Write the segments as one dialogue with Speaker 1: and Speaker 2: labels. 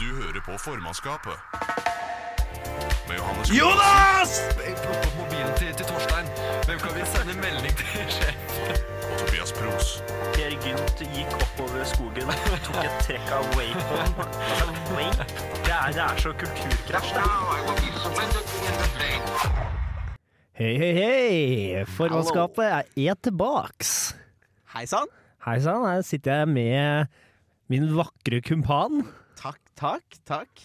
Speaker 1: Du hører på formannskapet. Med Johannes
Speaker 2: Jonas!
Speaker 3: Plukk opp mobilen til, til Torstein. Hvem kan vi sende melding til sjef?
Speaker 1: Karlsen og Tobias Pros.
Speaker 4: Per Gynt gikk oppover skogen og tok et trekk av Wacon. Altså, Wake? Det er, det er så kulturkrasj. det.
Speaker 2: Hei, hei, hei! Formannskapet er er tilbaks.
Speaker 5: Hei sann!
Speaker 2: Hei sann, her sitter jeg med min vakre kumpan.
Speaker 5: Takk, takk, takk.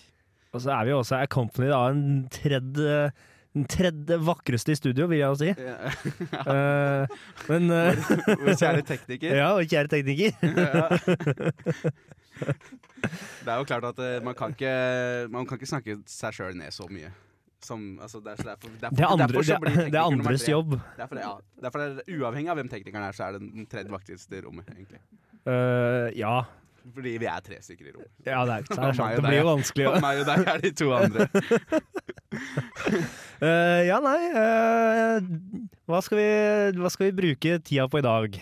Speaker 2: Og så er vi også accompanied av en tredje den tredje vakreste i studio, vil jeg jo si.
Speaker 5: Ja.
Speaker 2: Eh, men eh,
Speaker 5: Vår kjære tekniker.
Speaker 2: Ja, og kjære tekniker.
Speaker 5: Det er jo klart at eh, man kan ikke, man kan ikke snakke seg sjøl ned så mye. Som, altså, det, er, så derfor, derfor,
Speaker 2: Det er, andre,
Speaker 5: derfor så blir
Speaker 2: det, det er
Speaker 5: tekniker nummer
Speaker 2: andres
Speaker 5: tre.
Speaker 2: jobb.
Speaker 5: Derfor, ja, derfor er det Uavhengig av hvem teknikeren er, så er det den tredje vakreste i rommet. egentlig
Speaker 2: Eh, ja.
Speaker 5: Fordi vi er tre stykker i rommet.
Speaker 2: ja, det er, det, er
Speaker 5: Og meg
Speaker 2: sant.
Speaker 5: og
Speaker 2: det blir jo
Speaker 5: deg.
Speaker 2: vanskelig.
Speaker 5: Og
Speaker 2: å-
Speaker 5: meg og deg er de to andre.
Speaker 2: Eh, ja, nei eh, hva, skal vi, hva skal vi bruke tida på i dag?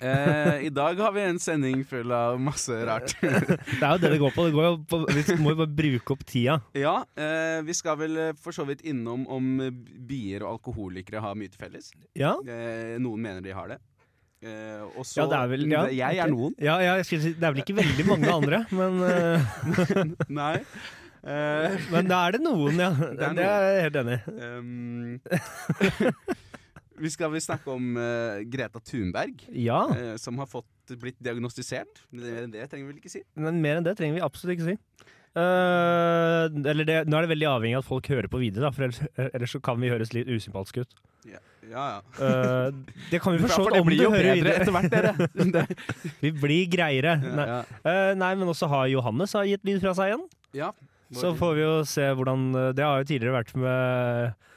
Speaker 5: Eh, I dag har vi en sending full av masse rart.
Speaker 2: Det er jo det det går på. Det går jo på vi må jo bare bruke opp tida.
Speaker 5: ja, eh, vi skal vel eh, for så vidt innom om eh, bier og alkoholikere har mye til felles.
Speaker 2: Ja,
Speaker 5: Eh, noen mener de har det. Eh, og så
Speaker 2: ja det er vel ja,
Speaker 5: Jeg er
Speaker 2: ok.
Speaker 5: noen.
Speaker 2: Ja, ja, jeg skulle si, det er vel ikke veldig mange andre, men, eh,
Speaker 5: Nei. Eh,
Speaker 2: men da er det noen, ja. Det
Speaker 5: er
Speaker 2: er, jeg helt enig i.
Speaker 5: ehm, vi skal vel snakke om eh, Greta Thunberg,
Speaker 2: Ja,
Speaker 5: eh, som har fått, blitt diagnostisert. Det, det trenger vi vel ikke si.
Speaker 2: men mer enn det trenger vi absolutt ikke si. Eh, eller det, nå er det veldig avhengig av at folk hører på videre, da, for ellers, ellers så kan vi høres litt usympatiske ut.
Speaker 5: Ja, ja. ja.
Speaker 2: Eh, det kan vi
Speaker 5: Ja,
Speaker 2: for så
Speaker 5: for
Speaker 2: vidt
Speaker 5: det
Speaker 2: om
Speaker 5: blir
Speaker 2: du
Speaker 5: jo
Speaker 2: hører
Speaker 5: bedre
Speaker 2: videre.
Speaker 5: etter hvert, dere. Det-
Speaker 2: Vi blir greiere. Nei,
Speaker 5: ja,
Speaker 2: eh, nei, men også har Johannes har gitt lyd fra seg igjen.
Speaker 5: ja.
Speaker 2: Så får vi jo se hvordan eh, Det har jo tidligere vært med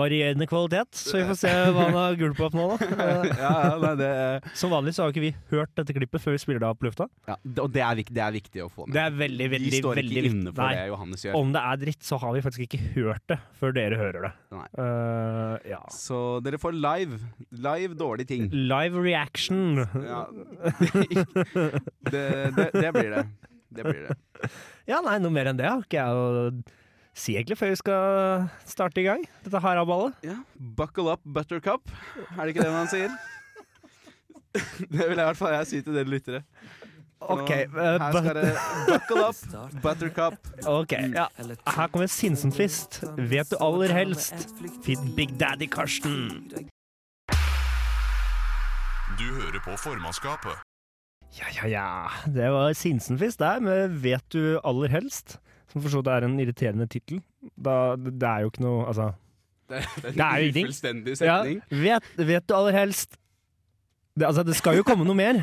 Speaker 2: varierende kvalitet, så vi får se hva han har gulp opp nå, da. Eh,
Speaker 5: ja, ja, nei, det,
Speaker 2: Som vanlig så har ikke vi hørt dette klippet før vi spiller det av på lufta.
Speaker 5: ja, det- Og det er, viktig, det er viktig å få med.
Speaker 2: Det er veldig, veldig,
Speaker 5: vi står
Speaker 2: veldig
Speaker 5: ikke inne
Speaker 2: viktig.
Speaker 5: for det Johannes gjør.
Speaker 2: Om det er dritt, så har vi faktisk ikke hørt det før dere hører det.
Speaker 5: Nei.
Speaker 2: Eh, ja.
Speaker 5: Så dere får live. Live dårlige ting.
Speaker 2: Live reaction.
Speaker 5: Ja. Det, det, det blir det. Det blir det.
Speaker 2: Ja, nei, noe mer enn det har ikke jeg å si egentlig før vi skal starte i gang. Dette haraballet.
Speaker 5: Ja, Buckle up, buttercup. Er det ikke det man sier? Det vil jeg i hvert fall jeg si til dere lyttere. For nå-
Speaker 2: Ok, eh,
Speaker 5: her skal
Speaker 2: but-
Speaker 5: det Buckle up, buttercup.
Speaker 2: Ok, ja. Her kommer Sinsenfist. Vet du aller helst? Finn Big Daddy Karsten.
Speaker 1: Du hører på formannskapet.
Speaker 2: Ja, ja, ja. Det var Sinsenfist der, med Vet du aller helst? Som for så vidt er en irriterende tittel. Da- Det er jo ikke noe Altså.
Speaker 5: Det,
Speaker 2: Det er jo ingenting.
Speaker 5: Fullstendig
Speaker 2: Ja,
Speaker 5: setning.
Speaker 2: vet, vet du aller helst det, altså, det skal jo komme noe mer.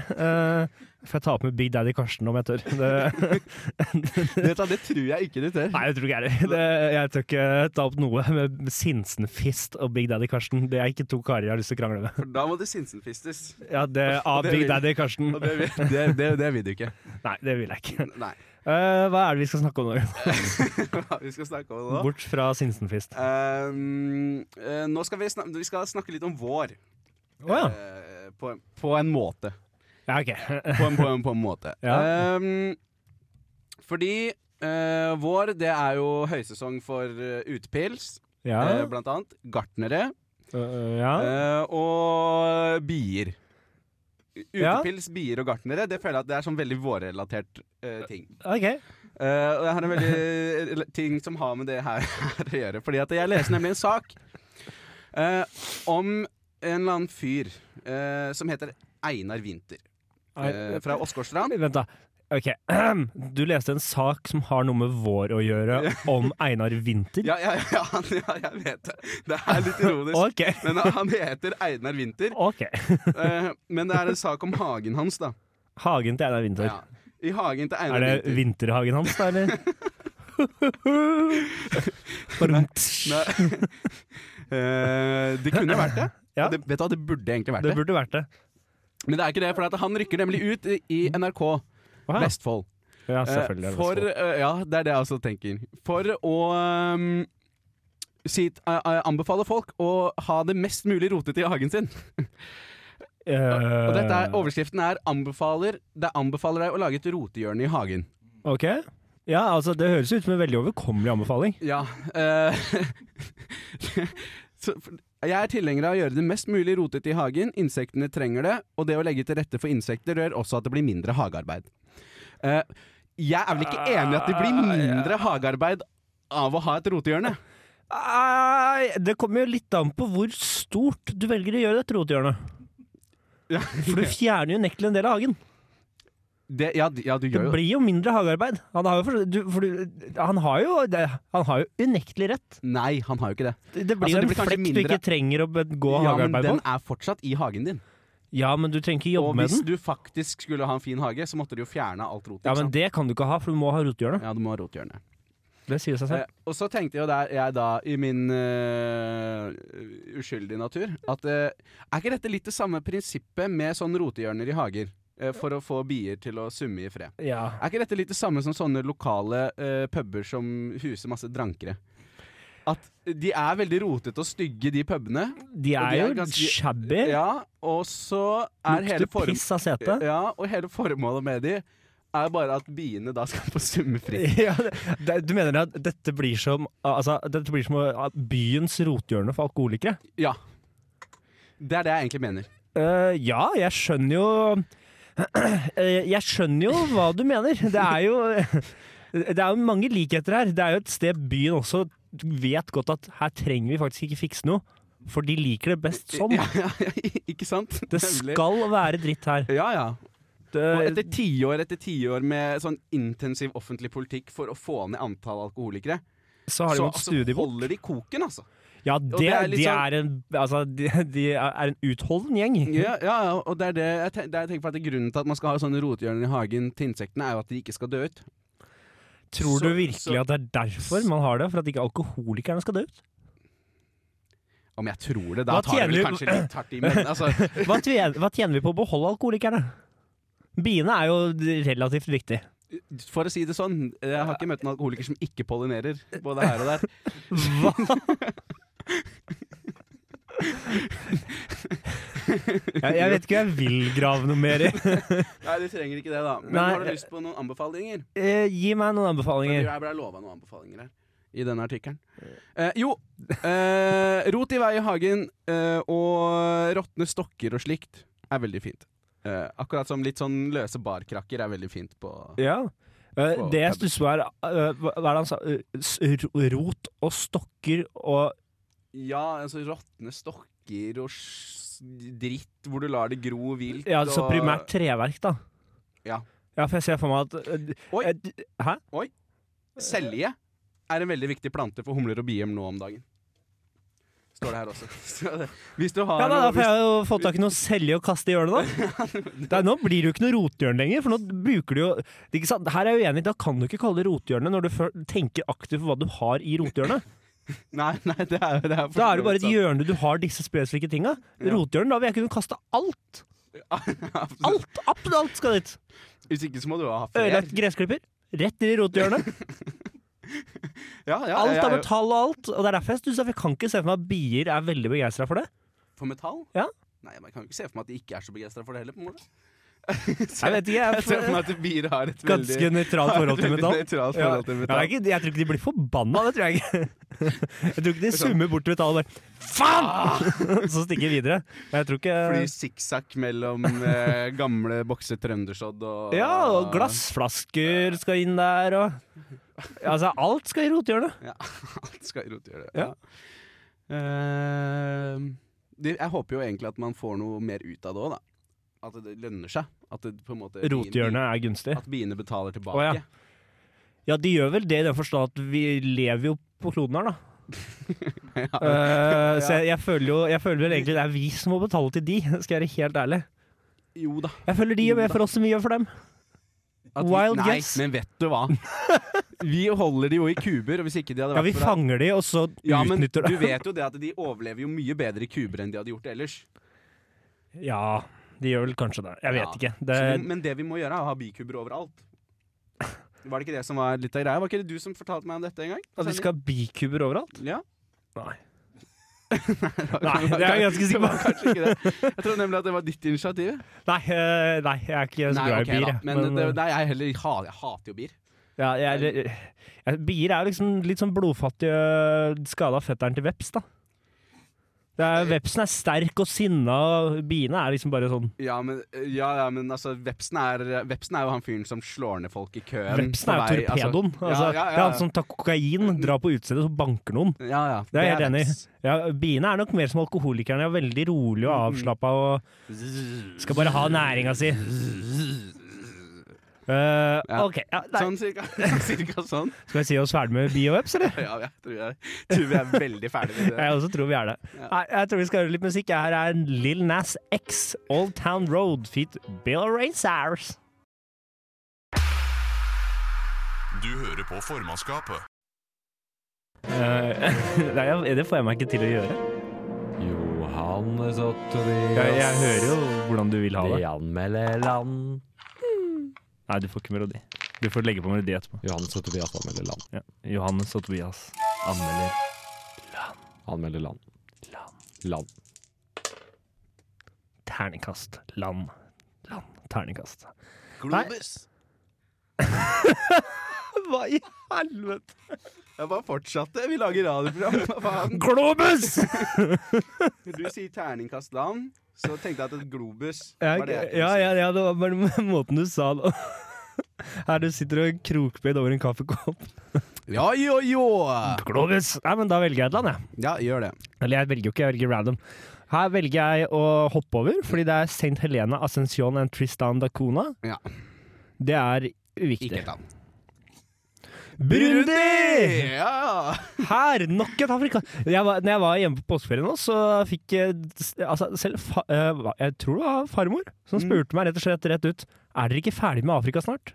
Speaker 2: Uh, får jeg ta opp med Big Daddy Karsten om jeg tør. Det,
Speaker 5: Vet du hva, det tror jeg ikke du tør.
Speaker 2: nei, jeg tror ikke jeg det. det. Jeg tør ikke ta opp noe med Sinsenfist og Big Daddy Karsten. Det er ikke to karer jeg har lyst til å krangle med.
Speaker 5: For da må du sinsenfistes.
Speaker 2: Ja, det, av
Speaker 5: Det
Speaker 2: Big
Speaker 5: vil-
Speaker 2: Daddy Karsten.
Speaker 5: Og det vil, det, det, det vil du ikke.
Speaker 2: Nei, det vil jeg ikke.
Speaker 5: Nei.
Speaker 2: Eh, hva er det vi skal snakke om nå?
Speaker 5: Hva Eh, vi skal snakke om nå?
Speaker 2: Bort fra Sinsenfist.
Speaker 5: Ehm, eh, nå skal vi, snak vi skal snakke litt om vår.
Speaker 2: Å ja.
Speaker 5: Eh, på, på en måte.
Speaker 2: ja. Ok.
Speaker 5: På en, på en, på en måte.
Speaker 2: Ja.
Speaker 5: Ehm, fordi eh, vår, det er jo høysesong for eh, utepils,
Speaker 2: Ja.
Speaker 5: eh, blant annet. Gartnere
Speaker 2: Øh, ja.
Speaker 5: eh, og bier.
Speaker 2: Ja.
Speaker 5: Utepils, bier og gartnere, det føler jeg at det er sånn veldig vårrelatert eh, ting.
Speaker 2: Ok.
Speaker 5: Eh, og jeg har en veldig eller, ting som har med det her, her å gjøre. Fordi at jeg leser nemlig en sak eh, om en eller annen fyr eh, som heter Einar Winther. eh, fra Åsgårdstrand.
Speaker 2: Vent, da. Ok. Du leste en sak som har noe med vår å gjøre, om Einar Winther?
Speaker 5: Ja, ja, ja, han, ja, jeg vet det. Det er litt ironisk.
Speaker 2: Ok.
Speaker 5: Men han heter Einar Winther.
Speaker 2: Ok.
Speaker 5: eh, men det er en sak om hagen hans, da.
Speaker 2: Hagen til Einar Winther.
Speaker 5: Ja. I hagen til
Speaker 2: Er
Speaker 5: Einar
Speaker 2: det
Speaker 5: Winther.
Speaker 2: vinterhagen hans, da, eller? Brumt.
Speaker 5: Nei. Eh, det kunne vært det.
Speaker 2: Ja.
Speaker 5: Og Det, vet du hva, det burde egentlig vært
Speaker 2: Det
Speaker 5: det.
Speaker 2: burde vært det.
Speaker 5: Men det er ikke det, for at han rykker nemlig ut i, i NRK
Speaker 2: Å, ja.
Speaker 5: Vestfold.
Speaker 2: ja,
Speaker 5: Eh,
Speaker 2: selvfølgelig. er det
Speaker 5: For,
Speaker 2: Vestfold.
Speaker 5: eh, ja, det er det jeg også tenker. For å ehm, si, eh, eh, anbefale folk å ha det mest mulig rotete i hagen sin. Og dette
Speaker 2: Eh.
Speaker 5: er, Overskriften er anbefaler, det anbefaler deg å lage et rotehjørne i hagen.
Speaker 2: Ok. Ja, altså Det høres ut som en veldig overkommelig anbefaling.
Speaker 5: Ja. eh, så, jeg er tilhenger av å gjøre det mest mulig rotete i hagen. Insektene trenger det, og det å legge til rette for insekter gjør også at det blir mindre hagearbeid. Eh, jeg er vel ikke enig i at det
Speaker 2: Ah,
Speaker 5: blir mindre hagearbeid av å ha et rotehjørne.
Speaker 2: Nei, Det kommer jo litt an på hvor stort du velger å gjøre dette rotehjørnet.
Speaker 5: Ja.
Speaker 2: For du fjerner jo nektelig en del av hagen.
Speaker 5: Det, ja, d- ja, du
Speaker 2: Det
Speaker 5: gjør jo
Speaker 2: blir jo mindre hagearbeid. Han har jo, for, du, for du, han har jo, det, han har jo unektelig rett.
Speaker 5: Nei, han har jo ikke det.
Speaker 2: Det det
Speaker 5: Altså,
Speaker 2: blir jo
Speaker 5: det blir
Speaker 2: en
Speaker 5: kanskje
Speaker 2: flekk du
Speaker 5: mindre-
Speaker 2: ikke trenger å be- gå
Speaker 5: ja, men
Speaker 2: hagearbeid
Speaker 5: den
Speaker 2: på.
Speaker 5: er fortsatt i hagen din.
Speaker 2: Ja, men du trenger ikke
Speaker 5: Og
Speaker 2: jobbe med
Speaker 5: hvis
Speaker 2: den.
Speaker 5: du faktisk skulle ha en fin hage, så måtte du jo fjerne alt rotet.
Speaker 2: Ja,
Speaker 5: ikke
Speaker 2: men
Speaker 5: sant?
Speaker 2: Det kan du ikke ha, for du må ha rotehjørne.
Speaker 5: ja, du må ha rothjørne.
Speaker 2: Det sier seg selv.
Speaker 5: Eh, og så tenkte jo der jeg da, i min eh, uskyldige natur, at eh, er ikke dette litt det samme prinsippet med sånn rotehjørner i hager? eh, for å få bier til å summe i fred.
Speaker 2: Ja.
Speaker 5: Er ikke dette litt det samme som sånne lokale eh, puber som huser masse drankere? At de er veldig rotete og stygge, de pubene.
Speaker 2: De
Speaker 5: Og
Speaker 2: er
Speaker 5: de er
Speaker 2: jo
Speaker 5: ganske-
Speaker 2: shabby.
Speaker 5: Ja, og så er hele
Speaker 2: Lukter
Speaker 5: form...
Speaker 2: piss av setet.
Speaker 5: Ja, og hele formålet med de er bare at biene da skal få summe fritt.
Speaker 2: Ja, det- det- du mener at dette blir som altså, Dette blir som uh, byens rotehjørne for alkoholikere?
Speaker 5: Ja. Det er det jeg egentlig mener.
Speaker 2: Eh, ja, jeg skjønner jo Eh, Jeg skjønner jo hva du mener. Det er jo Det er jo mange likheter her. Det er jo et sted byen også vet godt at her trenger vi faktisk ikke fikse noe, for de liker det best sånn.
Speaker 5: Ja, ja, ja, ikke sant?
Speaker 2: Det
Speaker 5: Nemlig.
Speaker 2: skal Eh, være dritt her.
Speaker 5: Ja, ja. Og
Speaker 2: Det,
Speaker 5: etter tiår etter tiår med sånn intensiv offentlig politikk for å få ned antall alkoholikere,
Speaker 2: så har de
Speaker 5: så altså
Speaker 2: jo et studiebok.
Speaker 5: holder de koken, altså.
Speaker 2: Ja, det,
Speaker 5: det er litt
Speaker 2: de
Speaker 5: sånn-
Speaker 2: er en Altså, de, de er en utholden gjeng.
Speaker 5: Ja, ja, ja, og det er det jeg, ten det jeg tenker på at det er grunnen til at man skal ha sånne rothjørner i hagen til insektene, er jo at de ikke skal dø ut.
Speaker 2: Tror
Speaker 5: så-
Speaker 2: du virkelig
Speaker 5: så-
Speaker 2: at det er derfor man har det? For at ikke alkoholikerne skal dø ut?
Speaker 5: Om jeg tror det, da
Speaker 2: Hva
Speaker 5: tar det vel
Speaker 2: tjener-
Speaker 5: kanskje litt hardt i, men altså
Speaker 2: Hva tjener, hva tjener vi på å beholde alkoholikerne? Biene er jo relativt viktig.
Speaker 5: For å si det sånn, jeg har ikke møtt en alkoholiker som ikke pollinerer. Både her og der.
Speaker 2: Hva? jeg, jeg vet ikke om jeg vil grave noe mer i.
Speaker 5: Nei, du trenger ikke det, da. Men
Speaker 2: Nei,
Speaker 5: har du
Speaker 2: jeg-
Speaker 5: lyst på noen anbefalinger?
Speaker 2: Eh, gi meg noen
Speaker 5: Jeg
Speaker 2: anbefalinger.
Speaker 5: ble lova noen anbefalinger her. I denne artikkelen. Eh, jo! Eh, rot i vei i hagen eh, og råtne stokker og slikt er veldig fint. Eh, akkurat som litt sånn løse barkrakker er veldig fint på
Speaker 2: Ja. Eh,
Speaker 5: På
Speaker 2: det jeg
Speaker 5: puben.
Speaker 2: stusser på, er eh, hva hva er det han sa? Eh, s- Rot og stokker og
Speaker 5: Ja, altså råtne stokker og s- dritt hvor du lar det gro vilt
Speaker 2: Ja, så
Speaker 5: og-
Speaker 2: primært treverk, da.
Speaker 5: Ja.
Speaker 2: Ja, for jeg ser for meg at eh, d-
Speaker 5: Oi.
Speaker 2: eh, d- Hæ?
Speaker 5: Selje er en veldig viktig plante for humler og bier nå om dagen. Står det her også. Så det- Hvis du har
Speaker 2: Ja, da, da
Speaker 5: noe
Speaker 2: får
Speaker 5: hvis,
Speaker 2: jeg jo fått tak i noe selje og kaste i hjørnet, da. Nei, nå blir det jo ikke noe rotehjørne lenger, for nå bruker du jo det er ikke sant? Her er jeg uenig, da kan du ikke kalle det rotehjørne når du før, tenker aktivt på hva du har i rotehjørnet.
Speaker 5: Nei, nei, det er, det er for
Speaker 2: Da er det
Speaker 5: så
Speaker 2: bare
Speaker 5: vidt
Speaker 2: et hjørne du har disse spesifikke tinga. Rotehjørne, da vil jeg kunne kaste
Speaker 5: sant.
Speaker 2: alt.
Speaker 5: Absolutt.
Speaker 2: Alt! Absolutt alt skal dit.
Speaker 5: Hvis ikke så må du ha flere.
Speaker 2: Ødelagt gressklipper. Rett inn i rotehjørnet.
Speaker 5: Ja, ja,
Speaker 2: Alt
Speaker 5: jeg er
Speaker 2: av
Speaker 5: jo-
Speaker 2: metall og alt. Og det er derfor jeg stusser, for jeg kan ikke se for meg at bier er veldig begeistra for det.
Speaker 5: For metall?
Speaker 2: Ja.
Speaker 5: Nei, man kan jo ikke se for meg at de ikke er så begeistra for det heller. på en måte.
Speaker 2: Jeg vet ikke,
Speaker 5: Jeg ser for
Speaker 2: jeg
Speaker 5: meg at bier har et
Speaker 2: Ganske
Speaker 5: veldig
Speaker 2: nøytralt forhold til
Speaker 5: veldig
Speaker 2: metall.
Speaker 5: nøytralt
Speaker 2: Ja.
Speaker 5: forhold til
Speaker 2: Ja,
Speaker 5: metall.
Speaker 2: det er ikke, jeg tror ikke de blir forbanna, det tror jeg ikke. Jeg tror ikke de summer bort til metallet og bare Faen! Så stikker de videre. Men jeg tror ikke
Speaker 5: Fly sikksakk mellom eh, gamle bokser trøndersodd og
Speaker 2: Ja, og glassflasker skal inn der, og Altså, alt skal i rotehjørnet.
Speaker 5: Ja, alt skal i rotehjørnet.
Speaker 2: Ja.
Speaker 5: Eh, det, jeg håper jo egentlig at man får noe mer ut av det òg, da. At det lønner seg. At det på en måte
Speaker 2: Rotehjørnet er gunstig.
Speaker 5: At biene betaler tilbake.
Speaker 2: Å, ja. Ja, de gjør vel det i den forstand at vi lever jo på kloden her, da. Eh, så jeg, jeg føler jo Jeg føler vel egentlig det er vi som må betale til de, skal jeg være helt ærlig.
Speaker 5: Jo Mm, da.
Speaker 2: Jeg føler de gjør mer for oss enn vi gjør for dem.
Speaker 5: At vi-
Speaker 2: Wild
Speaker 5: nei,
Speaker 2: guess.
Speaker 5: men vet du hva? Vi holder de jo i kuber, og hvis ikke de hadde vært
Speaker 2: Ja, vi
Speaker 5: for det-
Speaker 2: fanger de, og så
Speaker 5: ja, men
Speaker 2: utnytter
Speaker 5: Du
Speaker 2: de.
Speaker 5: vet jo det at de overlever jo mye bedre i kuber enn de hadde gjort ellers.
Speaker 2: Ja, de gjør vel kanskje det. Jeg vet
Speaker 5: Ja.
Speaker 2: ikke. Det,
Speaker 5: Så vi, men det vi må gjøre, er å ha bikuber overalt. Var det ikke det som var litt av greia? Var ikke det du som fortalte meg om dette en gang?
Speaker 2: at vi skal ha bikuber overalt?
Speaker 5: Ja
Speaker 2: Nei.
Speaker 5: Nei,
Speaker 2: det er jeg ganske sikker på.
Speaker 5: Det var kanskje ikke det. Jeg tror nemlig at det var ditt initiativ.
Speaker 2: Nei, eh, nei jeg er ikke så
Speaker 5: Nei,
Speaker 2: glad
Speaker 5: ok
Speaker 2: i bier.
Speaker 5: da.
Speaker 2: jeg.
Speaker 5: Men,
Speaker 2: Men,
Speaker 5: det,
Speaker 2: eh,
Speaker 5: nei, jeg, heller, ha- jeg hater jo bier.
Speaker 2: Ja, jeg, eh, jeg, bier er jo liksom litt sånn blodfattige eh, skada fetteren til veps, da. Det er, vepsen er sterk og sinna, og biene er liksom bare sånn
Speaker 5: Ja, men, ja, ja, men altså, vepsen er, vepsen er jo han fyren som slår ned folk i køen.
Speaker 2: Vepsen
Speaker 5: på
Speaker 2: er jo
Speaker 5: vei, altså.
Speaker 2: torpedoen.
Speaker 5: Ja,
Speaker 2: Altså,
Speaker 5: ja,
Speaker 2: Det er
Speaker 5: ja.
Speaker 2: han som tar kokain, drar på utestedet og så banker noen.
Speaker 5: Ja, ja.
Speaker 2: Det er jeg helt enig i.
Speaker 5: veps.
Speaker 2: Ja, biene er nok mer som alkoholikerne, og veldig rolig og avslappa og skal bare ha næringa si. Eh,
Speaker 5: Ja.
Speaker 2: OK. Ja, nei.
Speaker 5: Sånn cirka, cirka sånn.
Speaker 2: Skal vi si oss ferdig med bi og veps, eller?
Speaker 5: Ja, jeg tror, jeg tror vi er veldig ferdig med det.
Speaker 2: Jeg også tror vi er det. Nei, jeg tror vi skal høre litt musikk. Her er Lill Nas X, Old Town Road, feat. Bill Ray Cyrus.
Speaker 1: Du hører på formannskapet.
Speaker 2: Eh, Nei, jeg- det får jeg meg ikke til å gjøre.
Speaker 6: Johannes og Tobias.
Speaker 2: Jeg, jeg hører jo hvordan du vil ha
Speaker 6: De
Speaker 2: det.
Speaker 6: anmelder land.
Speaker 2: Nei, du får ikke melodi. Du får legge på melodi etterpå.
Speaker 6: Johannes og Tobias anmelder land.
Speaker 2: Ja. Johannes og Tobias anmelder
Speaker 6: Anmelder land. Land.
Speaker 2: terningkast. Land. Land. Terningkast.
Speaker 5: Globus.
Speaker 2: Hva i helvete?
Speaker 5: Jeg bare fortsatte. Vi lager radioprogram. Hva faen?
Speaker 2: Globus!
Speaker 5: Du sier terningkast land, så tenkte jeg at et globus
Speaker 2: Ja,
Speaker 5: var det jeg kunne si.
Speaker 2: ja, ja, ja, det var bare den måten du sa det Her du sitter og krokbøyd over en kaffekopp.
Speaker 5: Ja, jo, jo!
Speaker 2: Globus! Nei, men da velger jeg et land, jeg.
Speaker 5: Ja, gjør det.
Speaker 2: Eller jeg velger jo ikke, jeg velger random. Her velger jeg å hoppe over, fordi det er St. Helena, Ascension and Tristan da Cunha.
Speaker 5: Ja.
Speaker 2: Det er
Speaker 5: Ikke
Speaker 2: uviktig.
Speaker 5: et land.
Speaker 2: Burundi!
Speaker 5: Ja!
Speaker 2: Her! Nok et Afrika... Jeg var, når jeg var hjemme på påskeferie nå, så fikk jeg altså, selv fa, eh, hva- Jeg tror det var farmor som spurte meg rett og slett rett ut Er dere ikke ferdig med Afrika snart.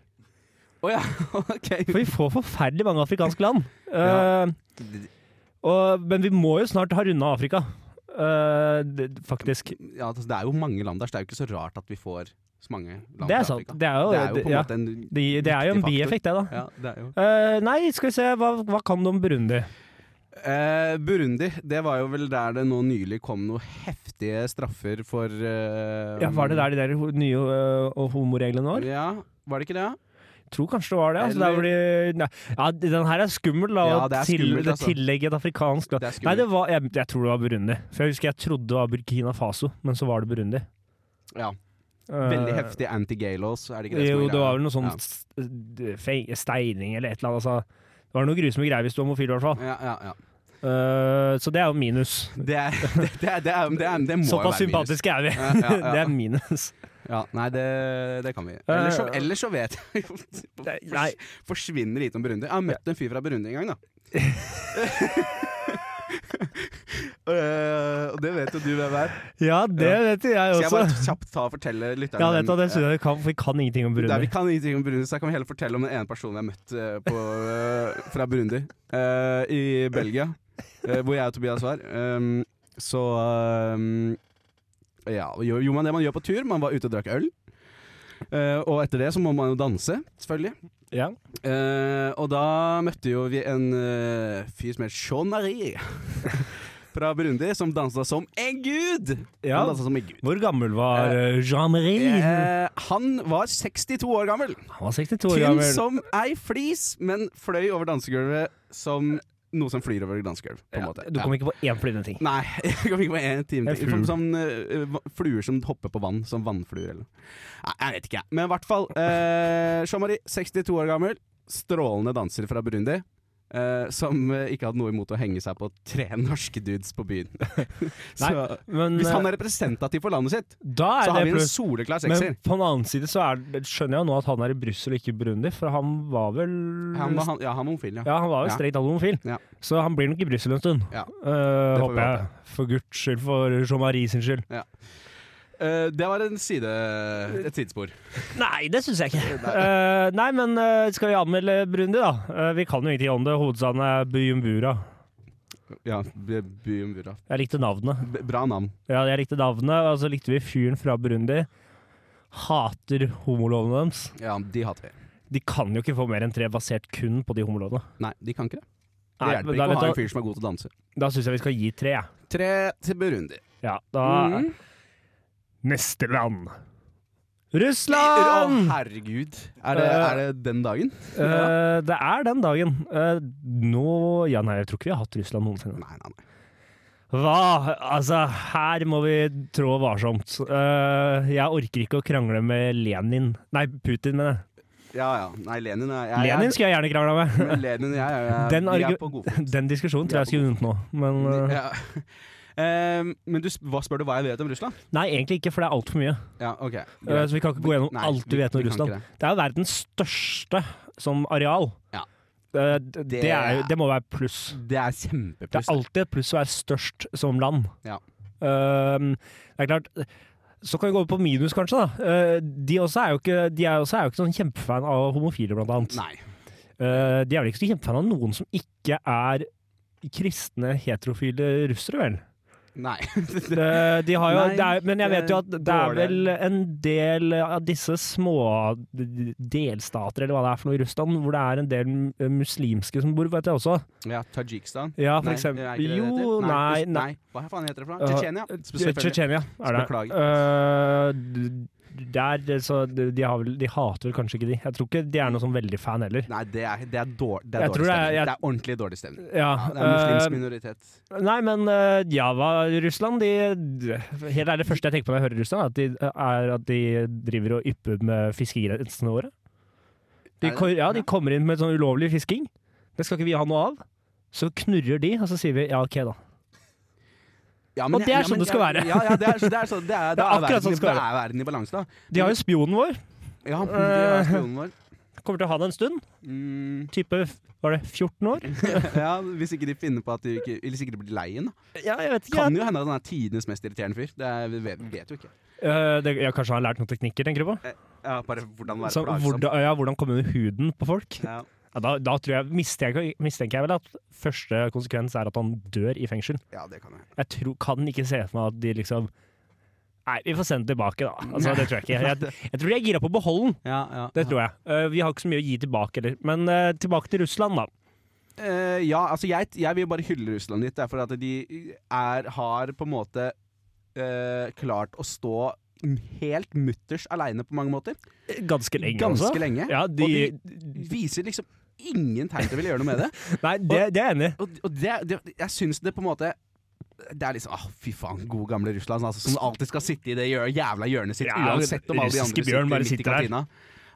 Speaker 5: Å ja, ok.
Speaker 2: For vi får forferdelig mange afrikanske land. Eh,
Speaker 5: Ja.
Speaker 2: og, men vi må jo snart ha runda Afrika. Eh, det, faktisk.
Speaker 5: Ja, altså, det er jo mange land der, så det er jo ikke så rart at vi får så mange land
Speaker 2: Det
Speaker 5: fra
Speaker 2: er sant.
Speaker 5: Afrika.
Speaker 2: Det er jo,
Speaker 5: Det er jo på en
Speaker 2: ja.
Speaker 5: måte en
Speaker 2: Det, det er jo
Speaker 5: viktig
Speaker 2: en
Speaker 5: faktor.
Speaker 2: bieffekt, det, da.
Speaker 5: Ja, det er jo.
Speaker 2: Eh, nei, skal vi se, hva, hva kan du om Burundi?
Speaker 5: Eh, Burundi, det var jo vel der det nå nylig kom noen heftige straffer for eh,
Speaker 2: Ja, var det der de der ho- nye øh, og homoreglene var?
Speaker 5: Ja, var det ikke det?
Speaker 2: Tror kanskje det var det. Altså, der hvor de, nei, ja, den her er skummel, da.
Speaker 5: Ja,
Speaker 2: å
Speaker 5: det er
Speaker 2: til,
Speaker 5: skummelt, altså.
Speaker 2: Tillegge et afrikansk land.
Speaker 5: Det er skummelt.
Speaker 2: Nei, det var, jeg, jeg tror det var Burundi. For jeg husker jeg trodde det var Burkina Faso, men så var det Burundi.
Speaker 5: Ja.
Speaker 2: Eh,
Speaker 5: Veldig heftige anti-gay laws, er det ikke det som er
Speaker 2: Jo, det
Speaker 5: greia?
Speaker 2: var vel noe sånn
Speaker 5: Ja.
Speaker 2: s- d- fe- steining eller et eller annet. Altså. Det var noe grusomme greier hvis du var homofil, i hvert fall.
Speaker 5: Ja, ja, ja.
Speaker 2: Eh, så det er jo minus.
Speaker 5: Det, er, det, det, er, det, er, det, er, det må jo
Speaker 2: Såpass
Speaker 5: være minus.
Speaker 2: sympatiske er vi.
Speaker 5: Ja, ja, ja.
Speaker 2: Det er minus.
Speaker 5: Ja, nei, det, det kan vi. Ellers så,
Speaker 2: Eh,
Speaker 5: ellers så vet jeg jo
Speaker 2: Nei.
Speaker 5: Forsvinner lite om Burundi. Jeg har møtt en fyr fra Burundi en gang, da. Eh, Og det vet jo du hvem er.
Speaker 2: Ja, det vet jeg
Speaker 5: Skal
Speaker 2: også.
Speaker 5: jeg bare kjapt ta og fortelle lytterne
Speaker 2: Ja, vet du, hva, det
Speaker 5: hvem-
Speaker 2: synes jeg vi kan, for vi kan ingenting om
Speaker 5: Der
Speaker 2: Burundi.
Speaker 5: vi kan ingenting om Burundi, så jeg kan vi heller fortelle om den ene personen jeg har møtt eh, på, eh, fra Burundi. eh, I Belgia, eh, hvor jeg og Tobias var. Um, så um, ja, gjorde gjorde man det man gjør på tur. Man var ute og drakk øl. Eh, og etter det så må man jo danse, selvfølgelig.
Speaker 2: Ja.
Speaker 5: Eh, og da møtte jo vi en eh, fyr som het Shonari fra Burundi, som dansa som en gud!
Speaker 2: Ja.
Speaker 5: Han dansa som en gud.
Speaker 2: Hvor gammel var eh, Jean-Marie?
Speaker 5: Eh, han var 62 år gammel.
Speaker 2: Han var 62 år
Speaker 5: Tynn
Speaker 2: gammel.
Speaker 5: som ei flis, men fløy over dansegulvet som noe som flyr over dansegulv, på en måte.
Speaker 2: Du kom ikke på én flyvende ting.
Speaker 5: Nei, jeg kom ikke på en time
Speaker 2: En
Speaker 5: til. Som,
Speaker 2: flue.
Speaker 5: som eh, va- fluer som hopper på vann, som vannfluer eller noe. Nei, jeg vet ikke, jeg. Men i hvert fall. Eh, Jean-Marie, 62 år gammel, strålende danser fra Burundi. eh, som eh, ikke hadde noe imot å henge seg på tre norske dudes på byen. så
Speaker 2: Men
Speaker 5: hvis han
Speaker 2: eh,
Speaker 5: er representativ for landet sitt,
Speaker 2: da
Speaker 5: så
Speaker 2: er
Speaker 5: har
Speaker 2: det
Speaker 5: vi en
Speaker 2: pluss.
Speaker 5: soleklar sekser.
Speaker 2: Men på den annen side så er, det- skjønner jeg jo nå at han er i Brussel og ikke i Burundi, for han var vel
Speaker 5: Han var, han, ja, han var homofil, ja.
Speaker 2: Ja, han var jo
Speaker 5: Ja.
Speaker 2: strengt tatt homofil,
Speaker 5: Ja.
Speaker 2: så han blir nok i Brussel en stund.
Speaker 5: Ja.
Speaker 2: Eh,
Speaker 5: Det får vi
Speaker 2: håper jeg. For guds skyld, for Jean-Marie sin skyld.
Speaker 5: Eh, det var en side, et sidespor.
Speaker 2: Nei, det syns jeg ikke. Eh, nei, men eh, skal vi anmelde Burundi, da? Eh, vi kan jo ingenting om det. Hovedstaden er Bujumbura.
Speaker 5: Ja, B- Bujumbura.
Speaker 2: Jeg likte navnet.
Speaker 5: B- Bra navn.
Speaker 2: Ja, jeg likte navnet, og så likte vi fyren fra Burundi. Hater homolovene deres.
Speaker 5: Ja, de hater vi.
Speaker 2: De kan jo ikke få mer enn tre basert kun på de homolovene.
Speaker 5: Nei, de kan ikke det. Det
Speaker 2: Nei,
Speaker 5: hjelper ikke
Speaker 2: da,
Speaker 5: å
Speaker 2: vet
Speaker 5: ha en
Speaker 2: du hva,
Speaker 5: fyr som er god til å danse.
Speaker 2: da syns jeg vi skal gi tre, jeg.
Speaker 5: Tre til Burundi.
Speaker 2: Ja, da
Speaker 5: Mhm.
Speaker 2: Neste land.
Speaker 5: Å,
Speaker 2: Russland!
Speaker 5: herregud. Er det, er det den dagen?
Speaker 2: Eh, det er den dagen. Eh, nå Ja, nei, jeg tror ikke vi har hatt Russland noensinne.
Speaker 5: Nei, nei, nei.
Speaker 2: Hva? Altså, her må vi trå varsomt. Eh, jeg orker ikke å krangle med Lenin Nei, Putin, mener jeg.
Speaker 5: Ja, ja. Nei, Lenin er jeg,
Speaker 2: Lenin skulle jeg gjerne krangla med.
Speaker 5: Men Lenin og jeg, er- er-
Speaker 2: Den
Speaker 5: vi
Speaker 2: argu-
Speaker 5: er på god fot.
Speaker 2: Den diskusjonen tror jeg skulle vunnet nå, men eh,
Speaker 5: Ja. Ehm, men du, sp- hva spør du hva jeg vet om Russland?
Speaker 2: Nei, egentlig ikke, for det er altfor mye.
Speaker 5: Ja, ok.
Speaker 2: Eh, Så vi kan ikke gå gjennom
Speaker 5: Nei,
Speaker 2: alt vi vet om
Speaker 5: vi kan
Speaker 2: Russland.
Speaker 5: ikke
Speaker 2: Det er jo verdens største som areal.
Speaker 5: Ja.
Speaker 2: Eh, d- Det, er, jo- det må være pluss.
Speaker 5: Det er
Speaker 2: Det er
Speaker 5: kjempepluss.
Speaker 2: alltid et pluss å være størst som land.
Speaker 5: Ja.
Speaker 2: Um, det er klart Så kan vi gå over på minus, kanskje. da Eh, De også er jo ikke, de er også er jo ikke sånn kjempefan av homofile, blant annet.
Speaker 5: Nei.
Speaker 2: Eh, De er vel ikke så kjempefan av noen som ikke er kristne, heterofile russere, vel?
Speaker 5: Nei.
Speaker 2: Det, de har jo,
Speaker 5: Nei,
Speaker 2: det er, men jeg vet jo at det er
Speaker 5: dårlig.
Speaker 2: vel en del av disse små delstater, eller hva det er for noe i Russland, hvor det er en del eh, muslimske som bor, vet jeg også.
Speaker 5: Ja, Tadsjikistan.
Speaker 2: Ja, for
Speaker 5: Nei,
Speaker 2: eksempel.
Speaker 5: er ikke det det heter?
Speaker 2: jo, nei,
Speaker 5: Russ-
Speaker 2: nei.
Speaker 5: nei. Hva faen heter det for noe?
Speaker 2: Uh,
Speaker 5: Tsjetsjenia.
Speaker 2: Tsje-
Speaker 5: Selvfølgelig.
Speaker 2: Tsjetsjenia er det.
Speaker 5: Beklager.
Speaker 2: Eh, d- der, så de, de har vel, de hater vel kanskje ikke de. Jeg tror ikke de er noe sånn veldig fan heller.
Speaker 5: Nei, det er, det er, dår, det er
Speaker 2: Jeg
Speaker 5: dårlig
Speaker 2: tror det er-
Speaker 5: stemning.
Speaker 2: jeg-
Speaker 5: Det er ordentlig dårlig stemning.
Speaker 2: Ja,
Speaker 5: Ja, det er muslimsk
Speaker 2: eh,
Speaker 5: minoritet.
Speaker 2: Nei, men eh, Java, Russland de, de, Helt ærlig, det første jeg tenker på når jeg hører Russland, er at de, er at de driver og ypper med fiskegrensene våre. De,
Speaker 5: Er det-
Speaker 2: ko- ja, de
Speaker 5: ja.
Speaker 2: kommer inn med sånn ulovlig fisking. Det skal ikke vi ha noe av. Så knurrer de, og så sier vi ja, OK, da.
Speaker 5: Ja,
Speaker 2: og det er
Speaker 5: ja,
Speaker 2: sånn det skal
Speaker 5: ja,
Speaker 2: være.
Speaker 5: Ja, ja, det er, det er, sånn- det er, det er,
Speaker 2: akkurat
Speaker 5: verden,
Speaker 2: sånn det skal
Speaker 5: det er verden i balanse, da.
Speaker 2: De har jo spionen vår.
Speaker 5: Ja, det er spionen vår.
Speaker 2: Kommer til å ha det en stund.
Speaker 5: Mm,
Speaker 2: Type var det 14 år?
Speaker 5: ja, hvis ikke de finner på at de ikke Eller sikkert blir lei den. da.
Speaker 2: Ja, jeg vet ikke.
Speaker 5: Kan jo hende at han er tidenes mest irriterende fyr. Det er, vi vet, vi vet jo ikke.
Speaker 2: Eh, det, ja, kanskje han har lært noen teknikker, tenker du på?
Speaker 5: Ja, bare hvordan være
Speaker 2: Så,
Speaker 5: plagsom.
Speaker 2: hvordan, ja, hvordan komme under huden på folk?
Speaker 5: Ja.
Speaker 2: Ja, da, da tror jeg, mistenker, mistenker jeg vel at første konsekvens er at han dør i fengsel.
Speaker 5: ja, det kan jo hende.
Speaker 2: Jeg tror, kan ikke se for meg at de liksom Nei, vi får sende den tilbake, da. Altså, det tror jeg ikke. Jeg, jeg tror de er gira på å beholde den.
Speaker 5: Ja, ja.
Speaker 2: Det tror jeg. Eh, vi har ikke så mye å gi tilbake heller. Men eh, tilbake til Russland, da.
Speaker 5: Eh, ja, altså jeg, jeg vil bare hylle Russland litt, derfor at de er, har på en måte eh, klart å stå helt mutters aleine på mange måter.
Speaker 2: Ganske lenge,
Speaker 5: Ganske
Speaker 2: altså.
Speaker 5: lenge.
Speaker 2: Ja, de,
Speaker 5: Og Viser liksom ingen tegn til å ville gjøre noe med det.
Speaker 2: Nei, det, det er jeg enig i.
Speaker 5: Og, og det, det, jeg syns det på en måte det er liksom ah, Fy faen, gode gamle Russland, altså, som alltid skal sitte i det hjør- jævla hjørnet sitt.
Speaker 2: Ja,
Speaker 5: uansett om alle de
Speaker 2: russiske
Speaker 5: andre
Speaker 2: bjørn bare
Speaker 5: sitter midt i
Speaker 2: sitter der.
Speaker 5: kantina.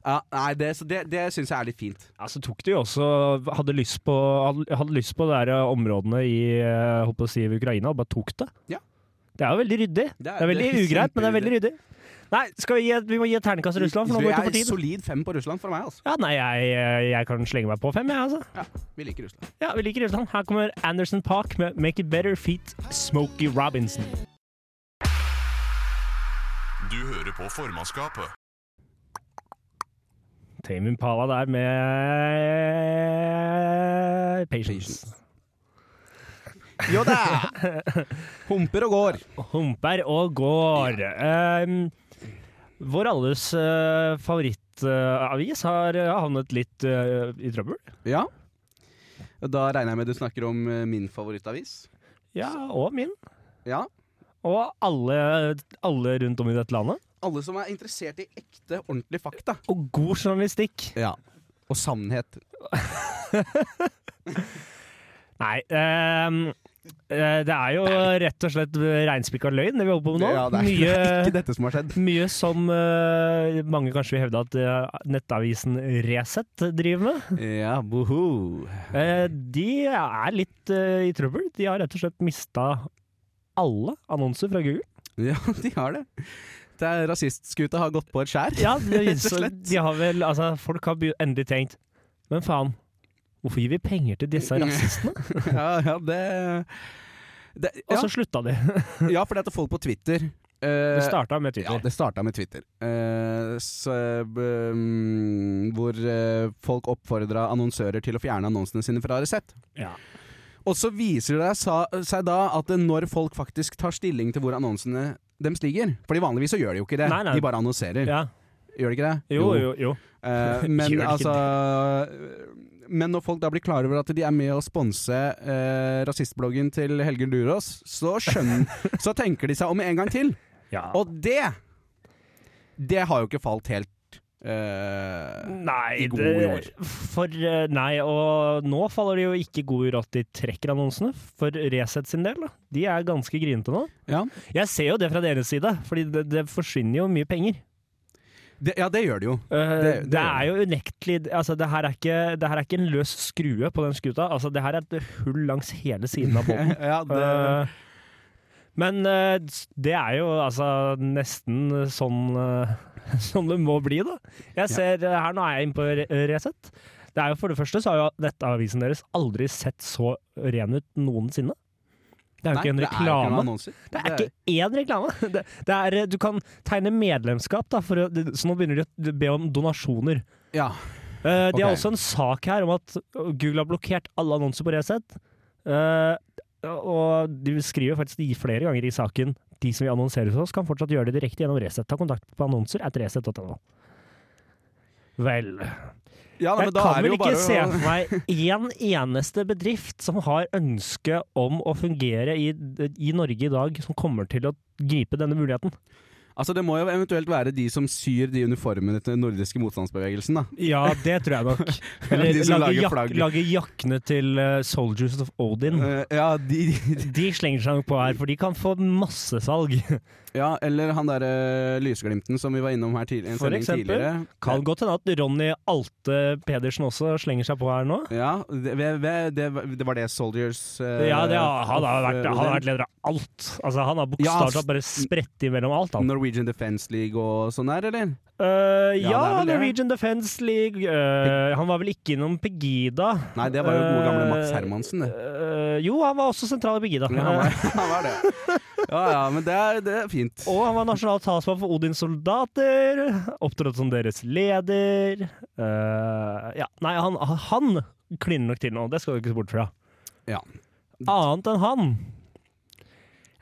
Speaker 5: Ja, nei, det, så det, det syns jeg er litt fint.
Speaker 2: Altså, tok de jo også Hadde lyst på, hadde, hadde lyst på de der områdene i eh, holdt på å si, Ukraina, og bare tok det.
Speaker 5: Ja.
Speaker 2: Det er jo veldig ryddig. Det er, veldig
Speaker 5: det er
Speaker 2: ugreit, men det er veldig ryddig. Nei, skal vi, gi, et- vi må gi et terningkast til Russland, for nå går vi
Speaker 5: Jeg
Speaker 2: tom for
Speaker 5: er
Speaker 2: tid.
Speaker 5: solid fem på Russland for meg, altså.
Speaker 2: Ja, nei, jeg, eh, jeg kan slenge meg på fem, jeg, altså.
Speaker 5: Vi liker Russland.
Speaker 2: Ja, vi liker Russland. Her kommer Anderson Park med Make It Better Feet Smokey Robinson.
Speaker 1: Du hører på formannskapet.
Speaker 2: Tame Impala der med Patience.
Speaker 5: Jo da! Humper og går.
Speaker 2: Humper og går. Ehm, vår alles eh, favorittavis har eh, havnet litt eh, i trøbbel.
Speaker 5: Ja. Da regner jeg med du snakker om eh, min favorittavis.
Speaker 2: Ja, og min.
Speaker 5: Ja.
Speaker 2: Og alle, alle rundt om i dette landet.
Speaker 5: Alle som er interessert i ekte, ordentlige fakta.
Speaker 2: Og god journalistikk.
Speaker 5: Ja. Og sannhet.
Speaker 2: Nei, ehm, eh, det er jo rett og slett reinspikka løgn det vi holder på med nå.
Speaker 5: Ja, det er ikke
Speaker 2: mye,
Speaker 5: dette som har skjedd.
Speaker 2: mye som eh, mange kanskje vil hevde at eh, nettavisen Resett driver med.
Speaker 5: Ja, boho.
Speaker 2: Eh, de er litt eh, i trøbbel. De har rett og slett mista alle annonser fra Google.
Speaker 5: Ja, de har det. Det er Rasistskuta har gått på et skjær.
Speaker 2: Ja, de,
Speaker 5: Rett og
Speaker 2: så,
Speaker 5: slett.
Speaker 2: de har vel, altså, folk har be- endelig tenkt Men faen, hvorfor gir vi penger til disse rasistene?
Speaker 5: Ja, ja, det, det
Speaker 2: Og
Speaker 5: ja.
Speaker 2: så slutta de.
Speaker 5: ja, fordi at folk på Twitter
Speaker 2: Altså- Det
Speaker 5: eh,
Speaker 2: starta med
Speaker 5: Ja,
Speaker 2: Twitter.
Speaker 5: det starta med Twitter. Eh, så, eh, hvor eh, folk oppfordra annonsører til å fjerne annonsene sine fra Resett.
Speaker 2: Ja.
Speaker 5: Og så viser det sa- seg da at når folk faktisk tar stilling til hvor annonsene deres ligger Fordi vanligvis så gjør de jo ikke det,
Speaker 2: Nei, nei.
Speaker 5: de bare annonserer.
Speaker 2: Ja.
Speaker 5: Gjør de ikke det?
Speaker 2: Jo, jo, jo.
Speaker 5: Eh,
Speaker 2: Gjør
Speaker 5: men
Speaker 2: de ikke
Speaker 5: altså Men når folk da blir klar over at de er med å sponse eh, rasistbloggen til Helge Lurås, så skjønner Så tenker de seg om en gang til.
Speaker 2: Ja.
Speaker 5: Og det det har jo ikke falt helt eh, i
Speaker 2: Nei,
Speaker 5: god
Speaker 2: det- For, eh, nei, og nå faller det jo ikke god jord at de trekker annonsene, for Resett sin del. da. De er ganske grinete nå.
Speaker 5: ja.
Speaker 2: Jeg ser jo det fra deres side, fordi det, det forsvinner jo mye penger.
Speaker 5: Det, ja, det gjør det jo.
Speaker 2: Eh,
Speaker 5: Det-
Speaker 2: det,
Speaker 5: det
Speaker 2: er jo unektelig altså, det, her er ikke, det her er ikke en løs skrue på den skuta. Altså, det her er et hull langs hele siden av båten.
Speaker 5: Ja, det,
Speaker 2: Eh, men eh, det er jo altså nesten sånn eh, Sånn det må bli, da. Jeg ser eh, her, Nå er jeg inne på Re- Resett. Det er jo For det første så har jo nettavisen deres aldri sett så ren ut noensinne. Det er jo
Speaker 5: nei,
Speaker 2: ikke en
Speaker 5: det er jo ikke noen
Speaker 2: reklame.
Speaker 5: annonser.
Speaker 2: Det er ikke én reklame! Det, det er, eh, du kan tegne medlemskap, da, for, å- så nå begynner de å be om donasjoner.
Speaker 5: Ja.
Speaker 2: Eh, de har
Speaker 5: Ok.
Speaker 2: også en sak her om at øh, Google har blokkert alle annonser på Resett. Eh, og de skriver faktisk de flere ganger i saken de som vil annonsere hos oss, kan fortsatt gjøre det direkte gjennom Resett. Ta kontakt på annonser at resett.no. Vel
Speaker 5: Ja, nei,
Speaker 2: Jeg
Speaker 5: men da
Speaker 2: kan
Speaker 5: er det
Speaker 2: vel
Speaker 5: jo
Speaker 2: ikke
Speaker 5: bare
Speaker 2: se
Speaker 5: å-
Speaker 2: for meg én eneste bedrift som har ønske om å fungere i, i Norge i dag, som kommer til å gripe denne muligheten.
Speaker 5: Altså Det må jo eventuelt være de som syr de uniformene til den nordiske motstandsbevegelsen. da
Speaker 2: Ja, det tror jeg nok.
Speaker 5: Eller
Speaker 2: Eller
Speaker 5: de som
Speaker 2: lage,
Speaker 5: lager
Speaker 2: jak
Speaker 5: flagg.
Speaker 2: lage jakkene til eh, Soldiers of Odin.
Speaker 5: Eh, ja, de,
Speaker 2: De slenger seg nok på her, for de kan få massesalg.
Speaker 5: ja, eller han derre eh, lysglimten som vi var innom her tidlig, en
Speaker 2: For
Speaker 5: sending
Speaker 2: eksempel?
Speaker 5: tidligere.
Speaker 2: Kan godt hende at Ronny Alte Pedersen også slenger seg på her nå.
Speaker 5: Ja, det, det, det, var- det var det Soldiers eh,
Speaker 2: Ja, det, har- han, har
Speaker 5: of,
Speaker 2: vært,
Speaker 5: eh,
Speaker 2: han har vært leder av alt. Altså, han har bokstavelig talt bare spredt imellom alt. Han.
Speaker 5: Norwegian Defence League og sånn der, eller? Ja,
Speaker 2: Eh, ja,
Speaker 5: det er vel det.
Speaker 2: Norwegian Defence League. eh, han var vel ikke innom Pegida.
Speaker 5: Nei, det var jo gode gamle
Speaker 2: Eh,
Speaker 5: Max Hermansen, det.
Speaker 2: eh, jo, han var også sentral i Pegida.
Speaker 5: Ja, han var, han var det. Ja ja, men det er, det er fint.
Speaker 2: Og han var nasjonal talsmann for Odins soldater. Opptrådte som deres leder. Eh, ja, nei, han, han kliner nok til nå, det skal du ikke se bort fra.
Speaker 5: Ja.
Speaker 2: Annet enn han.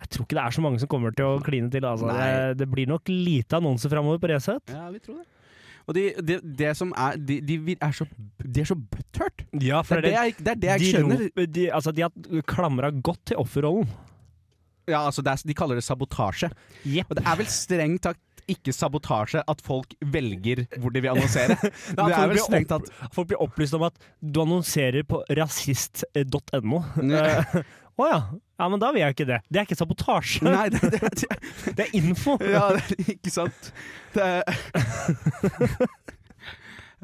Speaker 2: Jeg tror ikke det er så mange som kommer til å kline til. Altså.
Speaker 5: Nei.
Speaker 2: Det, det blir nok lite annonser framover på Resett.
Speaker 5: Ja, vi tror det. Og de, de, det som er De, de vir- er så, de er så butthurt.
Speaker 2: Ja,
Speaker 5: Det er det jeg, det er det jeg ikke skjønner.
Speaker 2: De, rop- de, altså, de har klamra godt til offerrollen.
Speaker 5: Ja, altså det er, De kaller det sabotasje.
Speaker 2: Jepp.
Speaker 5: Og det er vel strengt tatt ikke sabotasje at folk velger hvor de vil annonsere. det
Speaker 2: folk
Speaker 5: er vel
Speaker 2: blir
Speaker 5: strengt tatt
Speaker 2: Folk blir opplyst om at du annonserer på rasist.no. Å
Speaker 5: Nei,
Speaker 2: ja. ja, men da vil jeg ikke det. Det er ikke sabotasje.
Speaker 5: det, det, det,
Speaker 2: Det er info!
Speaker 5: ja, det ikke sant? Det er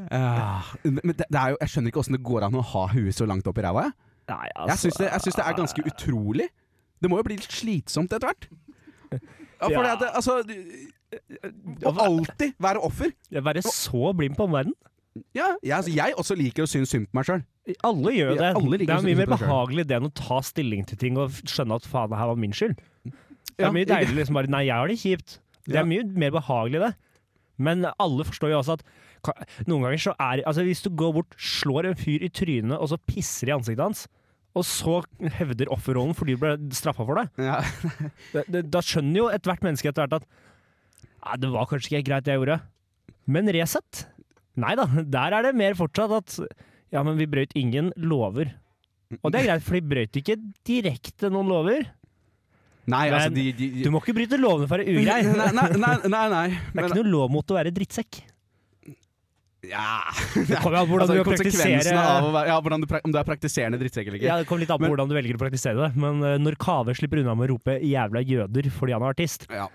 Speaker 5: Ja, men det, det er jo, jeg skjønner ikke åssen det går an å ha huet så langt opp i ræva. jeg.
Speaker 2: Nei,
Speaker 5: Jeg
Speaker 2: altså,
Speaker 5: syns det, jeg synes det er ganske utrolig. Det må jo bli litt slitsomt etter hvert. Ja, for
Speaker 2: Ja.
Speaker 5: det, altså du- Å alltid være offer.
Speaker 2: det å Være så blind på omverdenen.
Speaker 5: Ja, jeg, altså, jeg også liker å synes synd på meg sjøl.
Speaker 2: Alle gjør jo det.
Speaker 5: Ja, alle liker
Speaker 2: det
Speaker 5: å
Speaker 2: er mye
Speaker 5: synes på
Speaker 2: mer
Speaker 5: seg selv.
Speaker 2: behagelig det enn å ta stilling til ting og f- skjønne at faen, det her var min skyld. Det
Speaker 5: Ja.
Speaker 2: er mye deilig liksom bare Nei, jeg har det kjipt. Det
Speaker 5: Ja.
Speaker 2: er mye mer behagelig, det. Men alle forstår jo også at ka- noen ganger så er Altså, hvis du går bort, slår en fyr i trynet og så pisser i ansiktet hans, og så hevder offerrollen fordi du ble straffa for det,
Speaker 5: Ja.
Speaker 2: det, det Da skjønner jo ethvert menneske etter hvert at Nei, det var kanskje ikke helt greit det jeg gjorde. Men Resett? Nei da, der er det mer fortsatt at ja, men vi brøyt ingen lover. Og det er greit, for de brøyt ikke direkte noen lover.
Speaker 5: Nei, altså
Speaker 2: Men
Speaker 5: de, de, de
Speaker 2: Du må ikke bryte lovene for å være ugrei.
Speaker 5: Nei, nei, nei, nei, nei.
Speaker 2: Det er
Speaker 5: Men,
Speaker 2: ikke noe lov mot å være drittsekk.
Speaker 5: ja.
Speaker 2: Det kommer an på hvordan
Speaker 5: Altså,
Speaker 2: du praktiserer
Speaker 5: konsekvensene av å være, ja, hvordan du, prak- om du er praktiserende drittsekk eller ikke.
Speaker 2: ja, det kommer litt an på
Speaker 5: Men-
Speaker 2: hvordan du velger å praktisere det, men eh, når Kave slipper unna med å rope 'jævla jøder' fordi han er artist,
Speaker 5: Ja.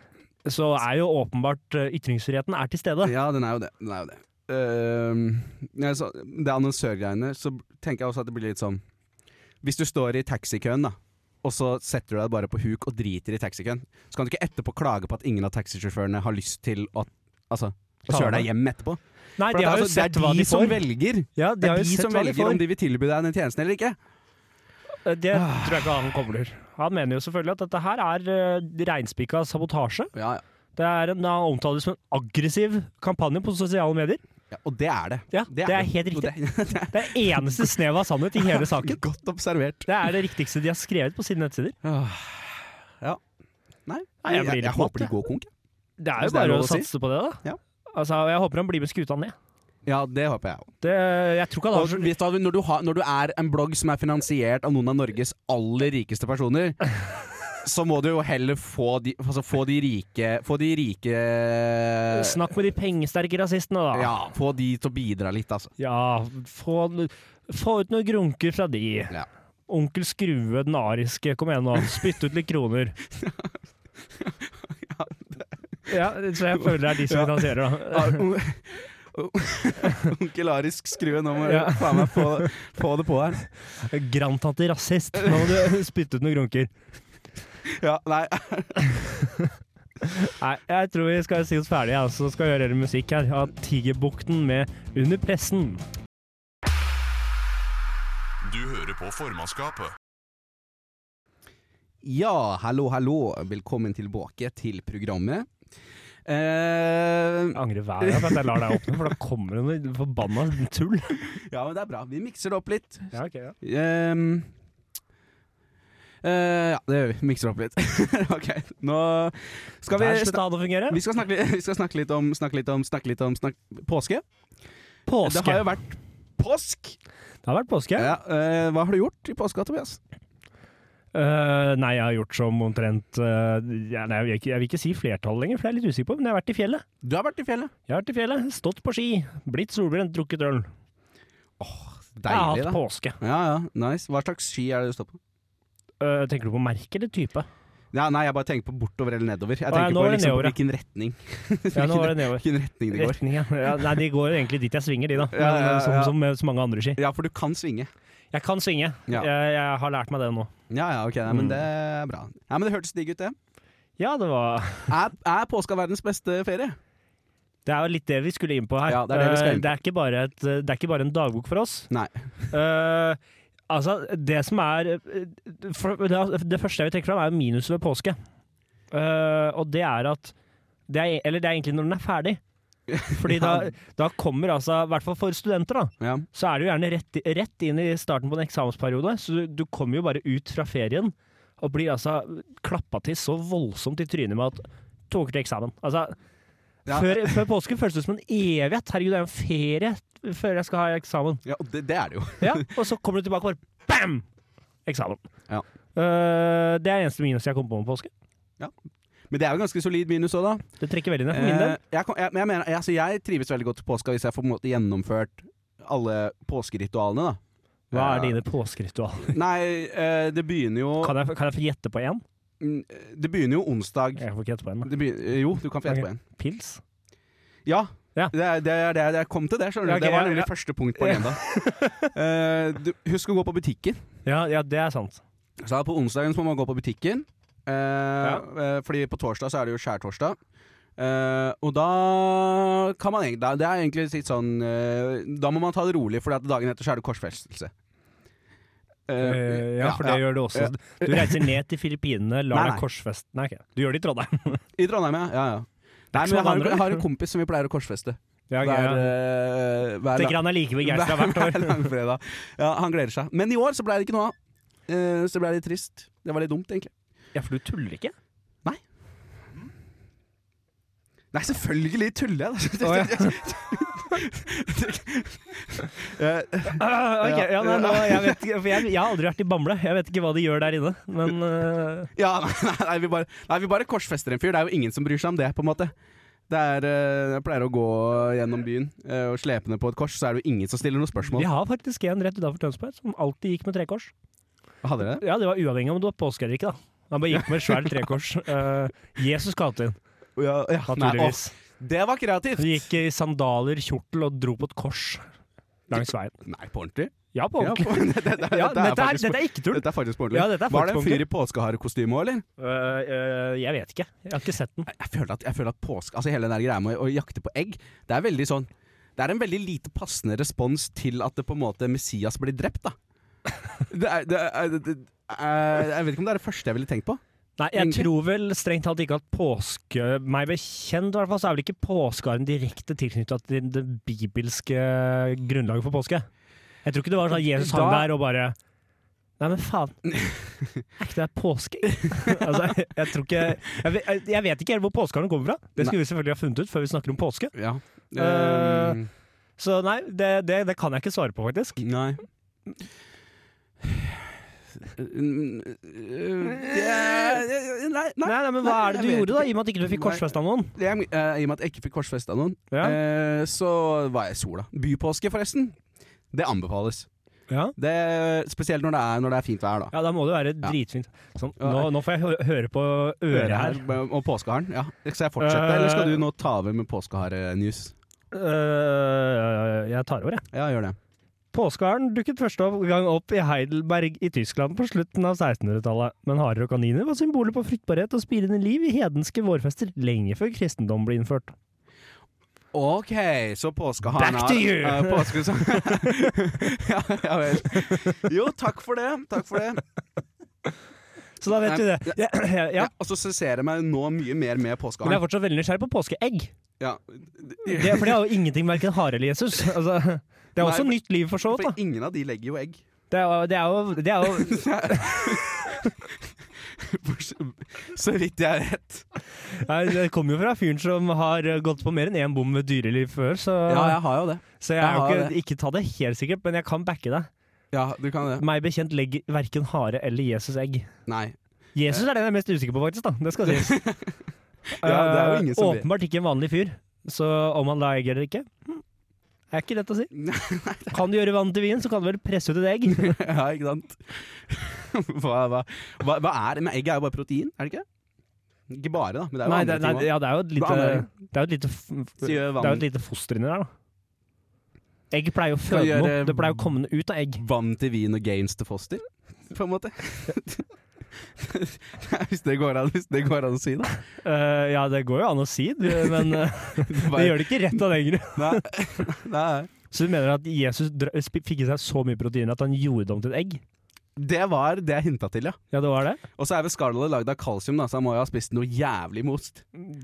Speaker 2: så er jo åpenbart eh, ytringsfriheten er til stede.
Speaker 5: ja, den er jo det. Den er jo det. Uh, ja, så, det annonsørgreiene, så tenker jeg også at det blir litt sånn Hvis du står i taxikøen, da. Og så setter du deg bare på huk og driter i taxikøen. Så kan du ikke etterpå klage på at ingen av taxisjåførene har lyst til å, altså, å
Speaker 2: Ta
Speaker 5: kjøre
Speaker 2: med.
Speaker 5: deg hjem etterpå.
Speaker 2: Nei,
Speaker 5: For
Speaker 2: de
Speaker 5: at,
Speaker 2: har jo
Speaker 5: altså,
Speaker 2: sett hva
Speaker 5: Det er
Speaker 2: de
Speaker 5: de som
Speaker 2: får.
Speaker 5: velger.
Speaker 2: Ja,
Speaker 5: Det er de som velger om de Ah. vil tilby deg den tjenesten eller ikke.
Speaker 2: Eh, Det tror jeg ikke han kommer til. Han mener jo selvfølgelig at dette her er eh, reinspikka sabotasje.
Speaker 5: Ja, ja.
Speaker 2: Det er en, han omtaler det som en aggressiv kampanje på sosiale medier.
Speaker 5: Ja, og det er det.
Speaker 2: Ja, det er helt
Speaker 5: Og
Speaker 2: riktig.
Speaker 5: det- det er
Speaker 2: Det er eneste snev av sannhet i hele saken.
Speaker 5: Godt observert.
Speaker 2: Det er det riktigste de har skrevet på sine nettsider.
Speaker 5: Nei,
Speaker 2: Nei, jeg blir litt matt, jeg.
Speaker 5: går konk. jeg.
Speaker 2: Det er
Speaker 5: Hvis det er
Speaker 2: jo bare
Speaker 5: lov å
Speaker 2: å
Speaker 5: si.
Speaker 2: satse på det, da.
Speaker 5: Ja.
Speaker 2: Altså, jeg håper han blir med skuta ned.
Speaker 5: Ja, det håper jeg òg.
Speaker 2: Det, jeg tror ikke han
Speaker 5: Og
Speaker 2: har så
Speaker 5: vet du hva, når, du har- når du er en blogg som er finansiert av noen av Norges aller rikeste personer så må du jo heller få de, altså få de rike Få de rike
Speaker 2: Snakk med de pengesterke rasistene, da.
Speaker 5: eh, Ja, få de til å bidra litt, altså.
Speaker 2: Ja, få, få ut noen grunker fra de.
Speaker 5: Ja.
Speaker 2: Onkel Skrue den ariske, kom igjen nå. Spytt ut litt kroner. Ja, så jeg føler det er de som
Speaker 5: Ja.
Speaker 2: finansierer, da.
Speaker 5: Onkel Arisk skrue, nå må du
Speaker 2: Ja.
Speaker 5: faen meg få, få det på her.
Speaker 2: Grandtante rasist. Nå må du spytte ut noen grunker.
Speaker 5: Ja, nei
Speaker 2: Nei, jeg tror vi skal si oss ferdige, ja, så skal vi høre litt musikk her. Av Tigerbukten med Under pressen.
Speaker 1: Du hører på formannskapet.
Speaker 5: Ja, hallo, hallo. Velkommen tilbake til programmet. Eh,
Speaker 2: Jeg angrer hver gang på at jeg lar deg åpne, for da kommer det noe forbanna tull.
Speaker 5: ja, men det er bra. Vi mikser det opp litt.
Speaker 2: Ja, ok, ja.
Speaker 5: Eh, eh, ja, det gjør vi. Mikser det opp litt. ok, nå skal vi,
Speaker 2: Der
Speaker 5: snak
Speaker 2: slutta det å fungere.
Speaker 5: vi, skal snakke, li- vi skal snakke litt om Snakke litt om, snakke litt om snak påske.
Speaker 2: Påske.
Speaker 5: Det har jo vært påsk!
Speaker 2: vært påske.
Speaker 5: Ja, eh, hva har du gjort i påska, Tobias?
Speaker 2: Eh, nei, jeg har gjort som omtrent eh, ja, nei, jeg, vil ikke- jeg vil ikke si flertallet lenger, for det er jeg litt usikker på, men jeg har vært i fjellet.
Speaker 5: Du har vært i fjellet.
Speaker 2: Jeg har vært i fjellet, stått på ski, blitt solbrent, drukket øl. jeg har
Speaker 5: Deilig,
Speaker 2: hatt
Speaker 5: da.
Speaker 2: påske.
Speaker 5: Ja, ja, nice. Hva slags ski er det du står på?
Speaker 2: Eh, tenker du på merke eller type?
Speaker 5: Ja, nei, jeg bare tenker på bortover eller nedover. Jeg
Speaker 2: Å, ja,
Speaker 5: tenker
Speaker 2: nå
Speaker 5: på,
Speaker 2: er det
Speaker 5: liksom,
Speaker 2: nedover,
Speaker 5: på
Speaker 2: ja.
Speaker 5: hvilken retning.
Speaker 2: Ja, nå var det nedover.
Speaker 5: hvilken retning det går.
Speaker 2: Retning, ja. ja. Nei, de går egentlig dit jeg svinger, de, da. Men,
Speaker 5: Ja, ja,
Speaker 2: eh, Som,
Speaker 5: ja.
Speaker 2: som med så mange andre ski.
Speaker 5: Ja, for du kan svinge.
Speaker 2: Jeg kan svinge.
Speaker 5: Ja.
Speaker 2: Jeg, jeg har lært meg det nå.
Speaker 5: Ja, ja, ok, nei,
Speaker 2: Mm.
Speaker 5: men det er bra. Ja, men Det hørtes digg ut, det.
Speaker 2: Ja, det var
Speaker 5: Er, er påska verdens beste ferie?
Speaker 2: Det er jo litt det vi skulle inn på her.
Speaker 5: Ja, det er det vi skal inn på.
Speaker 2: Eh, det, er ikke bare et, det er ikke bare en dagbok for oss.
Speaker 5: Nei.
Speaker 2: Eh, altså, det som er eh, for, det, det første jeg vil trekke fram, er jo minuset ved påske. Eh, og det er at det er, Eller det er egentlig når den er ferdig. Fordi da,
Speaker 5: Ja.
Speaker 2: da kommer altså, i hvert fall for studenter, da,
Speaker 5: Ja.
Speaker 2: så er det jo gjerne rett, i- rett inn i starten på en eksamensperiode. Så du, du kommer jo bare ut fra ferien og blir altså klappa til så voldsomt i trynet med at tok til eksamen. Altså,
Speaker 5: Ja.
Speaker 2: før, før påske føles det som en evighet. Herregud, det er jo en ferie før jeg skal ha eksamen.
Speaker 5: ja og det, det er det jo.
Speaker 2: Ja, og så kommer du tilbake og bare bam! Eksamen.
Speaker 5: Ja.
Speaker 2: Eh, det er eneste minus jeg kom på med påske.
Speaker 5: Men det er jo ganske solid minus òg, da.
Speaker 2: Det trekker veldig ned for min
Speaker 5: Eh,
Speaker 2: del.
Speaker 5: jeg, kom- jeg, jeg, mener, jeg, altså, jeg trives veldig godt i påska hvis jeg får på en måte gjennomført alle påskeritualene, da.
Speaker 2: Hva er
Speaker 5: eh,
Speaker 2: dine påskeritual?
Speaker 5: Nei, eh, det begynner jo
Speaker 2: Kan jeg, kan jeg få gjette på én?
Speaker 5: Mm, Det begynner jo onsdag
Speaker 2: Jeg får ikke gjette på én. da.
Speaker 5: det begynner, Jo, du kan få gjette
Speaker 2: Ok.
Speaker 5: på en.
Speaker 2: Pils?
Speaker 5: Ja.
Speaker 2: Ja.
Speaker 5: Det er det, er, det er, jeg kom til det, skjønner du.
Speaker 2: Ja, ok,
Speaker 5: det var
Speaker 2: ja,
Speaker 5: nemlig
Speaker 2: ja.
Speaker 5: første punkt på agendaen. Eh, du- husk å gå på butikken.
Speaker 2: Ja, ja, det er sant.
Speaker 5: Så da på onsdagen så må man gå på butikken. Eh, eh, fordi på torsdag så er det jo skjærtorsdag. Eh, og da kan man egentlig da- Det er egentlig litt sånn eh, Da må man ta det rolig, for dagen etter så er det korsfestelse. Eh,
Speaker 2: Eh, ja, for det gjør det også. Du reiser ned til Filippinene,
Speaker 5: Nei,
Speaker 2: lar
Speaker 5: nei.
Speaker 2: deg korsfeste Nei, ok. du gjør det i Trondheim.
Speaker 5: I Trondheim, ja. ja, ja. Nei,
Speaker 2: ikke
Speaker 5: men jeg
Speaker 2: så mange
Speaker 5: har,
Speaker 2: andre.
Speaker 5: jeg har en kompis som vi pleier å korsfeste.
Speaker 2: Ja, ok,
Speaker 5: Hver,
Speaker 2: ja.
Speaker 5: eh, hver
Speaker 2: Tenker han er like begeistra hvert
Speaker 5: Hver
Speaker 2: år.
Speaker 5: langfredag. Ja, han gleder seg. Men i år så ble det ikke noe av. Eh, Så det ble litt trist. Det var litt dumt, egentlig.
Speaker 2: Ja, for du tuller ikke?
Speaker 5: Nei, selvfølgelig tuller jeg, da. Eh,
Speaker 2: Ah, ok, ja, nei, nå, jeg, vet, ikke- for jeg, jeg har aldri vært i Bamble, jeg vet ikke hva de gjør der inne. Men eh,
Speaker 5: Ja, nei, nei, nei, vi bare, nei, vi bare korsfester en fyr. Det er jo ingen som bryr seg om det, på en måte. Det er, eh, jeg pleier å gå gjennom byen eh, og slepe ned på et kors, så er det jo ingen som stiller noe
Speaker 2: vi
Speaker 5: spørsmål.
Speaker 2: har faktisk en rett utenfor Tønsberg som alltid gikk med trekors.
Speaker 5: Hadde dere det?
Speaker 2: Ja, Det var uavhengig av om du var påske eller ikke. da Han bare gikk med svært trekors. Eh, Jesus kalte inn,
Speaker 5: Ja, ja, nei,
Speaker 2: naturligvis.
Speaker 5: å, det var kreativt!
Speaker 2: Han gikk i sandaler, kjortel og dro på et kors langs veien.
Speaker 5: Nei, på ordentlig?
Speaker 2: Ja, på
Speaker 5: Ja, på,
Speaker 2: ordentlig.
Speaker 5: dette, dette,
Speaker 2: Ja,
Speaker 5: dette, er
Speaker 2: dette, er-
Speaker 5: faktisk,
Speaker 2: dette er ikke tull.
Speaker 5: dette er faktisk på ordentlig.
Speaker 2: Ja, dette er
Speaker 5: Var det
Speaker 2: faktisk
Speaker 5: en fyr i påskeharekostyme òg, eller?
Speaker 2: Øh, øh, jeg vet ikke. Jeg har ikke sett den.
Speaker 5: jeg føler at, jeg føler at påske, altså hele den der greia med å, å jakte på egg, det er veldig sånn det er en veldig lite passende respons til at det på en måte Messias blir drept, da. Det er, det er, det det er, jeg vet ikke om det er det første jeg ville tenkt på.
Speaker 2: Nei, jeg
Speaker 5: Egentlig.
Speaker 2: tror vel strengt tatt ikke at påske Meg bekjent, i hvert fall, så er vel ikke påskearen direkte tilknytta til det bibelske grunnlaget for påske. Jeg tror ikke det var sånn at Jesus hang
Speaker 5: Da-
Speaker 2: der og bare Nei, men faen. Er ikke det påske? altså, jeg, jeg tror ikke jeg, vet- jeg, jeg vet ikke helt hvor påskearen kommer fra. Det skulle vi selvfølgelig ha funnet ut før vi snakker om påske.
Speaker 5: Ja.
Speaker 2: Eh,
Speaker 5: Ehm,
Speaker 2: Så nei, det, det, det kan jeg ikke svare på, faktisk.
Speaker 5: nei. Mm, øh, det- Nei, nei.
Speaker 2: Nei, nei, men hva er det du
Speaker 5: jeg vet
Speaker 2: gjorde, da, i og med at ikke du ikke fikk
Speaker 5: Nei.
Speaker 2: korsfesta noen?
Speaker 5: Det er, eh, I og med at jeg ikke fikk korsfesta noen,
Speaker 2: Ja.
Speaker 5: eh, så var jeg i sola. Bypåske, forresten. Det anbefales.
Speaker 2: Ja.
Speaker 5: Det, spesielt når det, er, når det er fint vær, da.
Speaker 2: ja, da må det være
Speaker 5: Ja.
Speaker 2: dritfint. Sånn,
Speaker 5: Ja.
Speaker 2: nå, nå får jeg hø høre på øret her.
Speaker 5: Og påskeharen. Ja. Skal jeg fortsette,
Speaker 2: Eh.
Speaker 5: eller skal du nå ta over med påskehare-news?
Speaker 2: Øh, jeg tar over, jeg.
Speaker 5: Ja, gjør det.
Speaker 2: Påskeharen dukket første gang opp i Heidelberg i Tyskland på slutten av 1600-tallet, men harer og kaniner var symboler på fruktbarhet og spirende liv i hedenske vårfester lenge før kristendom ble innført.
Speaker 5: Ok, så påskeharen
Speaker 2: Back
Speaker 5: har-
Speaker 2: to you!
Speaker 5: Ja, påske, så. ja, ja vel. Jo, takk for det. Takk for det.
Speaker 2: Så da vet vi det. Ja, ja, ja.
Speaker 5: Ja, og så ser jeg meg nå mye mer med
Speaker 2: Men jeg er
Speaker 5: påskeharen.
Speaker 2: fortsatt veldig nysgjerrig på påskeegg.
Speaker 5: Ja.
Speaker 2: Det, for det har jo ingenting med verken hare eller Jesus. Altså, det er
Speaker 5: Nei,
Speaker 2: også
Speaker 5: for-
Speaker 2: nytt liv for så vidt.
Speaker 5: For
Speaker 2: da.
Speaker 5: ingen av de legger jo egg.
Speaker 2: Det er, jo- det er jo, det er jo
Speaker 5: Så vidt jeg vet.
Speaker 2: Nei, Det kommer jo fra fyren som har eh, gått på mer enn én bom med dyreliv før, så,
Speaker 5: Ja, jeg har jo det.
Speaker 2: så jeg,
Speaker 5: jeg
Speaker 2: er jo
Speaker 5: har
Speaker 2: ikke, ikke ta det helt sikkert, men jeg kan backe deg.
Speaker 5: Ja, du kan det.
Speaker 2: Meg bekjent legger verken hare eller Jesus egg.
Speaker 5: Nei.
Speaker 2: Jesus er den jeg er mest usikker på, faktisk. da, Det skal sies.
Speaker 5: Ja, det er jo ingen som
Speaker 2: Eh, Åpenbart ikke en vanlig fyr, så om han la egg eller ikke hm, er ikke lett å si. Kan du gjøre vann til vin, så kan du vel presse ut et egg.
Speaker 5: Ja, ikke sant? Hva, hva, hva, hva er det? Men egg er jo bare protein, er det ikke? Ikke bare, da, men det er jo
Speaker 2: Nei, det,
Speaker 5: andre
Speaker 2: nei,
Speaker 5: ting også.
Speaker 2: ja, det er jo et lite,
Speaker 5: Vanlig.
Speaker 2: det er jo et lite, f-
Speaker 5: Så
Speaker 2: det
Speaker 5: gjør
Speaker 2: er
Speaker 5: vann-
Speaker 2: jo et lite foster inni der, da. Egg pleier jo å
Speaker 5: Kan
Speaker 2: føde noe.
Speaker 5: gjøre- mm.
Speaker 2: Det pleier å komme noe ut av egg.
Speaker 5: Vann til vin og games til foster, på en måte. hvis, det går an, hvis det går an å si, da.
Speaker 2: Eh, ja, det går jo an å si, det, men eh, det gjør det ikke rett av den grunn.
Speaker 5: Nei. nei.
Speaker 2: Så du mener at Jesus dra- sp- fikk i seg så mye protein at han gjorde det om til et egg?
Speaker 5: Det var det jeg hinta til, ja.
Speaker 2: Ja, det var det?
Speaker 5: Og så er vel skallet lagd av kalsium, da, så han må jo ha spist noe jævlig med ost.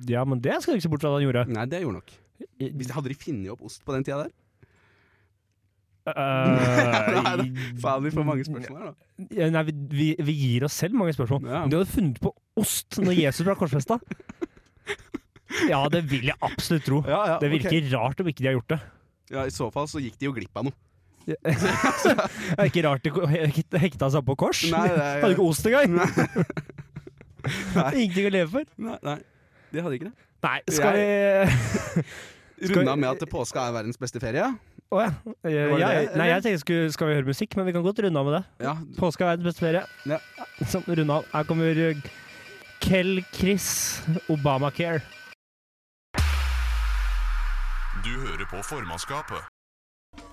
Speaker 2: Ja, men det skal du ikke se bort fra at han gjorde.
Speaker 5: Nei, det gjorde nok. Hvis de hadde de funnet opp ost på den tida der? Nei,
Speaker 2: Eh,
Speaker 5: Faen, vi får mange spørsmål her, da.
Speaker 2: ja, Nei, vi, vi, vi gir oss selv mange spørsmål.
Speaker 5: Ja.
Speaker 2: Du hadde funnet på ost når Jesus ble korsfesta? Ja, det vil jeg absolutt tro.
Speaker 5: Ja, ja,
Speaker 2: Det
Speaker 5: ok.
Speaker 2: virker rart om ikke de har gjort det.
Speaker 5: Ja, I så fall så gikk de jo glipp av noe.
Speaker 2: Det er ikke rart de ko- hek- hekta seg opp på kors.
Speaker 5: Nei, det er-
Speaker 2: Hadde ikke ost engang! Ingenting å leve for.
Speaker 5: Nei, nei. De hadde ikke det.
Speaker 2: Nei, skal vi Skal vi-
Speaker 5: Runda med at påska er verdens beste ferie.
Speaker 2: Å ja. Eh,
Speaker 5: Var det
Speaker 2: ja.
Speaker 5: det,
Speaker 2: Nei,
Speaker 5: eller?
Speaker 2: jeg tenkte skulle, skal vi høre musikk, men vi kan godt runde av med det.
Speaker 5: Ja,
Speaker 2: Påske er verdens beste ferie.
Speaker 5: Ja.
Speaker 2: Sånn, runde av. Her kommer eh, Kel Chris Obamacare.
Speaker 1: Du hører på formannskapet.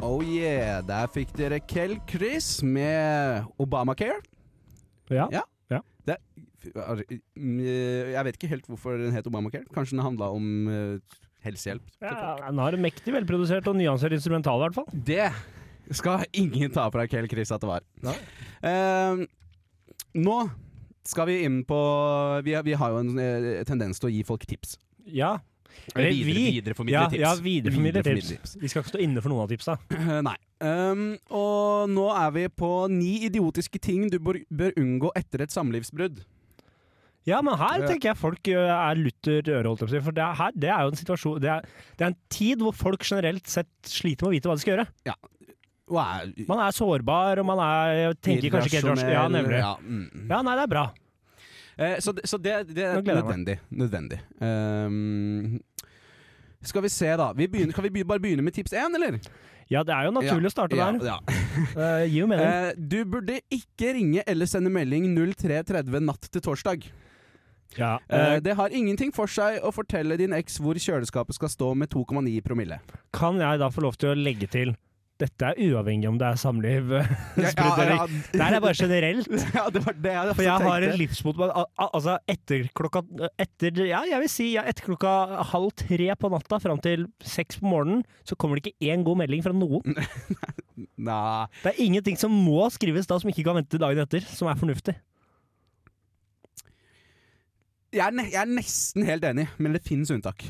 Speaker 5: Oh yeah, der fikk dere Kel Chris med Obamacare.
Speaker 2: Ja.
Speaker 5: Ja. Det, er- mm, jeg vet ikke helt hvorfor den het Obamacare. Kanskje den handla om eh, helsehjelp.
Speaker 2: ja. Den har en mektig velprodusert og nyansert instrumental, i hvert fall.
Speaker 5: Det skal ingen ta fra Kel Chris at det var. Eh, nå skal vi inn på Vi, har- vi har jo en eh, tendens til å gi folk tips.
Speaker 2: Ja.
Speaker 5: Eller
Speaker 2: Eller
Speaker 5: videre,
Speaker 2: Eh, vi.
Speaker 5: videreformidle
Speaker 2: Ja,
Speaker 5: tips.
Speaker 2: ja videreformidle tips.
Speaker 5: Videreformidle tips.
Speaker 2: Vi skal ikke stå inne for noen av tipsa.
Speaker 5: Eh, Nei. Ehm, og nå er vi på ni idiotiske ting du bør, bør unngå etter et samlivsbrudd.
Speaker 2: Ja, men her
Speaker 5: Ja.
Speaker 2: tenker jeg folk eh, er lutter øre, holdt jeg på å si. For det er, her, det er jo en situasjon det er, det er en tid hvor folk generelt sett sliter med å vite hva de skal gjøre.
Speaker 5: Og er
Speaker 2: Man er sårbar, og man er, tenker kanskje ikke helt rasjonelt. Ja, nemlig.
Speaker 5: Ja, mm.
Speaker 2: Ja, nei, det er bra.
Speaker 5: Eh, så, det- så det, det er
Speaker 2: Nå gleder jeg meg.
Speaker 5: nødvendig. nødvendig. Ehm, skal vi se, da. Vi begynner, kan vi be- bare begynne med tips én, eller?
Speaker 2: Ja, det er jo naturlig å starte
Speaker 5: Ja,
Speaker 2: der.
Speaker 5: ja.
Speaker 2: Eh, gir jo mening.
Speaker 5: Eh, du burde ikke ringe eller sende melding 03.30 natt til torsdag.
Speaker 2: ja.
Speaker 5: Eh,
Speaker 2: eh,
Speaker 5: det har ingenting for seg å fortelle din eks hvor kjøleskapet skal stå med 2,9 promille.
Speaker 2: kan jeg da få lov til å legge til dette er uavhengig om det er samliv eh, spredt eller ikke. Det her er bare generelt.
Speaker 5: Ja, det var det jeg
Speaker 2: For jeg har en livsmot al- al- Altså etter klokka etter, Ja, jeg vil si ja, etter klokka halv tre på natta fram til seks på morgenen, så kommer det ikke én god melding fra noen.
Speaker 5: Nei.
Speaker 2: Det er ingenting som må skrives da som ikke kan vente dagen etter, som er fornuftig.
Speaker 5: Jeg er, ne jeg er nesten helt enig, men det finnes unntak.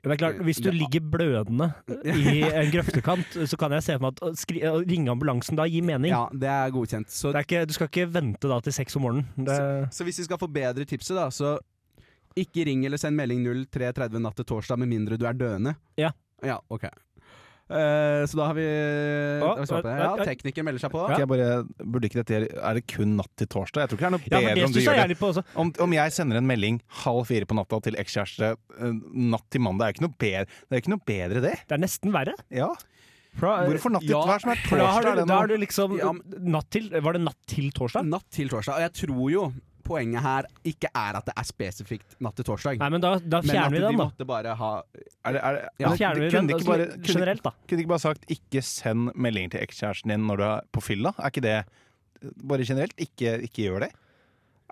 Speaker 2: Ja, det er klart, Hvis du
Speaker 5: Ja.
Speaker 2: ligger blødende i en grøftekant, så kan jeg se for meg at å skri å ringe ambulansen da gir mening.
Speaker 5: Ja, det er godkjent. Så,
Speaker 2: Det er ikke, du skal ikke vente da til seks om morgenen. Det,
Speaker 5: så hvis vi skal forbedre tipset, da, så ikke ring eller send melding 03.30 natt til torsdag med mindre du er døende.
Speaker 2: Ja.
Speaker 5: Ja, ok. Eh, Eh, så da har vi, da har vi svart på det.
Speaker 2: Å, å,
Speaker 5: Ja,
Speaker 2: å.
Speaker 5: teknikeren melder seg på.
Speaker 7: Ok, jeg bare, burde ikke dette gjøre- Er det kun natt til torsdag? Jeg tror ikke det er
Speaker 2: Ja,
Speaker 7: noe
Speaker 2: for
Speaker 7: bedre
Speaker 2: det
Speaker 7: om du
Speaker 2: stusser
Speaker 7: gjør
Speaker 2: jeg
Speaker 7: det.
Speaker 2: litt på også.
Speaker 7: Om, om jeg sender en melding halv fire på natta til ekskjæreste eh, natt til mandag, er ikke noe bedre det. Er ikke noe bedre det.
Speaker 2: Det er nesten verre.
Speaker 7: Ja.
Speaker 2: Fra-
Speaker 7: Hvorfor natt til
Speaker 5: ja,
Speaker 7: hver som er
Speaker 2: For da har
Speaker 7: torsdag? er
Speaker 2: du,
Speaker 7: det
Speaker 2: da
Speaker 7: noe-
Speaker 2: har du liksom
Speaker 5: Ja,
Speaker 2: natt til, Var det natt til torsdag?
Speaker 5: Natt til torsdag. Og jeg tror jo poenget her ikke er at det er spesifikt natt til torsdag.
Speaker 2: Nei, men da, da
Speaker 5: men at
Speaker 2: fjerner vi
Speaker 5: de
Speaker 2: den, da.
Speaker 5: måtte bare ha
Speaker 7: Er det, er det,
Speaker 2: Da
Speaker 7: er det-
Speaker 2: fjerner vi den
Speaker 7: det kunne ikke
Speaker 2: altså,
Speaker 7: bare, kunne,
Speaker 2: generelt, da.
Speaker 7: kunne ikke bare sagt 'ikke send melding til ekskjæresten din når du er på fylla'? Er ikke det bare generelt? Ikke, ikke gjør det?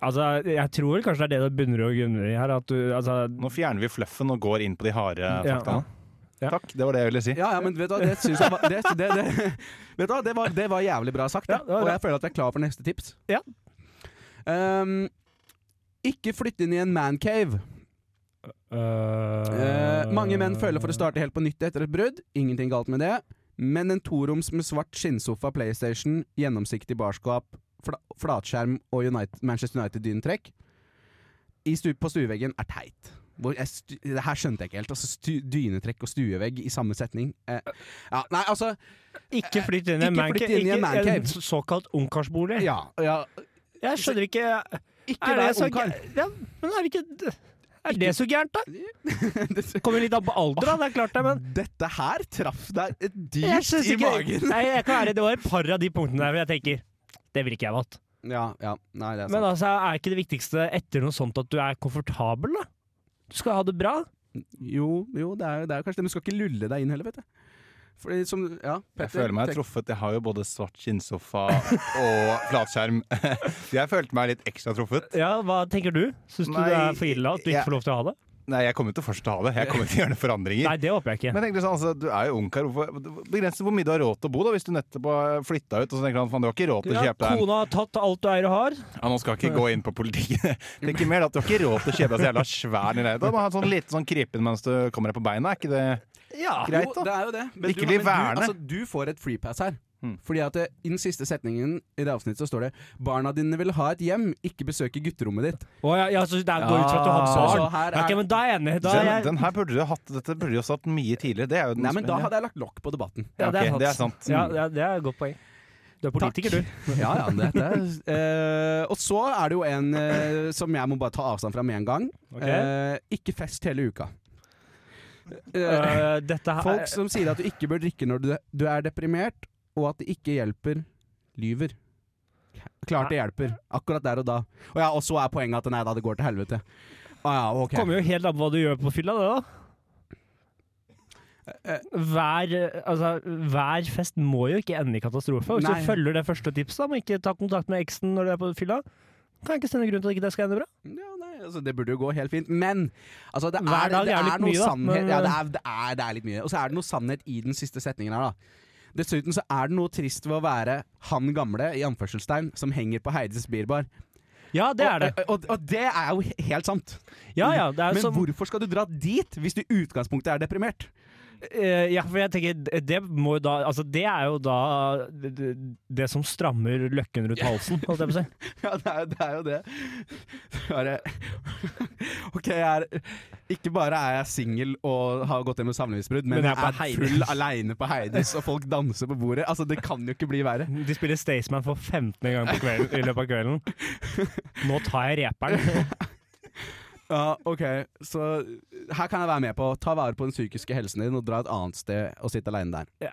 Speaker 2: Altså, jeg tror vel kanskje det er det det bunner og grunner i her. At du, altså,
Speaker 7: Nå fjerner vi fluffen og går inn på de harde
Speaker 2: Ja.
Speaker 7: faktaene.
Speaker 2: Ja.
Speaker 7: Takk, det var det jeg ville si.
Speaker 5: Ja, ja, men vet du hva, det syns jeg var det, det, det, Vet du hva, det var, det var jævlig bra sagt.
Speaker 2: Ja,
Speaker 5: da.
Speaker 2: det var
Speaker 5: og
Speaker 2: bra.
Speaker 5: jeg føler at jeg er klar for neste tips.
Speaker 2: Ja.
Speaker 5: Ehm, ikke flytt inn i en mancave.
Speaker 2: øh,
Speaker 5: Eh, mange menn føler for å starte helt på nytt etter et brudd. Ingenting galt med det. Men en toroms med svart skinnsofa, PlayStation, gjennomsiktig barskap, fla flatskjerm og United, Manchester United-dyntrekk i stu på stueveggen er teit. Hvor jeg stu det her skjønte jeg ikke helt. Altså, stu dynetrekk og stuevegg i samme setning. Eh, ja, nei, altså
Speaker 2: Ikke flytt inn i en
Speaker 5: Ikke
Speaker 2: mancave.
Speaker 5: flytt inn i en
Speaker 2: Ikke
Speaker 5: mancave.
Speaker 2: en så- såkalt ungkarsbolig.
Speaker 5: Ja. ja
Speaker 2: Jeg skjønner ikke
Speaker 5: ikke
Speaker 2: Er det
Speaker 5: vær
Speaker 2: så
Speaker 5: ungkar.
Speaker 2: gæ- Ja, men er, det ikke, er det så gærent, da? Kommer litt an på alder, da. Det er klart det, men
Speaker 5: Dette her traff deg
Speaker 2: jeg
Speaker 5: dypt
Speaker 2: synes
Speaker 5: i
Speaker 2: ikke
Speaker 5: magen.
Speaker 2: Nei, jeg kan være, Det var et par av de punktene der hvor jeg tenker det ville ikke jeg valgt.
Speaker 5: Ja, ja. Nei, det er
Speaker 2: Men
Speaker 5: sant.
Speaker 2: altså, er ikke det viktigste etter noe sånt at du er komfortabel, da? Du skal ha det bra.
Speaker 5: Jo, jo, det er jo det er jo kanskje det. Men du skal ikke lulle deg inn heller, vet du. Fordi som Ja,
Speaker 7: Jeg
Speaker 5: Petter,
Speaker 7: føler meg
Speaker 5: tenk-
Speaker 7: truffet. Jeg har jo både svart skinnsofa og flatskjerm. Jeg følte meg litt ekstra truffet.
Speaker 2: Ja, Hva tenker du? Syns du
Speaker 7: Nei,
Speaker 2: det er for ille at du
Speaker 7: jeg-
Speaker 2: ikke får lov til å ha det?
Speaker 7: Nei, jeg kommer jo til å fortsatt ha det. Jeg kommer til å gjøre noen forandringer.
Speaker 2: Nei, det håper jeg ikke.
Speaker 7: Men jeg tenkte sånn, altså, Du er jo ungkar. hvorfor- Begrenset hvor mye du har råd til å bo da, hvis du nettopp har flytta ut. og så tenker han, faen, Du har ikke råd til å
Speaker 2: Ja,
Speaker 7: kjøpe deg en
Speaker 2: kona har tatt alt du eier og har.
Speaker 7: Ja, Nå skal jeg ikke gå inn på politikken. Tenker mer da, at Du har ikke råd til å kjøpe deg så jævla svær leilighet. Du må ha en sånn liten sånn krypen mens du kommer deg på beina. Er ikke det
Speaker 2: Ja.
Speaker 7: greit,
Speaker 5: Jo, det
Speaker 7: da?
Speaker 5: er jo det.
Speaker 7: Ikke bli
Speaker 5: du,
Speaker 7: værende.
Speaker 5: altså, du får et freepass her.
Speaker 7: Mm.
Speaker 5: Fordi at det, I den siste setningen i det avsnittet så står det 'Barna dine vil ha et hjem, ikke besøke gutterommet ditt'.
Speaker 2: Å, ja, ja, så det går ut fra at du
Speaker 7: Ja.
Speaker 2: har
Speaker 5: Så
Speaker 2: barn?
Speaker 5: her
Speaker 2: Ja,
Speaker 5: er-
Speaker 2: ok, men da er jeg enig. Da er
Speaker 7: Den,
Speaker 2: jeg,
Speaker 7: den her burde du hatt, dette burde du også hatt mye tidligere. Det er jo den
Speaker 5: Nei, men Da hadde jeg lagt lokk på debatten.
Speaker 2: ja,
Speaker 7: ok, det er sant.
Speaker 2: Ja, ja, det er et godt poeng. Du er politiker, du.
Speaker 5: Ja, ja, det, det er, eh, og så er det jo en eh, som jeg må bare ta avstand fra med en gang.
Speaker 2: Ok.
Speaker 5: Eh, ikke fest hele uka. Eh,
Speaker 2: Øh, dette her
Speaker 5: folk som sier at du ikke bør drikke når du, du er deprimert, og at det ikke hjelper, lyver. Klart det hjelper. Akkurat der og da. Og, ja, og så er poenget at nei da, det går til helvete. Å ja, ok.
Speaker 2: kommer jo helt an på hva du gjør på fylla, det, da. Hver, eh, altså, hver fest må jo ikke ende i katastrofe. Hvis
Speaker 5: Nei.
Speaker 2: du følger det første tipset om ikke ta kontakt med eksen når du er på fylla, kan jeg ikke se noen grunn til at ikke det skal ende bra.
Speaker 5: Ja, nei, altså Det burde jo gå helt fint, men altså, det,
Speaker 2: Hver
Speaker 5: er,
Speaker 2: dag
Speaker 5: det
Speaker 2: er
Speaker 5: er,
Speaker 2: litt
Speaker 5: noe
Speaker 2: mye, da,
Speaker 5: sannhet
Speaker 2: men-
Speaker 5: Ja, det er, det, er, det er litt mye. Og så er det noe sannhet i den siste setningen her, da. Dessuten så er det noe trist ved å være han gamle, i anførselstegn, som henger på Heides bilbar.
Speaker 2: Ja, det er det.
Speaker 5: Og, og, og det er jo he- helt sant.
Speaker 2: Ja, ja, det er
Speaker 5: Men
Speaker 2: som,
Speaker 5: hvorfor skal du dra dit hvis du i utgangspunktet er deprimert?
Speaker 2: Eh, ja, for jeg tenker det- det må jo da Altså, det er jo da det, det- det som strammer løkken rundt halsen, holdt jeg på å si.
Speaker 5: Ja, det er, det er jo det. Bare OK, jeg er Ikke bare er jeg singel og har gått gjennom samlivsbrudd, men,
Speaker 2: Men
Speaker 5: jeg
Speaker 2: jeg er på
Speaker 5: er, full aleine på Heidis, og folk danser på bordet. Altså, det kan jo ikke bli verre.
Speaker 2: De spiller Staysman for 15. gang på kvelden, i løpet av kvelden. Nå tar jeg reperen.
Speaker 5: Ja, OK, så her kan jeg være med på å ta vare på den psykiske helsen din og dra et annet sted og sitte aleine der.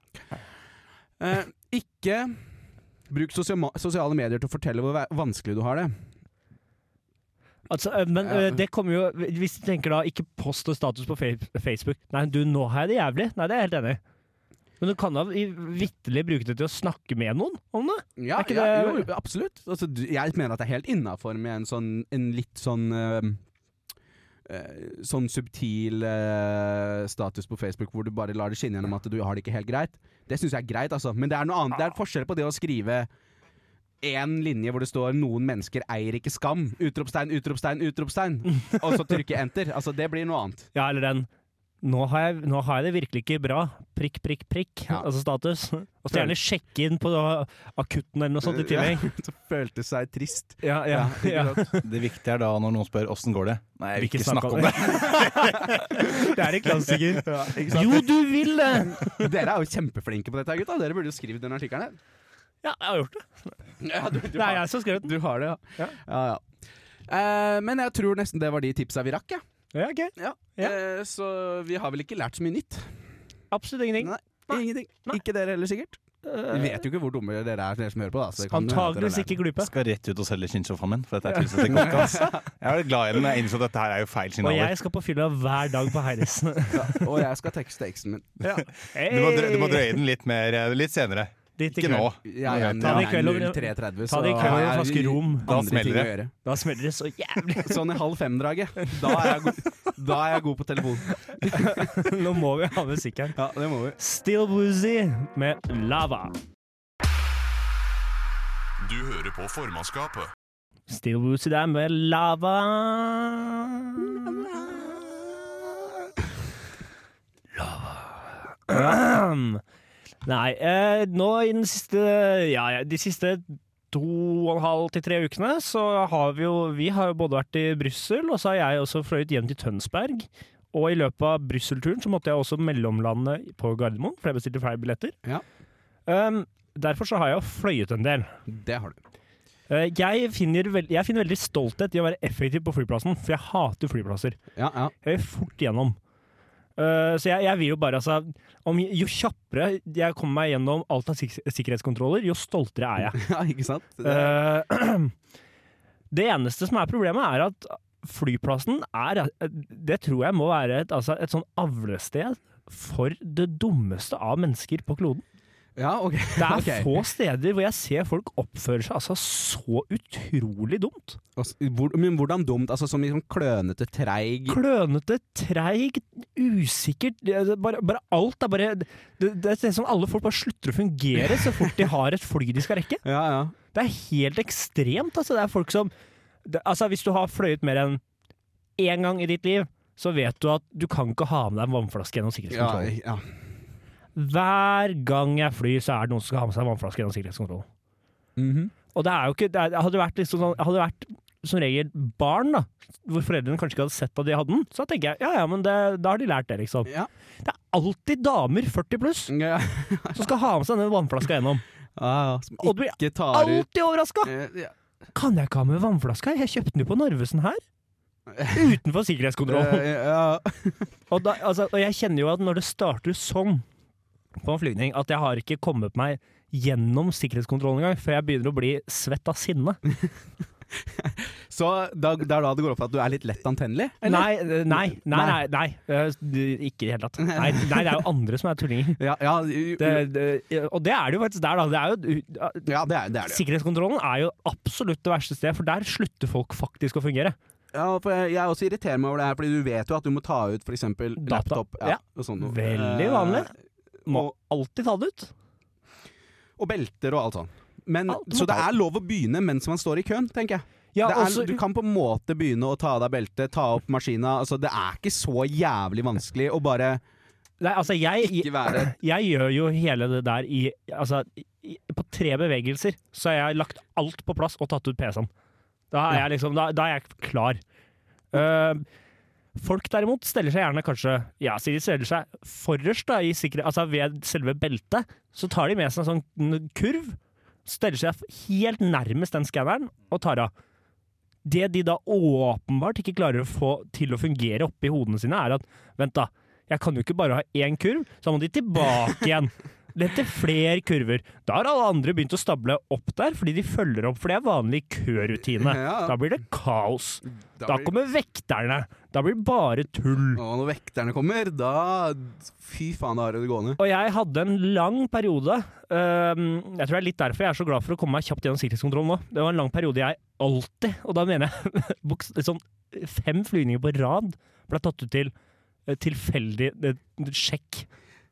Speaker 5: Eh, ikke bruk sosiama- sosiale medier til å fortelle hvor va- vanskelig du har det.
Speaker 2: Altså, eh, men eh, det kommer jo Hvis du tenker da ikke post og status på Fa- Facebook Nei, du, nå har jeg det jævlig. Nei, det er jeg helt enig i. Men du kan da i- vitterlig bruke det til å snakke med noen om det.
Speaker 5: Ja,
Speaker 2: Er ikke
Speaker 5: ja
Speaker 2: det-
Speaker 5: jo, jo, absolutt. Altså, du- jeg mener at det er helt innafor med en, sånn, en litt sånn eh, eh, Sånn subtil eh, status på Facebook hvor du bare lar det skinne gjennom at du har det ikke helt greit. Det syns jeg er greit, altså. Men det er noe annet. Det er en forskjell på det å skrive én linje hvor det står 'Noen mennesker eier ikke skam'. Utropstegn, utropstegn, utropstegn. Og så trykke enter. Altså, det blir noe annet.
Speaker 2: Ja, eller den nå har, jeg, nå har jeg det virkelig ikke bra. Prikk, prikk, prikk.
Speaker 5: Ja.
Speaker 2: Altså status. Og så gjerne sjekke inn på da akutten eller noe sånt i tillegg.
Speaker 5: Som følte seg trist.
Speaker 2: Ja, ja, ja.
Speaker 7: Det viktige er da når noen spør åssen går det. Nei,
Speaker 2: jeg vil ikke snakke om Det er en klassiker. Jo, du vil det!
Speaker 5: Dere er jo kjempeflinke på dette, her, gutta. Dere burde jo skrevet den artikkelen. her.
Speaker 2: Ja, jeg har gjort det.
Speaker 5: Ja, du,
Speaker 2: Det er jeg som har skrevet den.
Speaker 5: Du har det, ja.
Speaker 2: Ja.
Speaker 5: ja, ja. Eh, men jeg tror nesten det var de tipsa vi rakk. Ja.
Speaker 2: Ja, ok.
Speaker 5: Ja.
Speaker 2: Ja.
Speaker 5: Eh, så vi har vel ikke lært så mye nytt.
Speaker 2: Absolutt ingenting.
Speaker 5: Nei. Ingenting. Ikke dere heller, sikkert. Vi vet jo ikke hvor dumme dere er, dere som hører på. Da, så det kan hende at dere
Speaker 2: Antageligvis
Speaker 5: lærer
Speaker 2: ikke glupe.
Speaker 7: Skal rett ut og selge skinnsofaen min, for dette er tusen ting godt. ass. altså. Jeg er glad i den, men jeg innså at dette her er jo feil
Speaker 2: Og
Speaker 7: signaler.
Speaker 2: jeg skal på fylla hver dag på Heides.
Speaker 5: noe. Og jeg skal tekste eksen min.
Speaker 7: Du må, drøye, du må drøye den litt mer eh, litt senere.
Speaker 2: Dit i
Speaker 7: Ikke nå.
Speaker 2: kveld.
Speaker 5: Ja, ja, men
Speaker 2: Ta det i
Speaker 5: jeg
Speaker 2: kveld
Speaker 5: er
Speaker 2: over-
Speaker 5: 03.30,
Speaker 2: ta det i
Speaker 5: så
Speaker 2: kveld over
Speaker 5: er
Speaker 2: en flaske
Speaker 5: vi
Speaker 2: rom.
Speaker 5: andre
Speaker 7: Da smeller
Speaker 5: ting å
Speaker 7: det.
Speaker 5: gjøre.
Speaker 2: Da smeller det så jævlig.
Speaker 5: Sånn i halv fem-draget. Da, er jeg god- da er jeg god på telefon.
Speaker 2: Nå må vi ha musikk her.
Speaker 5: Ja, det må vi.
Speaker 2: Still Woozy med Lava.
Speaker 1: Du hører på formannskapet.
Speaker 2: Still Woozy der med Lava. Lava. Nei, eh, nå i den siste Ja, ja, de siste to og en halv til tre ukene så har vi jo Vi har jo både vært i Brussel, og så har jeg også fløyet hjem til Tønsberg. Og i løpet av Brussel-turen så måtte jeg også mellomlande på Gardermoen, for jeg bestilte flere billetter.
Speaker 5: Ja.
Speaker 2: Um, derfor så har jeg jo fløyet en del.
Speaker 5: Det har du.
Speaker 2: Eh, Jeg finner, vel- jeg finner veldig stolthet i å være effektiv på flyplassen, for jeg hater flyplasser.
Speaker 5: Ja, ja.
Speaker 2: Jeg vil fort gjennom. Eh, så jeg, jeg vil jo bare altså om, Jo kjappere jeg kommer meg gjennom alt av sik sikkerhetskontroller, jo stoltere er jeg.
Speaker 5: ja ikke sant? Det,
Speaker 2: Eh, det eneste som er problemet, er at flyplassen er Det tror jeg må være et, altså et sånn avlested for det dummeste av mennesker på kloden.
Speaker 5: ja, ok.
Speaker 2: Det er
Speaker 5: Ok.
Speaker 2: få steder hvor jeg ser folk oppføre seg altså så utrolig dumt.
Speaker 5: Og s- hvor- Men hvordan dumt? Altså Som i sånn klønete, treig
Speaker 2: Klønete, treigt, usikkert det- det- bare, bare alt er bare det, det er sånn alle folk bare slutter å fungere så fort de har et fly de skal rekke.
Speaker 5: Ja, ja.
Speaker 2: Det er helt ekstremt. Altså. Det er folk som det, altså, Hvis du har fløyet mer enn én gang i ditt liv, så vet du at du kan ikke ha med deg en vannflaske
Speaker 5: ja,
Speaker 2: gjennom sikkerhetskontrollen.
Speaker 5: ja.
Speaker 2: Hver gang jeg flyr, så er det noen som skal ha med seg en vannflaske gjennom sikkerhetskontrollen.
Speaker 5: Mhm.
Speaker 2: Og det er jo ikke det er, Hadde det vært, liksom, sånn- hadde det vært som regel barn, da, hvor foreldrene kanskje ikke hadde sett at de hadde den, så tenker jeg ja ja, men det, da har de lært det, liksom.
Speaker 5: Ja.
Speaker 2: Det er alltid damer 40 pluss
Speaker 5: ja.
Speaker 2: som skal ha med seg denne vannflaska gjennom.
Speaker 5: Ja, ja. Som
Speaker 2: Og du blir
Speaker 5: ikke tar ut
Speaker 2: alltid overraska!
Speaker 5: Eh, ja.
Speaker 2: Kan jeg ikke ha med vannflaska? Jeg kjøpte den jo på Narvesen her. Utenfor sikkerhetskontrollen.
Speaker 5: Eh, ja.
Speaker 2: Og, da, altså, og jeg kjenner jo at når det starter sånn på en flygning, at jeg har ikke kommet meg gjennom sikkerhetskontrollen engang, før jeg begynner å bli svett av sinne.
Speaker 5: Så da, det er da det går opp for at du er litt lett antennelig? Eller?
Speaker 2: Nei, eh, nei, nei, nei, nei. Eh, du- Ikke i det hele tatt. Nei, nei, det er jo andre som er tullinger.
Speaker 5: Ja, ja, u- u-
Speaker 2: Det, det, og det er det jo faktisk der, da. Det er jo, uh,
Speaker 5: ja det er det. Er det.
Speaker 2: sikkerhetskontrollen er jo absolutt det verste stedet, for der slutter folk faktisk å fungere.
Speaker 5: Ja, for jeg, jeg også irriterer meg over det her, Fordi du vet jo at du må ta ut f.eks.
Speaker 2: Data.
Speaker 5: laptop.
Speaker 2: Ja.
Speaker 5: og sånt noe.
Speaker 2: Veldig
Speaker 5: Eh,
Speaker 2: vanlig. Må
Speaker 5: og,
Speaker 2: alltid ta det ut.
Speaker 5: og belter og alt sånt. Men,
Speaker 2: Alt må
Speaker 5: så det
Speaker 2: ta
Speaker 5: er lov å begynne mens man står i køen, tenker jeg.
Speaker 2: Ja,
Speaker 5: det er,
Speaker 2: også-
Speaker 5: du kan på en måte begynne å ta av deg beltet, ta opp maskina. Altså, det er ikke så jævlig vanskelig å bare
Speaker 2: Nei, altså jeg,
Speaker 5: ikke være
Speaker 2: jeg gjør jo hele det der i Altså, i, på tre bevegelser så har jeg lagt alt på plass og tatt ut PC-en. Da er jeg liksom Da, da er jeg klar. Eh, folk derimot steller seg gjerne kanskje Ja, sier de steller seg forrest da, i sikre, altså ved selve beltet. Så tar de med seg en sånn n- kurv, steller seg helt nærmest den skanneren og tar av. Det de da åpenbart ikke klarer å få til å fungere oppi hodene sine, er at Vent, da. Jeg kan jo ikke bare ha én kurv, så da må de tilbake igjen. Dette flere kurver. Da har alle andre begynt å stable opp der, fordi de følger opp, for det er vanlig kørutine.
Speaker 5: Ja.
Speaker 2: Da blir det kaos.
Speaker 5: Da
Speaker 2: Da
Speaker 5: blir-
Speaker 2: kommer vekterne. Da blir det bare tull.
Speaker 5: Og når vekterne kommer, da Fy faen, da har du det gående.
Speaker 2: Og jeg hadde en lang periode øhm, Jeg tror det er litt derfor jeg er så glad for å komme meg kjapt gjennom sikkerhetskontrollen nå. Det var en lang periode jeg alltid, og da mener jeg boks- sånn fem flygninger på rad, ble tatt ut til eh, tilfeldig eh, sjekk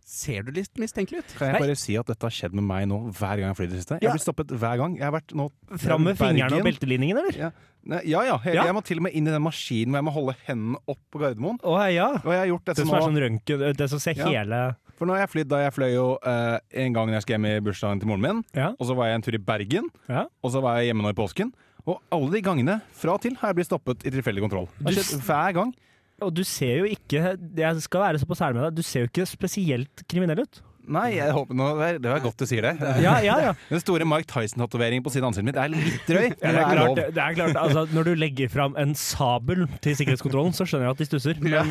Speaker 5: ser du litt mistenkelig ut.
Speaker 7: Kan jeg bare si at dette har skjedd med meg nå hver gang jeg flyr i det siste? Jeg
Speaker 2: Ja.
Speaker 7: har blitt stoppet hver gang. Jeg har vært nå
Speaker 2: Fram med
Speaker 7: Bergen.
Speaker 2: fingrene og beltelinjen, eller?
Speaker 7: Ja Nei, ja. ja. Jeg,
Speaker 2: Ja.
Speaker 7: jeg må til og med inn i den maskinen hvor jeg må holde hendene opp på Gardermoen.
Speaker 2: Å ja.
Speaker 7: Og jeg har gjort dette
Speaker 2: Det som
Speaker 7: nå,
Speaker 2: er sånn røntgen Det som ser
Speaker 7: Ja.
Speaker 2: hele
Speaker 7: for nå har jeg flytt da jeg fløy jo eh, en gang når jeg skulle hjem i bursdagen til moren min,
Speaker 2: Ja.
Speaker 7: og så var jeg en tur i Bergen,
Speaker 2: Ja.
Speaker 7: og så var jeg hjemme nå i påsken. Og alle de gangene fra og til har jeg blitt stoppet i tilfeldig kontroll. Det har
Speaker 2: Du-
Speaker 7: skjedd hver gang.
Speaker 2: Og du ser jo ikke Jeg skal være såpass ærlig med deg, du ser jo ikke spesielt kriminell ut.
Speaker 7: Nei, jeg håper nå, det er- det var godt du sier det.
Speaker 2: Ja, ja, ja.
Speaker 7: Den store Mark Tyson-tatoveringen på siden av ansiktet mitt er litt drøy.
Speaker 2: Ja, det, er klart, det, det er klart, altså, Når du legger fram en sabel til sikkerhetskontrollen, så skjønner jeg at de stusser. Men,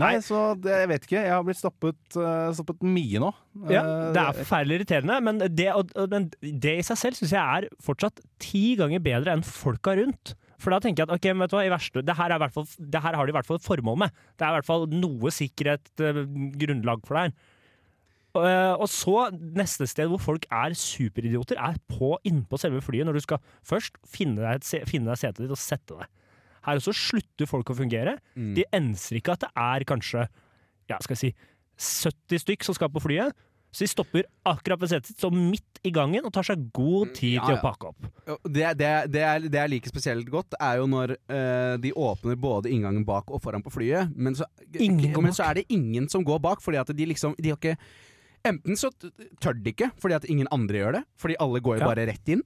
Speaker 7: Nei, så det, jeg vet ikke. Jeg har blitt stoppet, eh, stoppet mye nå.
Speaker 2: ja,
Speaker 7: Eh,
Speaker 2: det er forferdelig irriterende, men det, og, og- men det i seg selv syns jeg er fortsatt ti ganger bedre enn folka rundt. For da tenker jeg at ok, men vet du hva, i verste, det, her er i hvert fall, det her har de i hvert fall et formål med. Det er i hvert fall noe sikkerhet, eh, grunnlag for det her. Og, eh, og så neste sted hvor folk er superidioter, er på innpå selve flyet, når du skal først finne deg, et se- finne deg setet ditt og sette deg. Her også slutter folk å fungere.
Speaker 5: Mm.
Speaker 2: De enser ikke at det er kanskje ja, skal jeg si, 70 stykk som skal på flyet. Så de stopper akkurat ved setet sitt, så midt i gangen, og tar seg god
Speaker 5: Mm,
Speaker 2: tid
Speaker 5: Ja,
Speaker 2: til å
Speaker 5: ja.
Speaker 2: pakke opp.
Speaker 5: Ja, Det, det, det, er, det er like spesielt godt, er jo når eh, de åpner både inngangen bak og foran på flyet, men så,
Speaker 2: Ingen går
Speaker 5: men så er det ingen som går bak, fordi at de liksom De har ikke Enten så t- tør de ikke, fordi at ingen andre gjør det, fordi alle går jo
Speaker 2: Ja.
Speaker 5: bare rett inn.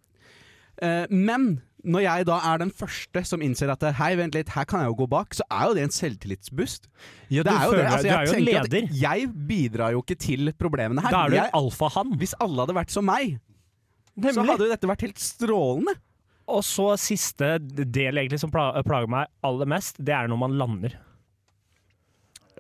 Speaker 5: Eh, men når jeg da er den første som innser at hei, vent litt, her kan jeg jo gå bak, så er jo det en selvtillitsbust.
Speaker 2: Ja,
Speaker 5: Det er jo det. Altså,
Speaker 2: du
Speaker 5: jeg
Speaker 2: er jo en
Speaker 5: tenker at
Speaker 2: leder.
Speaker 5: Jeg bidrar jo ikke til problemene her.
Speaker 2: Da er du
Speaker 5: Jeg-
Speaker 2: en alfahann.
Speaker 5: hvis alle hadde vært som meg, så
Speaker 2: Nemlig.
Speaker 5: hadde jo dette vært helt strålende.
Speaker 2: Og så siste del egentlig som pla- plager meg aller mest, det er når man lander.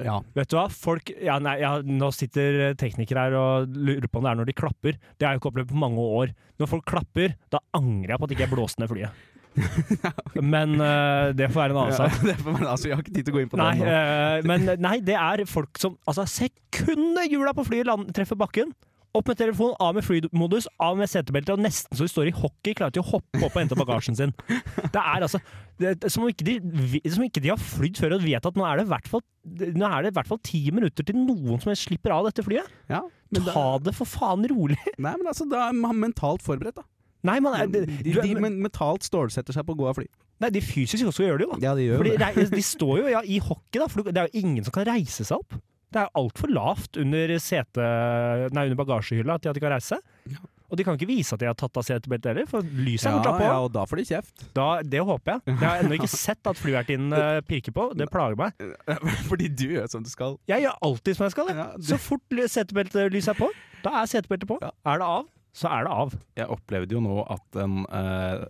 Speaker 5: Ja.
Speaker 2: Vet du hva? Folk, ja, nei, ja, nå sitter teknikere her og lurer på om det er når de klapper. Det har jeg ikke opplevd på mange år. Når folk klapper, da angrer jeg på at ikke jeg blåste ned flyet. Men eh, det får være en annen sak.
Speaker 5: det får være- altså, jeg har ikke tid til å gå inn på
Speaker 2: Nei,
Speaker 5: det. nå.
Speaker 2: eh, men nei, det er folk som Altså, sekundet hjula på flyet land, treffer bakken opp med telefonen, av med flymodus, av med setebelte, og nesten så de står i hockey, klarer til å hoppe opp og hente bagasjen sin. Det er altså det, det, som, om ikke de, vi- som om ikke de har flydd før og vet at nå er det i hvert fall Nå er det i hvert fall ti minutter til noen som helst slipper av dette flyet.
Speaker 5: Ja, men da,
Speaker 2: Ta det for faen rolig!
Speaker 5: nei, men altså, da er man mentalt forberedt, da.
Speaker 2: Nei, man er,
Speaker 5: De,
Speaker 2: det-
Speaker 5: de,
Speaker 2: du er- men-
Speaker 5: men, mentalt stålsetter seg på å gå av fly.
Speaker 2: nei, de fysisk også gjør det jo, da.
Speaker 5: Ja, de gjør
Speaker 2: Fordi
Speaker 5: jo det.
Speaker 2: rei- altså, De står jo ja, i hockey, da, for det er jo ingen som kan reise seg opp. Det er altfor lavt under, sete, nei, under bagasjehylla til at de kan reise seg. Og de kan ikke vise at de har tatt av setebeltet heller, for lyset er
Speaker 5: Ja,
Speaker 2: fortsatt på.
Speaker 5: ja, og da får de kjeft.
Speaker 2: Da, det håper jeg. Jeg har ennå ikke sett at flyvertinnen eh, pirker på. Det plager meg.
Speaker 5: Fordi du gjør som du skal.
Speaker 2: Jeg gjør alltid som jeg skal. jeg.
Speaker 5: Ja, du-
Speaker 2: Så fort ly- setebeltelyset er på, da er setebeltet på. Er det av, så er det av.
Speaker 7: Jeg opplevde jo nå at en uh,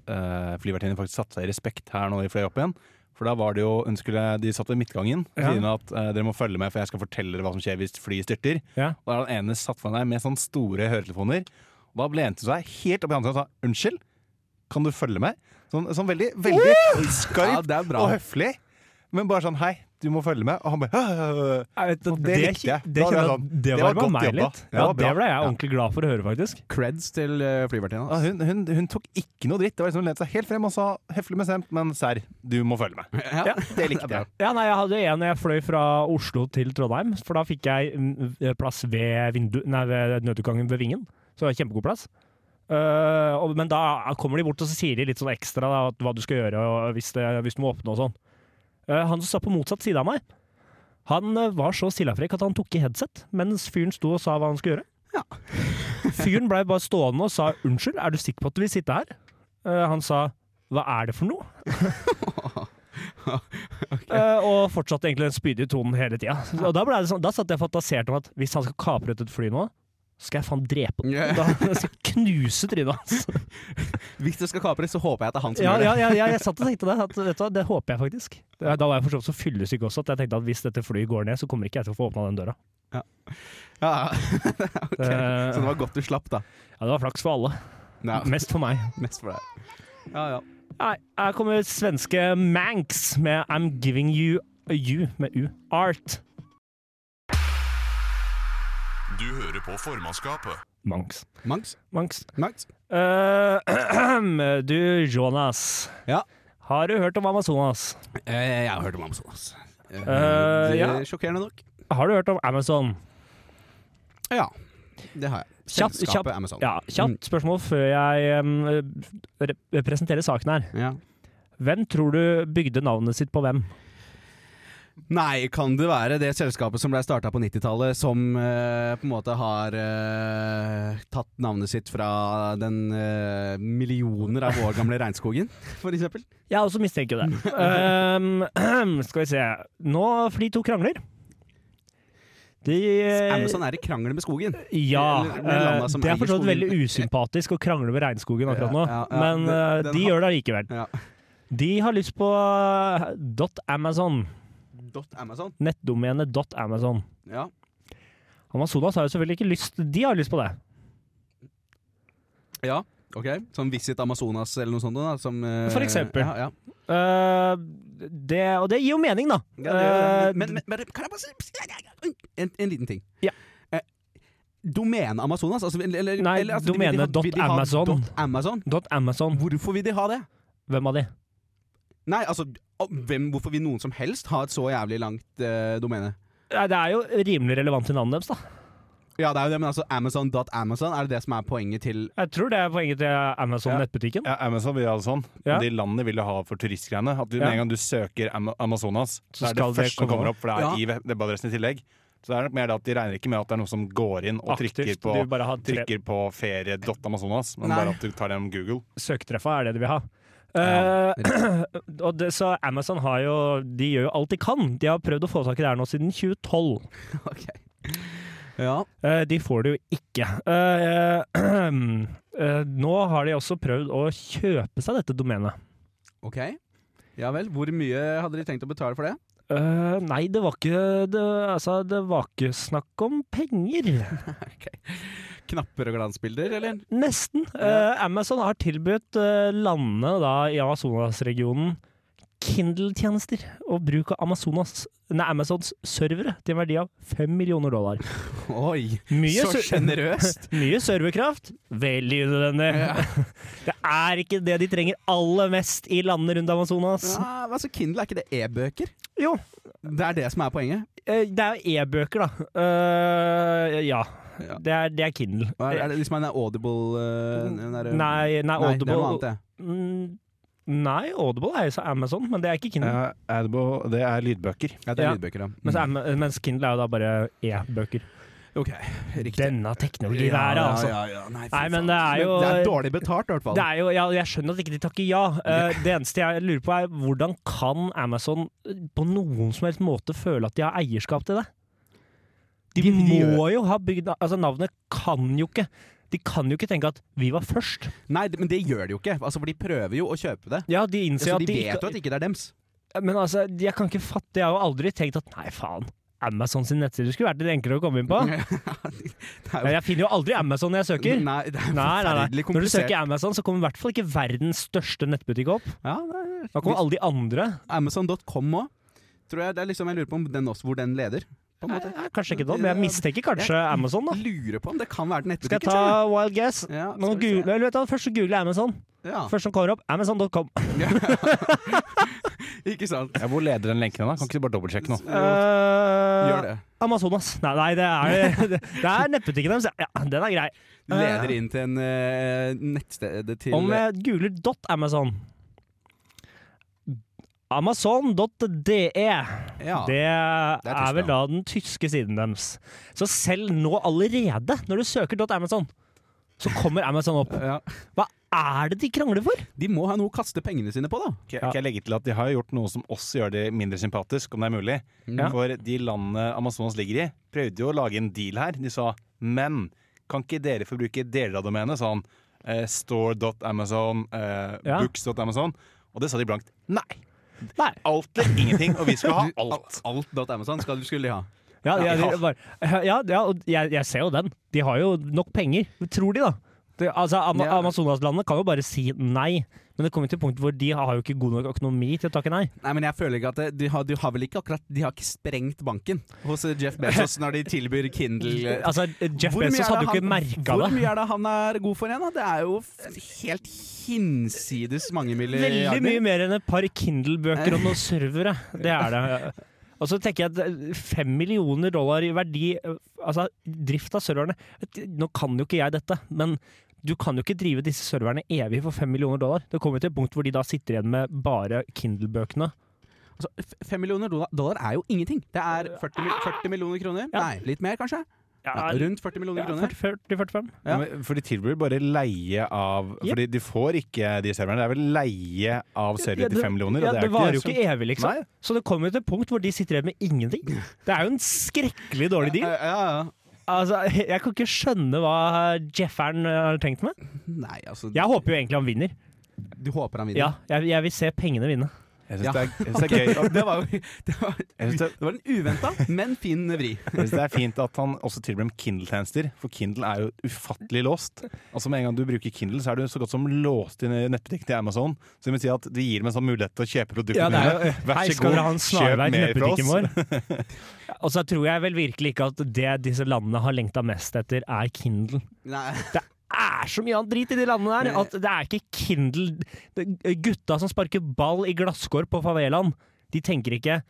Speaker 7: flyvertinne faktisk satte seg i respekt her når vi fløy opp igjen. For da var det jo, hun skulle, De satt ved midtgangen og
Speaker 2: Ja.
Speaker 7: sier hun at eh, dere må følge med, for jeg skal fortelle dere hva som skjer hvis flyet styrter.
Speaker 2: Ja.
Speaker 7: Og da er den ene satt foran deg med sånne store høretelefoner. Og da lente hun seg helt opp i ansiktet og sa 'unnskyld, kan du følge meg?' Sånn, sånn veldig, veldig
Speaker 5: Ja,
Speaker 7: skarpt
Speaker 5: det er bra.
Speaker 7: og høflig, men bare sånn 'hei, du må følge med'. Og han bare «Hø-hø-hø-hø».
Speaker 2: det,
Speaker 7: det likte jeg.
Speaker 2: Det,
Speaker 7: Da
Speaker 2: kjenner jeg
Speaker 7: var jeg
Speaker 2: at
Speaker 7: sånn,
Speaker 2: det
Speaker 7: det
Speaker 2: var,
Speaker 7: var godt
Speaker 2: meg
Speaker 7: jobba.
Speaker 2: litt.
Speaker 7: Det
Speaker 2: Ja,
Speaker 7: var
Speaker 2: det
Speaker 7: bra.
Speaker 2: ble jeg
Speaker 7: Ja.
Speaker 2: ordentlig glad for å høre, faktisk.
Speaker 5: Creds til eh,
Speaker 7: Ja,
Speaker 2: Ah,
Speaker 5: flyvertinna.
Speaker 7: hun, hun, hun tok ikke noe dritt. Det var liksom Hun lente seg helt frem og sa 'høflig bestemt, men serr, du må følge meg'.
Speaker 5: Ja.
Speaker 7: Det likte jeg.
Speaker 2: Ja, nei, jeg hadde en jeg fløy fra Oslo til Trondheim, for da fikk jeg mm, plass ved, vindu, nei, ved nødutgangen ved Vingen. Så det var kjempegod plass. Eh, og, men da kommer de bort og så sier de litt sånn ekstra da, at hva du skal gjøre og hvis, det, hvis du må åpne og sånn. Eh, han som satt på motsatt side av meg, han eh, var så stillafrekk at han tok i headset mens fyren sto og sa hva han skulle gjøre. Fyren blei bare stående og sa 'unnskyld, er du sikker på at du vil sitte her?' Eh, han sa 'hva er det for noe?' Eh, og fortsatte egentlig den spydige tonen hele tida. Og da, ble det sånn, da satt jeg fantasert om at hvis han skal kapre ut et fly nå, skal jeg faen drepe den.
Speaker 5: Ja.
Speaker 2: Da skal jeg knuse trynet hans.
Speaker 5: Hvis det skal kapres, så håper jeg at det er han som
Speaker 2: Ja,
Speaker 5: gjør det.
Speaker 2: ja, ja, ja, jeg satt og tenkte det. At, vet du hva, det håper jeg faktisk. Da var jeg for så vidt så fyllesyk også at jeg tenkte at hvis dette flyet går ned, så kommer ikke jeg til å få åpna den døra.
Speaker 5: Ja, ja. Ok.
Speaker 2: Det,
Speaker 5: Så det var godt du slapp, da.
Speaker 2: Eh, ja, det var flaks for alle.
Speaker 5: Ja,
Speaker 2: Mest for meg.
Speaker 5: mest for deg. Ja, ja.
Speaker 2: Nei, her kommer svenske Manx med I'm Giving You a You med U. Art.
Speaker 1: Du hører på formannskapet.
Speaker 2: Manx.
Speaker 5: Mangs?
Speaker 2: Manx.
Speaker 5: Mangs?
Speaker 2: Eh, du, Jonas.
Speaker 5: Ja.
Speaker 2: Har du hørt om Amazonas?
Speaker 5: Eh, jeg har hørt om Amazonas. Eh,
Speaker 2: Eh,
Speaker 5: det
Speaker 2: ja.
Speaker 5: er Sjokkerende nok.
Speaker 2: Har du hørt om Amazon?
Speaker 5: Ja, det har jeg.
Speaker 2: Kjapt-
Speaker 5: Selskapet
Speaker 2: kjapt-
Speaker 5: Amazon.
Speaker 2: Ja, Kjapt spørsmål før jeg em, re presenterer saken her.
Speaker 5: Ja.
Speaker 2: Hvem tror du bygde navnet sitt på hvem?
Speaker 5: Nei, kan det være det selskapet som ble starta på 90-tallet, som eh, på en måte har eh, tatt navnet sitt fra den eh, millioner av år gamle regnskogen, for eksempel?
Speaker 2: Jeg også mistenker det. Em, Ehm, skal vi se Nå, for de to krangler. De Eh,
Speaker 5: Amazon er i krangel med skogen.
Speaker 2: Ja.
Speaker 5: Eller med landa
Speaker 2: eh,
Speaker 5: som
Speaker 2: det er
Speaker 5: eier
Speaker 2: for så vidt
Speaker 5: skogen.
Speaker 2: veldig usympatisk å krangle med regnskogen akkurat nå,
Speaker 5: Ja, ja, ja,
Speaker 2: men
Speaker 5: den-
Speaker 2: eh,
Speaker 5: den
Speaker 2: de
Speaker 5: har-
Speaker 2: gjør det allikevel.
Speaker 5: Ja.
Speaker 2: De har lyst på eh, dot .amazon.
Speaker 5: Dot Amazon.
Speaker 2: Nettdomenet dot .amazon.
Speaker 5: Ja.
Speaker 2: Amazonas har jo selvfølgelig ikke lyst De har lyst på det.
Speaker 5: ja. Ok, Som Visit Amazonas eller noe sånt? Da, som, eh,
Speaker 2: For eksempel.
Speaker 5: Ja, ja.
Speaker 2: Eh, det, og det gir jo mening, da.
Speaker 5: Ja, det gjør
Speaker 2: Eh,
Speaker 5: det. Men, men, men kan jeg bare si en, en liten ting?
Speaker 2: Ja.
Speaker 5: Eh, Domene Amazonas? Altså, eller, eller,
Speaker 2: Nei,
Speaker 5: eller, altså, vil de ha-
Speaker 2: domene
Speaker 5: vil de ha
Speaker 2: .amazon.
Speaker 5: dot .amazon?
Speaker 2: Dot .amazon.
Speaker 5: Hvorfor vil de ha det?
Speaker 2: Hvem av de?
Speaker 5: Nei, altså å, hvem, Hvorfor vil noen som helst ha et så jævlig langt eh, domene?
Speaker 2: Nei, Det er jo rimelig relevant til navnet deres, da.
Speaker 5: Ja, det er jo det, men altså Amazon.amazon, er det det som er poenget til
Speaker 2: Jeg tror det er poenget til Amazon
Speaker 7: Ja.
Speaker 2: nettbutikken.
Speaker 7: Ja, Amazon vil ha det sånn.
Speaker 2: Ja.
Speaker 7: Og de landene vil jo ha for turistgreiene. At du,
Speaker 2: Ja.
Speaker 7: Med en gang du søker Ama- Amazonas,
Speaker 2: Så
Speaker 7: så er det
Speaker 2: skal det
Speaker 7: første som
Speaker 2: komme
Speaker 7: kommer opp, for det er
Speaker 5: Ja.
Speaker 7: i web- webadressen i tillegg. Så det er nok mer det at de regner ikke med at det er noe som går inn og trykker
Speaker 2: Aktivt.
Speaker 7: på,
Speaker 2: De vil bare ha tre-
Speaker 7: trykker på ferie.amazonas, men
Speaker 5: Nei.
Speaker 7: bare at du tar dem Google.
Speaker 2: Søketreffa er det de vil ha.
Speaker 7: Ja,
Speaker 2: Eh, og det, så Amazon har jo De gjør jo alt de kan. De har prøvd å få tak i det her nå siden 2012.
Speaker 5: Ok Ja,
Speaker 2: Eh, de får det jo ikke. Eh, eh, nå har de også prøvd å kjøpe seg dette domenet.
Speaker 5: ok Ja vel, hvor mye hadde de tenkt å betale for det?
Speaker 2: Eh, nei, det var ikke det, altså, det var ikke snakk om penger.
Speaker 5: Knapper og glansbilder, eller?
Speaker 2: Nesten. Eh, Amazon har tilbudt eh, landene da, i Amazonas-regionen Kindle-tjenester og bruk av Amazonas, nei, Amazons servere til en verdi av 5 millioner dollar.
Speaker 5: Oi,
Speaker 2: Mye,
Speaker 5: så
Speaker 2: ser-
Speaker 5: sjenerøst!
Speaker 2: mye serverkraft, veldig unødvendig. Det er ikke det de trenger aller mest i landene rundt Amazonas.
Speaker 5: Ja, men altså, Kindle, er ikke det e-bøker?
Speaker 2: Jo,
Speaker 5: Det er det som er poenget.
Speaker 2: eh, det er jo e-bøker, da. Eh, ja.
Speaker 5: Ja.
Speaker 2: Det er, det er Kindle.
Speaker 5: Hva Er, er det liksom en Audible eh, den der,
Speaker 2: Nei,
Speaker 5: Nei, det
Speaker 2: nei,
Speaker 5: er noe annet,
Speaker 2: Audible
Speaker 5: det.
Speaker 2: Mm, Nei, Audible er jo så Amazon, men det er ikke Kindle.
Speaker 7: det er lydbøker.
Speaker 5: Ja, det er
Speaker 2: Ja.
Speaker 5: lydbøker,
Speaker 2: Mens,
Speaker 5: ja. Mm.
Speaker 2: Am- mens Kindle er jo da bare e-bøker.
Speaker 5: Ok, riktig.
Speaker 2: Denne teknologien her,
Speaker 5: Ja,
Speaker 2: altså.
Speaker 5: ja, ja, Nei, fy
Speaker 2: Nei, men
Speaker 5: faen.
Speaker 2: det er jo-
Speaker 5: Det er dårlig betalt, i hvert fall.
Speaker 2: Det er jo, ja, jeg skjønner at ikke de takker ja. Eh, det eneste jeg lurer på, er hvordan kan Amazon på noen som helst måte føle at de har eierskap til det? De,
Speaker 5: De- de
Speaker 2: må jo ha bygd Altså, navnet kan jo ikke De kan jo ikke tenke at vi var først.
Speaker 5: Nei, det- men det gjør de jo ikke. Altså, for de prøver jo å kjøpe det.
Speaker 2: Ja, de
Speaker 5: Så
Speaker 2: innser
Speaker 5: de
Speaker 2: at de
Speaker 5: vet jo
Speaker 2: ikke
Speaker 5: at ikke det er dems.
Speaker 2: Men altså, jeg kan ikke fatte Jeg har jo aldri tenkt at nei, faen, Amazon sin nettside skulle vært litt enklere å komme inn på.
Speaker 5: Det er jo-
Speaker 2: Jeg finner jo aldri Amazon når jeg søker.
Speaker 5: Nei, det er
Speaker 2: Nei, nei, nei.
Speaker 5: forferdelig
Speaker 2: Når du
Speaker 5: komplisert.
Speaker 2: søker Amazon, så kommer i hvert fall ikke verdens største nettbutikk opp.
Speaker 5: Ja, det er-
Speaker 2: Da kommer alle de andre.
Speaker 5: Amazon.com òg. Tror jeg, det er liksom, jeg lurer på om den også, hvor den leder. På en måte.
Speaker 2: Eh, Kanskje ikke da, men jeg mistenker kanskje Amazon, da.
Speaker 5: Lurer på om det kan være den
Speaker 2: Skal jeg
Speaker 5: nettbutikken.
Speaker 2: ta wild guess?
Speaker 5: Ja,
Speaker 2: Nå
Speaker 5: skal vi se.
Speaker 2: googler, eller vet du, hva, først så googler jeg Amazon.
Speaker 5: Ja.
Speaker 2: Først som kommer opp, amazon.com.
Speaker 5: Ikke sant?
Speaker 7: Ja, hvor leder den lenken hen? da? Kan ikke du bare dobbeltsjekke nå?
Speaker 5: Gjør
Speaker 2: Gjør
Speaker 5: det.
Speaker 2: Eh, Amazonas. Nei, nei det, er, det er nettbutikken deres. Ja, den er grei.
Speaker 5: Leder inn til en eh, nettsted til
Speaker 2: Om jeg googler dot .amazon Amazon.de.
Speaker 5: ja.
Speaker 2: Det
Speaker 5: er
Speaker 2: er vel
Speaker 5: Tyskland.
Speaker 2: da den tyske siden deres. Så selv nå allerede, når du søker dot .amazon, så kommer Amazon opp.
Speaker 5: Ja.
Speaker 2: Hva er det de krangler for?
Speaker 5: De må ha noe å kaste pengene sine på, da.
Speaker 7: Kan jeg- kan jeg legge til at De har gjort noe som også gjør det mindre sympatisk, om det er mulig. For de landene Amazonas ligger i, prøvde jo å lage en deal her. De sa men kan ikke dere få bruke deler av domenet? Sånn eh, store.amazon, eh,
Speaker 2: Ja.
Speaker 7: books.amazon. Og det sa de blankt nei.
Speaker 2: Nei.
Speaker 7: Alt eller ingenting, og vi skal ha alt.
Speaker 5: Alt.amazon skal, skulle de ha.
Speaker 2: Ja, ja,
Speaker 7: Ja.
Speaker 2: de, bare, ja, ja og jeg, jeg ser jo den. De har jo nok penger, tror de da. Det, altså, Ama
Speaker 5: Ja.
Speaker 2: Amazonaslandet kan jo bare si nei, men det kommer til et punkt hvor de har jo ikke god nok økonomi til å takke nei.
Speaker 5: Nei, men jeg føler ikke at det, de, har, de har vel ikke akkurat De har ikke sprengt banken hos eh, Jeff Bezos når de tilbyr Kindle eh,
Speaker 2: Altså, Jeff
Speaker 5: Hvor mye
Speaker 2: Bezos
Speaker 5: er
Speaker 2: hadde
Speaker 5: det
Speaker 2: jo ikke
Speaker 5: han-
Speaker 2: merka
Speaker 5: Hvor
Speaker 2: det.
Speaker 5: mye er det han er god for igjen, da? Det er jo f- helt hinsides mange
Speaker 2: Veldig
Speaker 5: milliarder.
Speaker 2: mye mer enn et par Kindle-bøker og noen servere. Det er det. Og så tenker jeg at eh, fem millioner dollar i verdi Altså, drift av serverne Nå kan jo ikke jeg dette, men du kan jo ikke drive disse serverne evig for fem millioner dollar. Det kommer til et punkt hvor de da sitter igjen med bare Kindle-bøkene.
Speaker 5: Altså, Fem millioner dola- dollar er jo ingenting. Det er 40, mil- 40 millioner kroner.
Speaker 2: Ja.
Speaker 5: Nei, litt mer kanskje?
Speaker 2: Ja,
Speaker 5: Rundt 40 millioner kroner.
Speaker 2: 40-45.
Speaker 5: Ja.
Speaker 7: men- For de tilbyr bare leie av Fordi de får ikke de serverne. Det er vel leie av servere til fem millioner.
Speaker 2: Ja,
Speaker 7: og
Speaker 2: det,
Speaker 7: er
Speaker 2: varer jo
Speaker 7: så-
Speaker 2: ikke evig, liksom.
Speaker 7: Nei.
Speaker 2: Så det kommer jo til et punkt hvor de sitter igjen med ingenting. Det er jo en skrekkelig dårlig deal.
Speaker 5: Ja, Eh, ja, ja.
Speaker 2: Altså, Jeg kan ikke skjønne hva Jefferen har tenkt med.
Speaker 5: Nei, altså
Speaker 2: Jeg håper jo egentlig han vinner.
Speaker 5: Du håper han vinner?
Speaker 2: Ja, jeg, jeg vil se pengene vinne.
Speaker 7: Jeg
Speaker 5: Ja.
Speaker 7: syns det, er- jeg synes det er gøy. og
Speaker 5: Det var jo Det var,
Speaker 7: Jeg synes det,
Speaker 5: det var en uventa, men fin vri.
Speaker 7: jeg synes det er fint at han også tilbyr dem Kindle-tjenester, for Kindle er jo ufattelig låst. Altså Med en gang du bruker Kindle, så er du så godt som låst inn i nettbutikken til Amazon. Så det vil si at de gir dem en sånn mulighet til å kjøpe produkter. Vær
Speaker 2: Hei,
Speaker 7: så
Speaker 2: skal
Speaker 7: god,
Speaker 2: dere ha en
Speaker 7: kjøp
Speaker 2: snarvei i
Speaker 7: mer fra
Speaker 2: nettbutikken
Speaker 7: oss.
Speaker 2: vår? Og så tror jeg vel virkelig ikke at det disse landene har lengta mest etter, er Kindle.
Speaker 5: Nei.
Speaker 2: er så mye annet drit i de landene der at det er ikke Kindle det- Gutta som sparker ball i glasskår på favelaen, de tenker ikke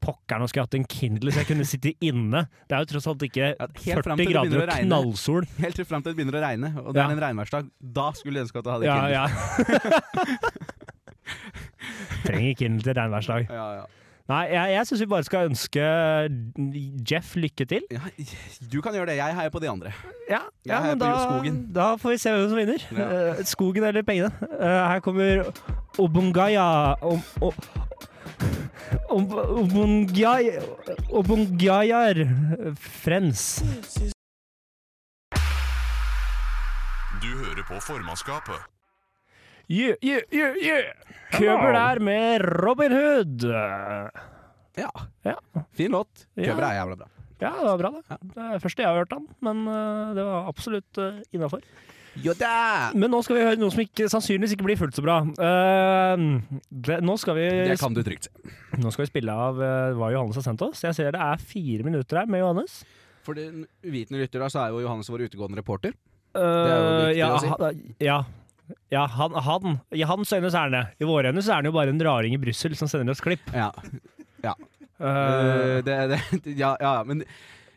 Speaker 2: Pokker, nå skulle jeg hatt en Kindle så jeg kunne sitte inne. Det er jo tross alt ikke
Speaker 5: Ja, helt fram til
Speaker 2: 40
Speaker 5: det
Speaker 2: grader
Speaker 5: begynner
Speaker 2: og
Speaker 5: å regne.
Speaker 2: knallsol.
Speaker 5: Helt til fram til det begynner å regne, og det
Speaker 2: Ja.
Speaker 5: er en regnværsdag. Da skulle jeg ønske at du hadde
Speaker 2: Ja,
Speaker 5: Kindle.
Speaker 2: ja. Trenger Kindle til regnværsdag.
Speaker 5: Ja, ja.
Speaker 2: Nei, jeg, jeg syns vi bare skal ønske Jeff lykke til.
Speaker 5: Ja, du kan gjøre det. Jeg heier på de andre.
Speaker 2: Ja,
Speaker 5: Jeg
Speaker 2: ja
Speaker 5: heier
Speaker 2: men
Speaker 5: på
Speaker 2: da,
Speaker 5: skogen.
Speaker 2: da får vi se hvem som vinner.
Speaker 5: Ja.
Speaker 2: Eh, skogen eller pengene. Eh, her kommer Obungaya om, o, om, Obungay- Obungayar Friends.
Speaker 1: Du hører på formannskapet.
Speaker 2: Yeah, yeah, yeah, yeah. Køber der med Robin Hood.
Speaker 5: Ja.
Speaker 2: Ja.
Speaker 5: Fin låt.
Speaker 2: Ja.
Speaker 5: Cover er jævla bra.
Speaker 2: Ja, det var bra, det. Det er første jeg har hørt han, men eh, det var absolutt uh, innafor.
Speaker 5: Jo da!
Speaker 2: Men nå skal vi høre noe som ikke, sannsynligvis ikke blir fullt så bra. Eh, det, nå skal vi
Speaker 5: Det kan du trygt se.
Speaker 2: Nå skal vi spille av eh, hva Johannes har sendt oss. Jeg ser det er fire minutter her med Johannes.
Speaker 5: For den uvitende lytter da, så er jo Johannes vår utegående reporter.
Speaker 2: Eh,
Speaker 5: viktig
Speaker 2: ja,
Speaker 5: å si.
Speaker 2: han- Ja, ja, han, han I hans øyne så er han det. I våre øyne så er han jo bare en raring i Brussel som sender oss klipp.
Speaker 5: Ja.
Speaker 2: Eh,
Speaker 5: Eh, det, det, ja, ja, men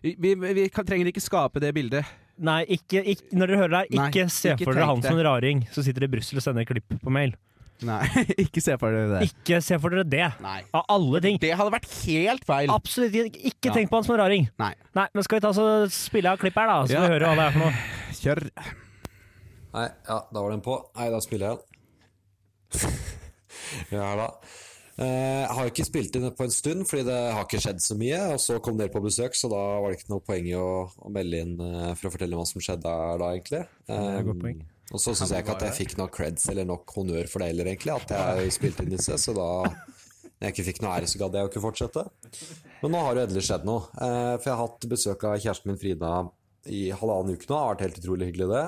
Speaker 5: vi, vi kan, trenger ikke skape det bildet.
Speaker 2: nei, ikke, ikk- når dere hører det her,
Speaker 5: Nei,
Speaker 2: ikke se
Speaker 5: ikke
Speaker 2: for dere
Speaker 5: tenk
Speaker 2: han
Speaker 5: det.
Speaker 2: som en raring som sitter i Brussel og sender klipp på mail.
Speaker 5: Nei, ikke se for dere det.
Speaker 2: Ikke se for dere det,
Speaker 5: Nei.
Speaker 2: av alle ting.
Speaker 5: Det hadde vært helt feil.
Speaker 2: Absolutt ikke, ikke
Speaker 5: Mm. Ja.
Speaker 2: tenk på han som en raring.
Speaker 5: Nei.
Speaker 2: Nei, men skal vi ta så spille av klipp her, da? Så
Speaker 5: Ja.
Speaker 2: vi hører hva det er for noe.
Speaker 5: Kjør.
Speaker 8: Nei, ja, da var den på. Nei, da spiller jeg den. ja da. Eh, Jeg har ikke spilt inn på en stund, fordi det har ikke skjedd så mye. Og så kom dere på besøk, så da var det ikke noe poeng i å, å melde inn eh, for å fortelle hva som skjedde her da, egentlig.
Speaker 2: er et godt poeng.
Speaker 8: Eh, og så syns jeg ikke at jeg fikk noe creds eller nok honnør for det heller, egentlig. At jeg spilte inn disse, så da når jeg ikke fikk noe ære, så gadd jeg jo ikke fortsette. Men nå har det endelig skjedd noe. Eh, For jeg har hatt besøk av kjæresten min Frida i halvannen uke nå. Det har vært helt utrolig hyggelig, det.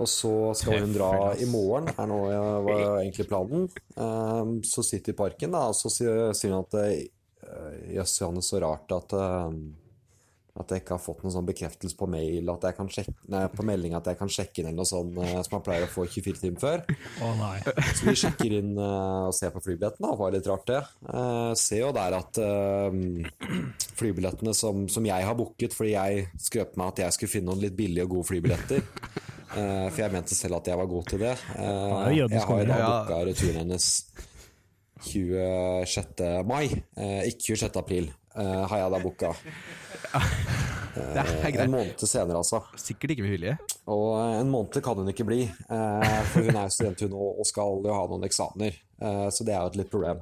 Speaker 8: Og så skal hun dra i morgen, er nå eh, var jo egentlig planen. Ehm, Så sitter vi i parken, da, og så sier sier hun at eh, jøss, Johannes, så rart at eh, at jeg ikke har fått noen sånn bekreftelse på mail at jeg kan sjekke, nei, på melding at jeg kan sjekke inn eller noe sånt eh, som man pleier å få 24 timer før.
Speaker 2: Å nei.
Speaker 8: Så vi sjekker inn eh, og ser på flybilletten, da. Det var litt rart, det. Eh, ser jo der at eh, flybillettene som, som jeg har booket, fordi jeg skrøt meg at jeg skulle finne noen litt billige og gode flybilletter eh, For jeg mente selv at jeg var god til det. Eh,
Speaker 2: er jo jødens
Speaker 8: jeg har jo da
Speaker 5: konge, ja.
Speaker 8: booka returen hennes 26. mai, eh, ikke 26. april, eh, har jeg da booka.
Speaker 5: Det er
Speaker 8: En
Speaker 5: greit.
Speaker 8: måned senere, altså.
Speaker 5: Sikkert ikke med vilje.
Speaker 8: Og eh, en måned kan hun ikke bli, eh, for hun er jo student hun og og skal jo ha noen eksamener. eh, Så det er jo et litt problem.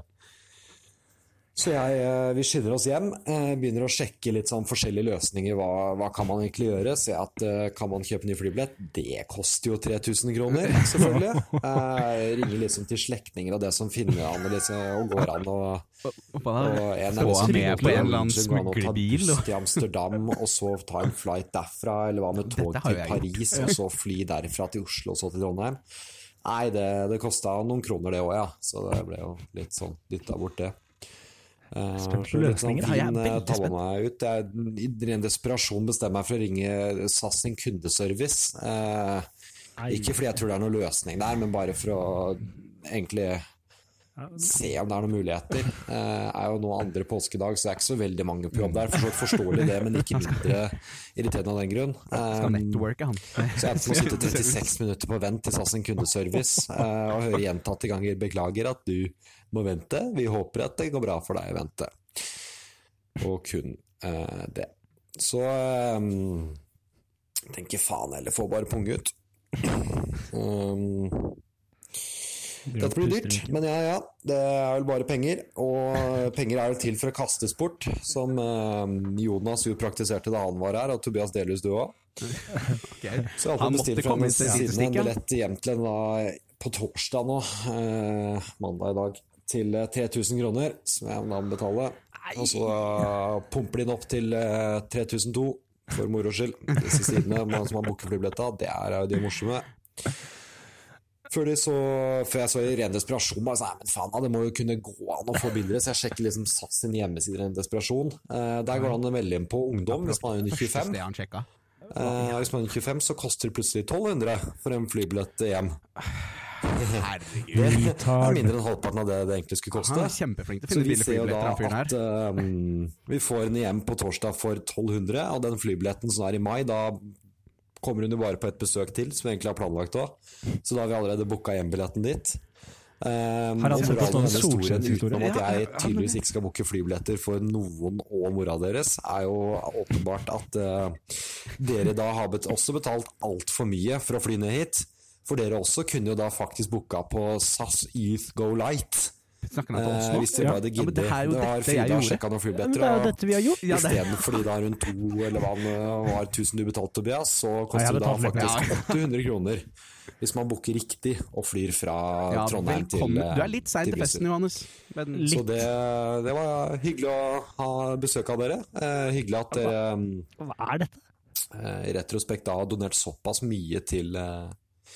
Speaker 8: Så jeg, eh, vi skynder oss hjem, eh, begynner å sjekke litt sånn forskjellige løsninger. Hva, hva kan man egentlig gjøre? Se at eh, kan man kjøpe ny flybillett? Det koster jo 3000 kroner, selvfølgelig. Eh, Ringer liksom til slektninger og det som finner an og, liksom, og går an. og...
Speaker 5: Opp av deg.
Speaker 8: Og
Speaker 5: Få han
Speaker 8: en liksom
Speaker 5: med
Speaker 8: ute
Speaker 5: på
Speaker 8: i
Speaker 5: en eller annen
Speaker 8: Norwegian, går an å ta
Speaker 5: smuglerbil,
Speaker 8: buss
Speaker 5: og-
Speaker 8: Til Amsterdam, og så ta en flight derfra, eller hva med tog
Speaker 5: Dette har
Speaker 8: til
Speaker 5: jo jeg
Speaker 8: Paris, og så fly derfra til Oslo, og så til Trondheim. Nei, det, det kosta noen kroner det òg, ja. Så det ble jo litt sånn dytta bort, det. Eh,
Speaker 2: Spent på
Speaker 8: så litt sånn
Speaker 2: løsningen.
Speaker 5: Ja, jeg er
Speaker 8: fin, eh,
Speaker 5: veldig
Speaker 8: tabba
Speaker 5: spent.
Speaker 8: meg ut. Jeg, I ren desperasjon bestemmer jeg for å ringe SAS sin kundeservice. Eh, ikke fordi jeg tror det er noen løsning der, men bare for å egentlig Se om det er noen muligheter. Det er jo nå andre påskedag, så det er ikke så veldig mange på jobb der. For så vidt forståelig det, men ikke mindre irriterende av den grunn. Eh,
Speaker 5: Skal
Speaker 8: Um,
Speaker 5: networke, han.
Speaker 8: Så jeg må sitte 36 minutter på vent til SAS sin kundeservice eh, og høre gjentatte ganger 'beklager at du må vente', vi håper at det går bra for deg å vente. Og kun eh, det. Så um, tenker faen heller, få bare punggutt. Um, dette blir dyrt, men ja ja. Det er vel bare penger. Og penger er jo til for å kastes bort, som ehm, Jonas jo praktiserte da han var her, og Tobias Delhus du òg. Okay. Så jeg har bestilt fra min side en billett hjem til en da på torsdag nå, eh, mandag i dag, til 3000 kroner, som jeg må betale. Og så eh, pumper de den opp til eh, 3002, for moro skyld. Disse sidene man som har booket flybilletta, det er jo de morsomme. Før, så, før, jeg så i ren desperasjon bare sånn, men faen, det må jo kunne gå an å få billigere, så jeg sjekker liksom SAS sin hjemmeside i ren desperasjon. Eh, der går det an å melde inn på ungdom hvis man er under 25. Eh, hvis man er under 25, så koster det plutselig 1200 for en flybillett hjem. Herregud. Det er mindre enn halvparten av det det egentlig skulle koste.
Speaker 5: Han er kjempeflink til å finne billige flybilletter,
Speaker 8: han fyren her. Um, vi får henne hjem på torsdag for 1200, og den flybilletten som er i mai, da kommer hun jo bare på et besøk til, som vi egentlig har planlagt òg. Så da har vi allerede booka hjembilletten dit. Um, har han sett på sånn solskinnshistorie? Utenom at jeg tydeligvis ikke skal booke flybilletter for noen og mora deres, er jo åpenbart at uh, dere da har bet også betalt altfor mye for å fly ned hit. For dere også kunne jo da faktisk booka på SAS Youth Go Light.
Speaker 5: Snakker han til oss nå?
Speaker 8: Eh, hvis dere bare gidder.
Speaker 5: det er jo
Speaker 8: det var
Speaker 5: dette jeg
Speaker 8: Frida
Speaker 5: gjorde.
Speaker 8: sjekka noen
Speaker 2: Men
Speaker 8: flybilletter,
Speaker 2: det er jo
Speaker 8: og
Speaker 2: dette vi har gjort.
Speaker 5: Ja, det-
Speaker 8: Istedenfor de da rundt to, eller hva det var, 1000 du betalte, Tobias, så
Speaker 2: Nei, jeg
Speaker 8: koster det da
Speaker 2: betalte litt,
Speaker 8: faktisk 800 kroner. Hvis man booker riktig og flyr fra
Speaker 5: Ja,
Speaker 8: Trondheim til
Speaker 5: velkommen. Du er litt sein til festen, Johannes. Men
Speaker 8: Så det, det var hyggelig å ha besøk av dere. Eh, hyggelig at dere eh,
Speaker 2: Hva er dette?
Speaker 8: i retrospekt da har donert såpass mye til, eh,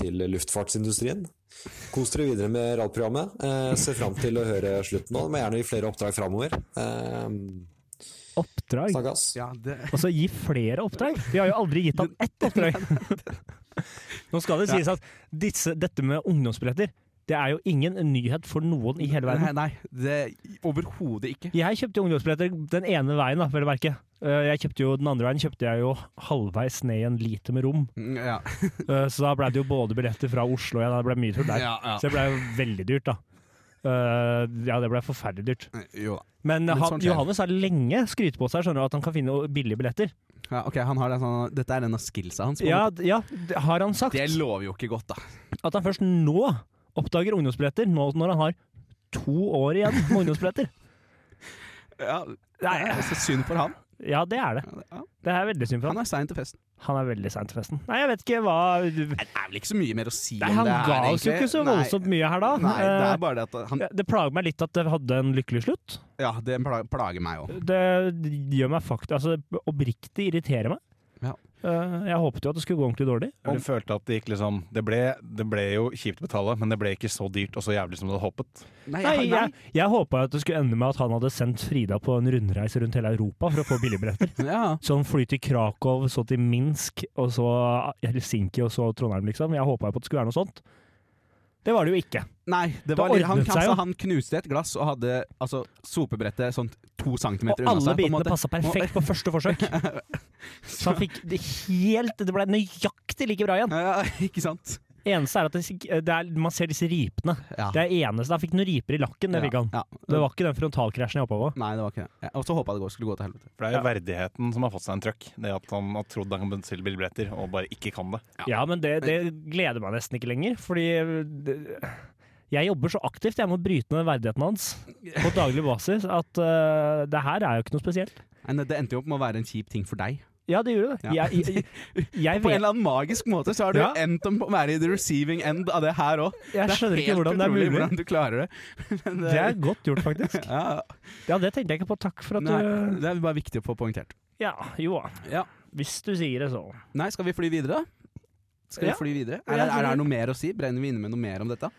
Speaker 8: til luftfartsindustrien. Kos dere videre med radprogrammet. Eh, ser fram til å høre slutten nå. Må gjerne gi flere oppdrag framover. Eh,
Speaker 2: Oppdrag?
Speaker 8: Snakkes.
Speaker 5: ja, det
Speaker 2: Og så gi flere oppdrag? Vi har jo aldri gitt han ett oppdrag. Nå skal det sies at disse, dette med ungdomsbilletter, det er jo ingen nyhet for noen i hele
Speaker 5: Nei,
Speaker 2: verden.
Speaker 5: nei det- overhodet ikke.
Speaker 2: Jeg kjøpte jo ungdomsbilletter den ene veien, da, vel å merke. Eh, Jeg kjøpte jo, den andre veien kjøpte jeg jo halvveis ned i en liter med rom.
Speaker 5: Mm, Ja.
Speaker 2: Eh, Så da ble det jo både billetter fra Oslo og det ble mye tull der.
Speaker 5: Ja, ja.
Speaker 2: Så det ble jo veldig dyrt, da. Eh, ja, det ble forferdelig dyrt.
Speaker 5: Jo da.
Speaker 2: Men,
Speaker 5: Men
Speaker 2: han,
Speaker 5: sånn skjer.
Speaker 2: Johannes har lenge skrytt på seg skjønner du, at han kan finne billige billetter.
Speaker 5: Ja, ok, han har det sånn, Dette er en av skillsa hans. på en
Speaker 2: Ja,
Speaker 5: måte.
Speaker 2: d- ja, det har han sagt.
Speaker 5: Det lover jo ikke godt, da.
Speaker 2: At han først nå oppdager ungdomsbilletter, nå når han har to år igjen med ungdomsbilletter.
Speaker 5: Ja, det er så synd for han.
Speaker 2: Ja, det er det.
Speaker 5: Ja,
Speaker 2: Det er veldig synd for
Speaker 5: Han
Speaker 2: han.
Speaker 5: er sein til festen.
Speaker 2: Han er veldig sein til festen. Nei, jeg vet ikke hva
Speaker 5: Nei, Det er vel ikke så mye mer å si
Speaker 2: Nei,
Speaker 5: om
Speaker 2: Han
Speaker 5: det her,
Speaker 2: ga oss jo
Speaker 5: egentlig.
Speaker 2: ikke så
Speaker 5: Nei.
Speaker 2: voldsomt mye her, da.
Speaker 5: Nei, det
Speaker 2: Eh,
Speaker 5: er bare det at han
Speaker 2: ja, det plager meg litt at det hadde en lykkelig slutt.
Speaker 5: Ja, det pla- plager meg òg.
Speaker 2: Det gjør meg faktisk Altså, det oppriktig irriterer meg.
Speaker 5: Ja.
Speaker 2: Eh, Jeg håpet jo at det skulle gå ordentlig dårlig.
Speaker 7: Du følte at det gikk liksom Det ble, det ble jo kjipt å betale, men det ble ikke så dyrt og så jævlig som du hadde håpet.
Speaker 2: Nei, jeg, jeg håpa at det skulle ende med at han hadde sendt Frida på en rundreise rundt hele Europa for å få billigbilletter.
Speaker 5: Ja.
Speaker 2: Sånn fly til Krakow, så til Minsk, og så Helsinki, og så Trondheim, liksom. Jeg håpa jo på at det skulle være noe sånt. Det var det jo ikke.
Speaker 5: Nei, det var
Speaker 2: Det
Speaker 5: litt, han,
Speaker 2: ordnet seg
Speaker 5: altså,
Speaker 2: jo.
Speaker 5: han knuste et glass og hadde altså, sopebrettet sånn to centimeter unna
Speaker 2: Og alle
Speaker 5: seg. på en måte.
Speaker 2: bitene passa perfekt på første forsøk. Så han fikk det helt Det ble nøyaktig like bra igjen.
Speaker 5: Ja, ja, ikke sant?
Speaker 2: Eneste er at det, det er, man ser disse ripene.
Speaker 5: Ja.
Speaker 2: Det er eneste Han fikk noen riper i lakken, det fikk han.
Speaker 5: Ja.
Speaker 2: Det var ikke den frontalkrasjen jeg hoppa på.
Speaker 5: Nei, det var ikke det. Ja, Og så håpa det går, skulle gå til helvete.
Speaker 7: For det er jo verdigheten som har fått seg en trøkk. Det at han har trodd han kan bestille billetter, og bare ikke kan det.
Speaker 2: Ja, men det, det gleder meg nesten ikke lenger, fordi det, jeg jobber så aktivt. Jeg må bryte ned verdigheten hans på daglig basis at eh, det her er jo ikke noe spesielt.
Speaker 5: Nei, det endte jo opp med å være en kjip ting for deg.
Speaker 2: Ja, det gjorde det.
Speaker 5: Ja.
Speaker 2: Jeg, jeg, jeg,
Speaker 5: På en
Speaker 2: vet,
Speaker 5: eller annen magisk måte så har du
Speaker 2: Ja.
Speaker 5: endt opp med å være i the receiving end av det her òg.
Speaker 2: jeg skjønner ikke hvordan det er mulig.
Speaker 5: hvordan du klarer det. Men eh,
Speaker 2: Det er godt gjort, faktisk.
Speaker 5: ja,
Speaker 2: Ja, det tenkte jeg ikke på. Takk for at
Speaker 5: nei,
Speaker 2: du
Speaker 5: det er bare viktig å få poengtert.
Speaker 2: Ja, jo.
Speaker 5: Ja.
Speaker 2: Hvis du sier det, så.
Speaker 5: Nei, skal vi fly videre, da? Skal
Speaker 2: Ja.
Speaker 5: vi fly videre?
Speaker 2: Ja,
Speaker 5: Er,
Speaker 2: jeg
Speaker 5: er,
Speaker 2: tror
Speaker 5: det
Speaker 2: det.
Speaker 5: noe mer å si? Brenner vi inne med noe mer om dette?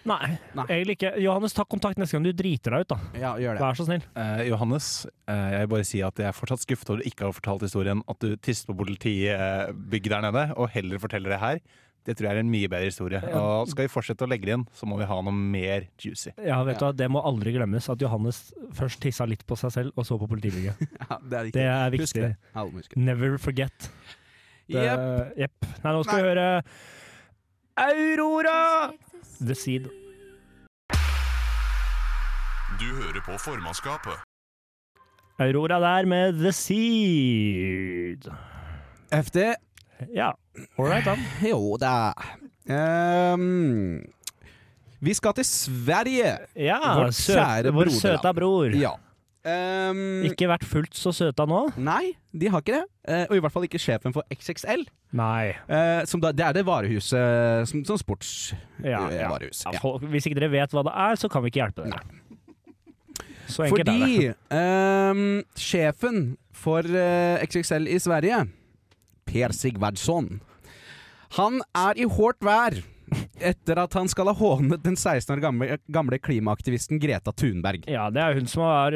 Speaker 2: Nei,
Speaker 5: Nei.
Speaker 2: egentlig ikke. Johannes, ta kontakt neste gang du driter deg ut, da.
Speaker 5: Ja, gjør det.
Speaker 2: Vær så snill.
Speaker 7: Eh, Johannes, eh, jeg vil bare si at jeg er fortsatt eh, skuffet over at du ikke har fortalt historien at du tisset på politibygget der nede, og heller forteller det her. Det tror jeg er en mye bedre historie. Og skal vi fortsette å legge det inn, så må vi ha noe mer juicy.
Speaker 2: Ja, vet du hva, Det må aldri glemmes at Johannes først tissa litt på seg selv, og så på politibilen.
Speaker 5: Ja, det er
Speaker 2: Det
Speaker 5: viktig.
Speaker 2: er
Speaker 5: Husk det.
Speaker 2: viktig.
Speaker 5: Alle må huske det.
Speaker 2: Never forget. Det-
Speaker 5: Jepp.
Speaker 2: Jepp. Nei, nå skal vi høre Aurora! The Seed.
Speaker 1: Du hører på formannskapet.
Speaker 2: Aurora der med The Seed.
Speaker 5: FD
Speaker 2: Ja, ålreit, da.
Speaker 5: Jo da. Ehm, vi skal til Sverige.
Speaker 2: Ja,
Speaker 5: Vårt
Speaker 2: søt,
Speaker 5: kjære
Speaker 2: vår
Speaker 5: broderland.
Speaker 2: søta bror.
Speaker 5: Ja. Ehm,
Speaker 2: Ikke vært fullt så søta nå?
Speaker 5: Nei, de har ikke det. Eh, og i hvert fall ikke sjefen for XXL.
Speaker 2: Nei.
Speaker 5: eh, som da, det er det varehuset som, som sports...
Speaker 2: Ja,
Speaker 5: Eh,
Speaker 2: ja.
Speaker 5: varehus,
Speaker 2: Ja,
Speaker 5: ja.
Speaker 2: folk- Hvis ikke dere vet hva det er, så kan vi ikke hjelpe dere. Så enkelt er
Speaker 5: Fordi
Speaker 2: det.
Speaker 5: ehm, sjefen for eh, XXL i Sverige, Per Sigvardsson, han er i hårdt vær etter at han skal ha hånet den 16 år gamle, gamle klimaaktivisten Greta Thunberg.
Speaker 2: Ja, det er hun som har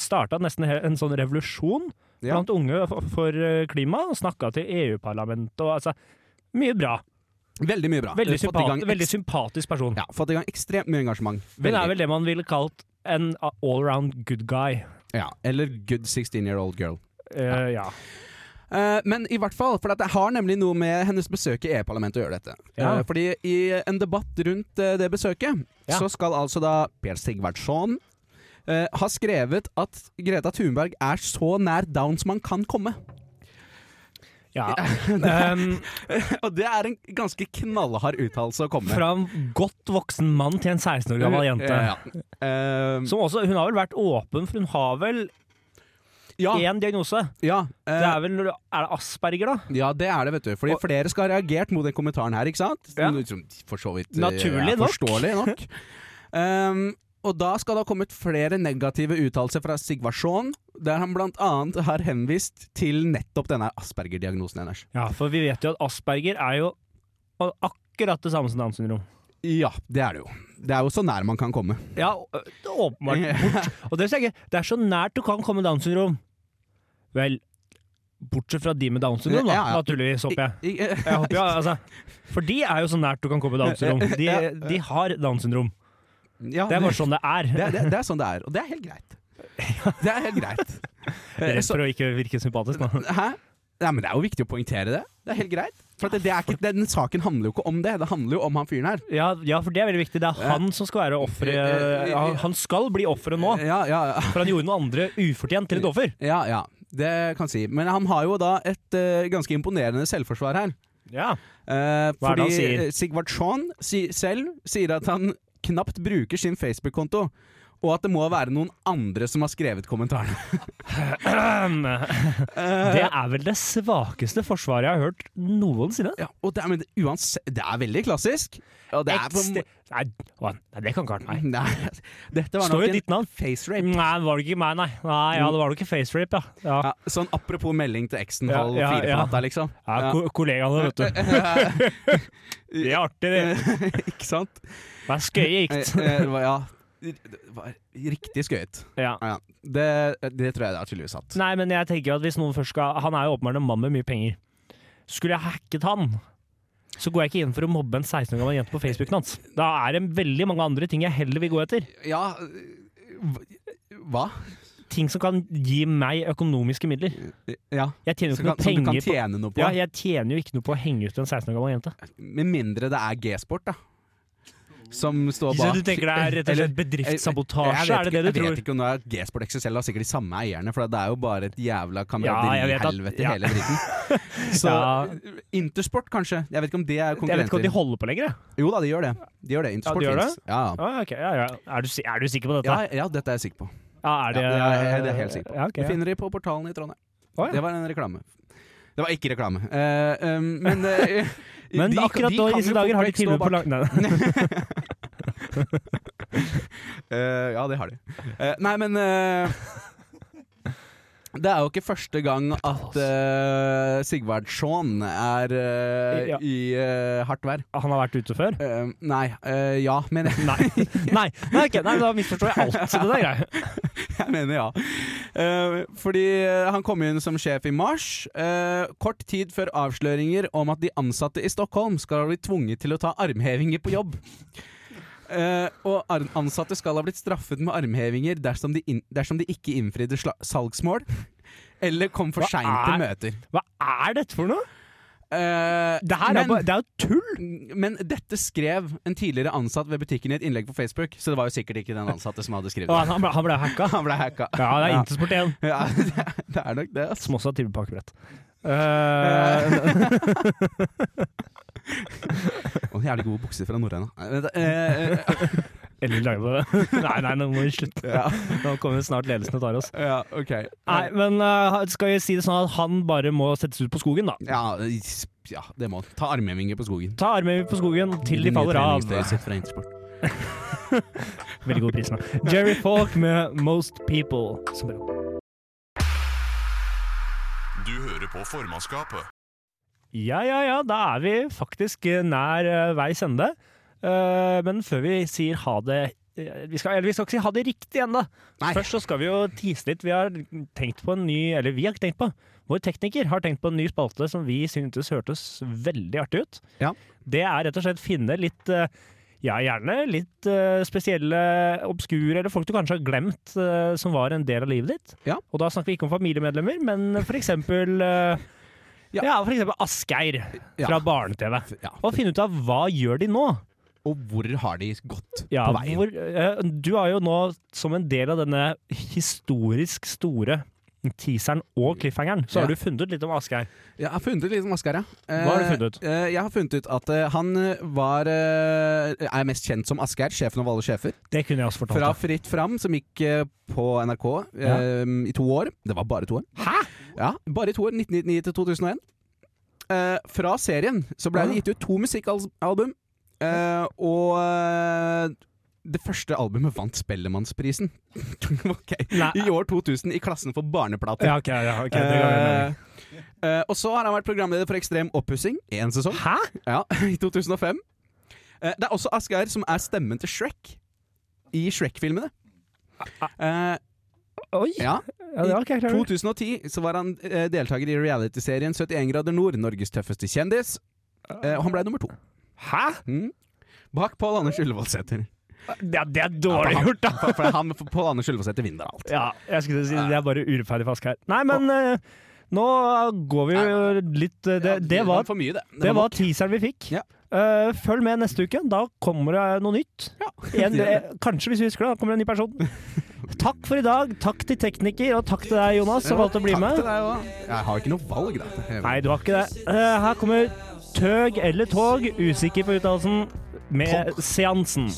Speaker 2: starta nesten he- en sånn revolusjon
Speaker 5: Ja.
Speaker 2: blant unge f- for eh, klima, og snakka til EU-parlamentet og altså Mye bra.
Speaker 5: Veldig mye bra.
Speaker 2: Veldig,
Speaker 5: Fått i gang
Speaker 2: sympati veldig sympatisk person.
Speaker 5: Ja, fått i gang ekstremt mye engasjement.
Speaker 2: Hun
Speaker 5: Veldig.
Speaker 2: er vel det man ville kalt en allround good guy.
Speaker 5: Ja, eller good 16 year old girl.
Speaker 2: Eh, ja.
Speaker 5: Eh, men i hvert fall, for at det har nemlig noe med hennes besøk i EU-parlamentet å gjøre dette.
Speaker 2: Ja.
Speaker 5: Eh, fordi i en debatt rundt eh, det besøket,
Speaker 2: Ja.
Speaker 5: så skal altså da Per Sigvardsson eh, ha skrevet at Greta Thunberg er så nær down som man kan komme.
Speaker 2: ja. Um,
Speaker 5: Og det er en ganske knallhard uttalelse å komme med.
Speaker 2: fra en godt voksen mann til en 16 år gammel jente.
Speaker 5: Ja, ja. Eh,
Speaker 2: Som også, hun har vel vært åpen, for hun har vel
Speaker 5: ja,
Speaker 2: én diagnose.
Speaker 5: ja, eh,
Speaker 2: Det er vel Er det asperger, da?
Speaker 5: ja, det er det, vet du. Fordi
Speaker 2: Og-
Speaker 5: flere skal ha reagert mot den kommentaren her, ikke sant?
Speaker 2: Ja.
Speaker 5: Som For så vidt eh,
Speaker 2: Naturlig
Speaker 5: er
Speaker 2: nok.
Speaker 5: Forståelig nok. Ehm, og da skal det ha kommet flere negative uttalelser fra Sigvardsson, der han blant annet har henvist til nettopp denne Asperger-diagnosen hennes.
Speaker 2: Ja, for vi vet jo at asperger er jo akkurat det samme som Downs syndrom.
Speaker 5: Ja, det er det jo. Det er jo så nær man kan komme.
Speaker 2: Ja, å- det er åpenbart. Og det, sier jeg ikke, det er så nært du kan komme Downs syndrom. Vel, bortsett fra de med Downs syndrom, da,
Speaker 5: Ja, ja.
Speaker 2: naturligvis, håper jeg.
Speaker 5: I- i-
Speaker 2: jeg håper, ja, altså, for de er jo så nært du kan komme Downs syndrom. De, de har Downs syndrom.
Speaker 5: ja,
Speaker 2: Det er bare sånn det er.
Speaker 5: det, det, det er sånn det er, og det er helt greit. Det er helt greit. Eh,
Speaker 2: Rett
Speaker 5: så-
Speaker 2: for å ikke virke sympatisk, da.
Speaker 5: Hæ? Nei, men Det er jo viktig å poengtere det. Det er helt greit. For at det, det er ikke, den saken handler jo ikke om det. Det handler jo om han fyren her.
Speaker 2: Ja, ja, for det er veldig viktig. Det er han som skal være offeret. Han- Han skal bli offeret nå,
Speaker 5: Ja, ja, ja.
Speaker 2: for han gjorde noe andre ufortjent til et offer.
Speaker 5: Ja, ja. Det kan jeg si. Men han har jo da et eh, ganske imponerende selvforsvar her.
Speaker 2: Ja.
Speaker 5: Eh,
Speaker 2: Hva er det han
Speaker 5: fordi
Speaker 2: sier?
Speaker 5: eh, Sigvard Sjån si selv sier at han knapt bruker sin Facebook-konto. Og at det må være noen andre som har skrevet kommentarene.
Speaker 2: Det er vel det svakeste forsvaret jeg har hørt noensinne.
Speaker 5: Ja, og det er, men det, uansett, det er veldig klassisk. Og det er på en
Speaker 2: Ekste- Nei, hva- nei, det kan ikke ha vært meg.
Speaker 5: må- Nei, dette var
Speaker 2: Står
Speaker 5: nok
Speaker 2: jo
Speaker 5: en
Speaker 2: ditt navn.
Speaker 5: face rape.
Speaker 2: Nei, det var det ikke meg, nei. nei ja, det var det ikke facerape, ja. ja.
Speaker 5: Ja, sånn apropos melding til eksen
Speaker 2: Ja,
Speaker 5: halv
Speaker 2: ja,
Speaker 5: fire på
Speaker 2: ja.
Speaker 5: natta, liksom.
Speaker 2: ja, ko- Kollegaene, vet du. Det er artig, det.
Speaker 5: Ikke sant?
Speaker 2: Det er skøyegikt.
Speaker 5: Eh, eh, det var- ja. Det var riktig skøyet.
Speaker 2: Ja.
Speaker 5: Ja, det, det tror jeg det er tydeligvis satt.
Speaker 2: Nei, men jeg tenker jo at hvis noen først skal Han er jo åpenbart en mann med mye penger. Skulle jeg hacket han, så går jeg ikke inn for å mobbe en 16 år gammel jente på Facebooken hans. Da er det veldig mange andre ting jeg heller vil gå etter.
Speaker 5: Ja øh, Hva?
Speaker 2: Ting som kan gi meg økonomiske midler.
Speaker 5: Ja.
Speaker 2: Jeg tjener jo
Speaker 5: Som,
Speaker 2: ikke
Speaker 5: kan, som du
Speaker 2: noe
Speaker 5: kan
Speaker 2: penger på
Speaker 5: tjene noe på.
Speaker 2: ja, jeg tjener jo ikke noe på å henge ut en 16 år gammel jente.
Speaker 5: Med mindre det er G-sport, da. Som står
Speaker 2: Så
Speaker 5: bak.
Speaker 2: du tenker det er rett og slett bedriftssabotasje?
Speaker 5: Jeg vet ikke-
Speaker 2: Er det det du
Speaker 5: Jeg vet
Speaker 2: tror?
Speaker 5: ikke om det er G-sport XXL har sikkert de samme eierne, for det er jo bare et jævla
Speaker 2: Ja, jeg vet at-
Speaker 5: kameraderihelvete i
Speaker 2: ja.
Speaker 5: hele dritten. Så Intersport, kanskje. Jeg vet ikke om det er
Speaker 2: Jeg vet ikke om
Speaker 5: konkurrenter.
Speaker 2: de holder på lenger. jeg.
Speaker 5: Jo da, de gjør det. De gjør det. Intersport
Speaker 2: gjør det?
Speaker 5: finnes. Ja, ja.
Speaker 2: Ah, ok, ja, ja. Er, du, si- er du sikker på dette?
Speaker 5: Ja, ja, dette er jeg sikker på.
Speaker 2: Ja, er det,
Speaker 5: Ja, det er jeg- det er jeg helt sikker på.
Speaker 2: Ja, ok,
Speaker 5: Du
Speaker 2: ja.
Speaker 5: finner de på portalen i Trondheim.
Speaker 2: Å, ja.
Speaker 5: Det var en reklame. Det var ikke reklame. Eh, um, men eh,
Speaker 2: Men
Speaker 5: de-
Speaker 2: akkurat
Speaker 5: de
Speaker 2: nå
Speaker 5: kan
Speaker 2: i
Speaker 5: jo
Speaker 2: disse dager har
Speaker 5: fort
Speaker 2: de
Speaker 5: vekk stå
Speaker 2: tilbud på
Speaker 5: bak.
Speaker 2: lang... Nei,
Speaker 5: Eh, ja, det har de. Eh, nei, men eh, Det er jo ikke første gang at uh, Sigvardsson er eh,
Speaker 2: Ja.
Speaker 5: i eh, hardt vær.
Speaker 2: han har vært ute før?
Speaker 5: Eh, nei. eh, ja, mener jeg.
Speaker 2: Nei. Nei, nei, ok, nei, da misforstår jeg alt. Så det der er greit.
Speaker 5: Jeg mener ja. Eh, fordi eh, han kom inn som sjef i mars, eh, kort tid før avsløringer om at de ansatte i Stockholm skal bli tvunget til å ta armhevinger på jobb. Eh, og ar- ansatte skal ha blitt straffet med armhevinger dersom de, inn- dersom de ikke innfridde sla- salgsmål eller kom for
Speaker 2: Hva
Speaker 5: seint til
Speaker 2: er-
Speaker 5: møter.
Speaker 2: Hva er dette for noe?
Speaker 5: Eh,
Speaker 2: Det her
Speaker 5: men,
Speaker 2: er, bare, det er jo tull!
Speaker 5: men dette skrev en tidligere ansatt ved butikken i et innlegg på Facebook, så det var jo sikkert ikke den ansatte som hadde skrevet
Speaker 2: Å,
Speaker 5: det.
Speaker 2: han, ble, han ble hacka.
Speaker 5: Han ble hacka.
Speaker 2: Ja, det er intersport igjen.
Speaker 5: Ja, det er- det er nok det. ass.
Speaker 2: Som også har tilbud på akebrett. Eh,
Speaker 5: Og jævlig gode bukser fra Norrøna. Nei, vent da, eh, eh,
Speaker 2: eller lage på det. Nei, nei, nå må vi slutte.
Speaker 5: Ja.
Speaker 2: Nå kommer snart ledelsen og tar oss.
Speaker 5: ja, ok.
Speaker 2: Nei, men eh, skal jeg si det sånn at han bare må settes ut på skogen, da?
Speaker 5: Ja, ja, det må Ta armhevinger på skogen.
Speaker 2: Ta armene på skogen til de faller av.
Speaker 5: Nye treningstøyet sitt fra Intersport.
Speaker 2: Veldig god pris nå. Jerry Falk med 'Most People'. Som bra.
Speaker 1: Du hører på formannskapet.
Speaker 2: Ja, ja, ja, da er vi faktisk eh, nær eh, veis ende. Eh, Men før vi sier ha det eh, vi skal, eller vi skal ikke si ha det riktig ennå.
Speaker 5: Nei.
Speaker 2: Først så skal vi jo tise litt. Vi har tenkt på en ny Eller vi har ikke tenkt på. Vår tekniker har tenkt på en ny spalte som vi syntes hørtes veldig artig ut.
Speaker 5: Ja.
Speaker 2: Det er rett og slett finne litt eh, ja, gjerne litt eh, spesielle, obskure eller folk du kanskje har glemt eh, som var en del av livet ditt.
Speaker 5: Ja.
Speaker 2: Og da snakker vi ikke om familiemedlemmer, men for eksempel eh,
Speaker 5: Ja.
Speaker 2: ja. for eksempel Asgeir
Speaker 5: Ja.
Speaker 2: fra Barne-TV.
Speaker 5: Ja.
Speaker 2: Og finne ut av hva gjør de nå?
Speaker 5: Og hvor har de gått
Speaker 2: Ja,
Speaker 5: på veien?
Speaker 2: hvor, eh, du har jo nå, som en del av denne historisk store teaseren og cliffhangeren, så
Speaker 5: Ja.
Speaker 2: har du funnet ut litt om Asgeir.
Speaker 5: Jeg har funnet ut litt om Asgeir, ja. Eh,
Speaker 2: Hva har du funnet ut?
Speaker 5: eh, jeg har funnet ut at eh, han eh, var eh, Er mest kjent som Asgeir, sjefen av alle sjefer.
Speaker 2: Det kunne jeg også fortalt.
Speaker 5: Fra
Speaker 2: deg.
Speaker 5: Fritt Fram, som gikk eh, på NRK eh, i to år. Det var bare to år. Hæ?! Ja, bare to år. 1999 til 2001. Eh, fra serien så ble det gitt ut to musikkalbum, eh, og eh, det første albumet vant Spellemannsprisen Ok.
Speaker 2: Nei.
Speaker 5: i år 2000 i klassen for barneplater.
Speaker 2: Ja, ok, ja, ok, det ga jeg mening.
Speaker 5: Eh, eh, og så har han vært programleder for Ekstrem oppussing én sesong,
Speaker 2: Hæ?
Speaker 5: ja, i 2005. Eh, det er også Asgeir som er stemmen til Shrek i Shrek-filmene.
Speaker 2: Ah,
Speaker 5: Eh,
Speaker 2: Oi! Ja,
Speaker 5: ja.
Speaker 2: det var ikke jeg
Speaker 5: I
Speaker 2: klar over.
Speaker 5: 2010 så var han eh, deltaker i realityserien 71 grader nord, Norges tøffeste kjendis. Eh, og han ble nummer to.
Speaker 2: Hæ?
Speaker 5: Mm. Bak Pål Anders Ullevålsæter.
Speaker 2: Ja, det er dårlig
Speaker 5: Ja,
Speaker 2: gjort, da!
Speaker 5: For, for han Pål Anders Ullevålsæter vinner alt.
Speaker 2: Ja, jeg skulle si det er bare urettferdig for Asgeir. Nei, men eh, nå går vi jo litt eh, Det, det var
Speaker 5: for mye, det.
Speaker 2: Det var teaseren vi fikk.
Speaker 5: Ja.
Speaker 2: Eh, følg med neste uke. Da kommer det noe nytt. En, eh, kanskje, hvis vi husker det. Da kommer det en ny person. Takk for i dag. Takk til tekniker, og takk til deg, Jonas, som valgte å bli
Speaker 5: Takk
Speaker 2: med.
Speaker 5: til deg også. Jeg har ikke noe valg, da. Jeg-
Speaker 2: Nei, du har ikke det. Eh, her kommer Tøg eller Tog, usikker på uttalelsen, med seansen.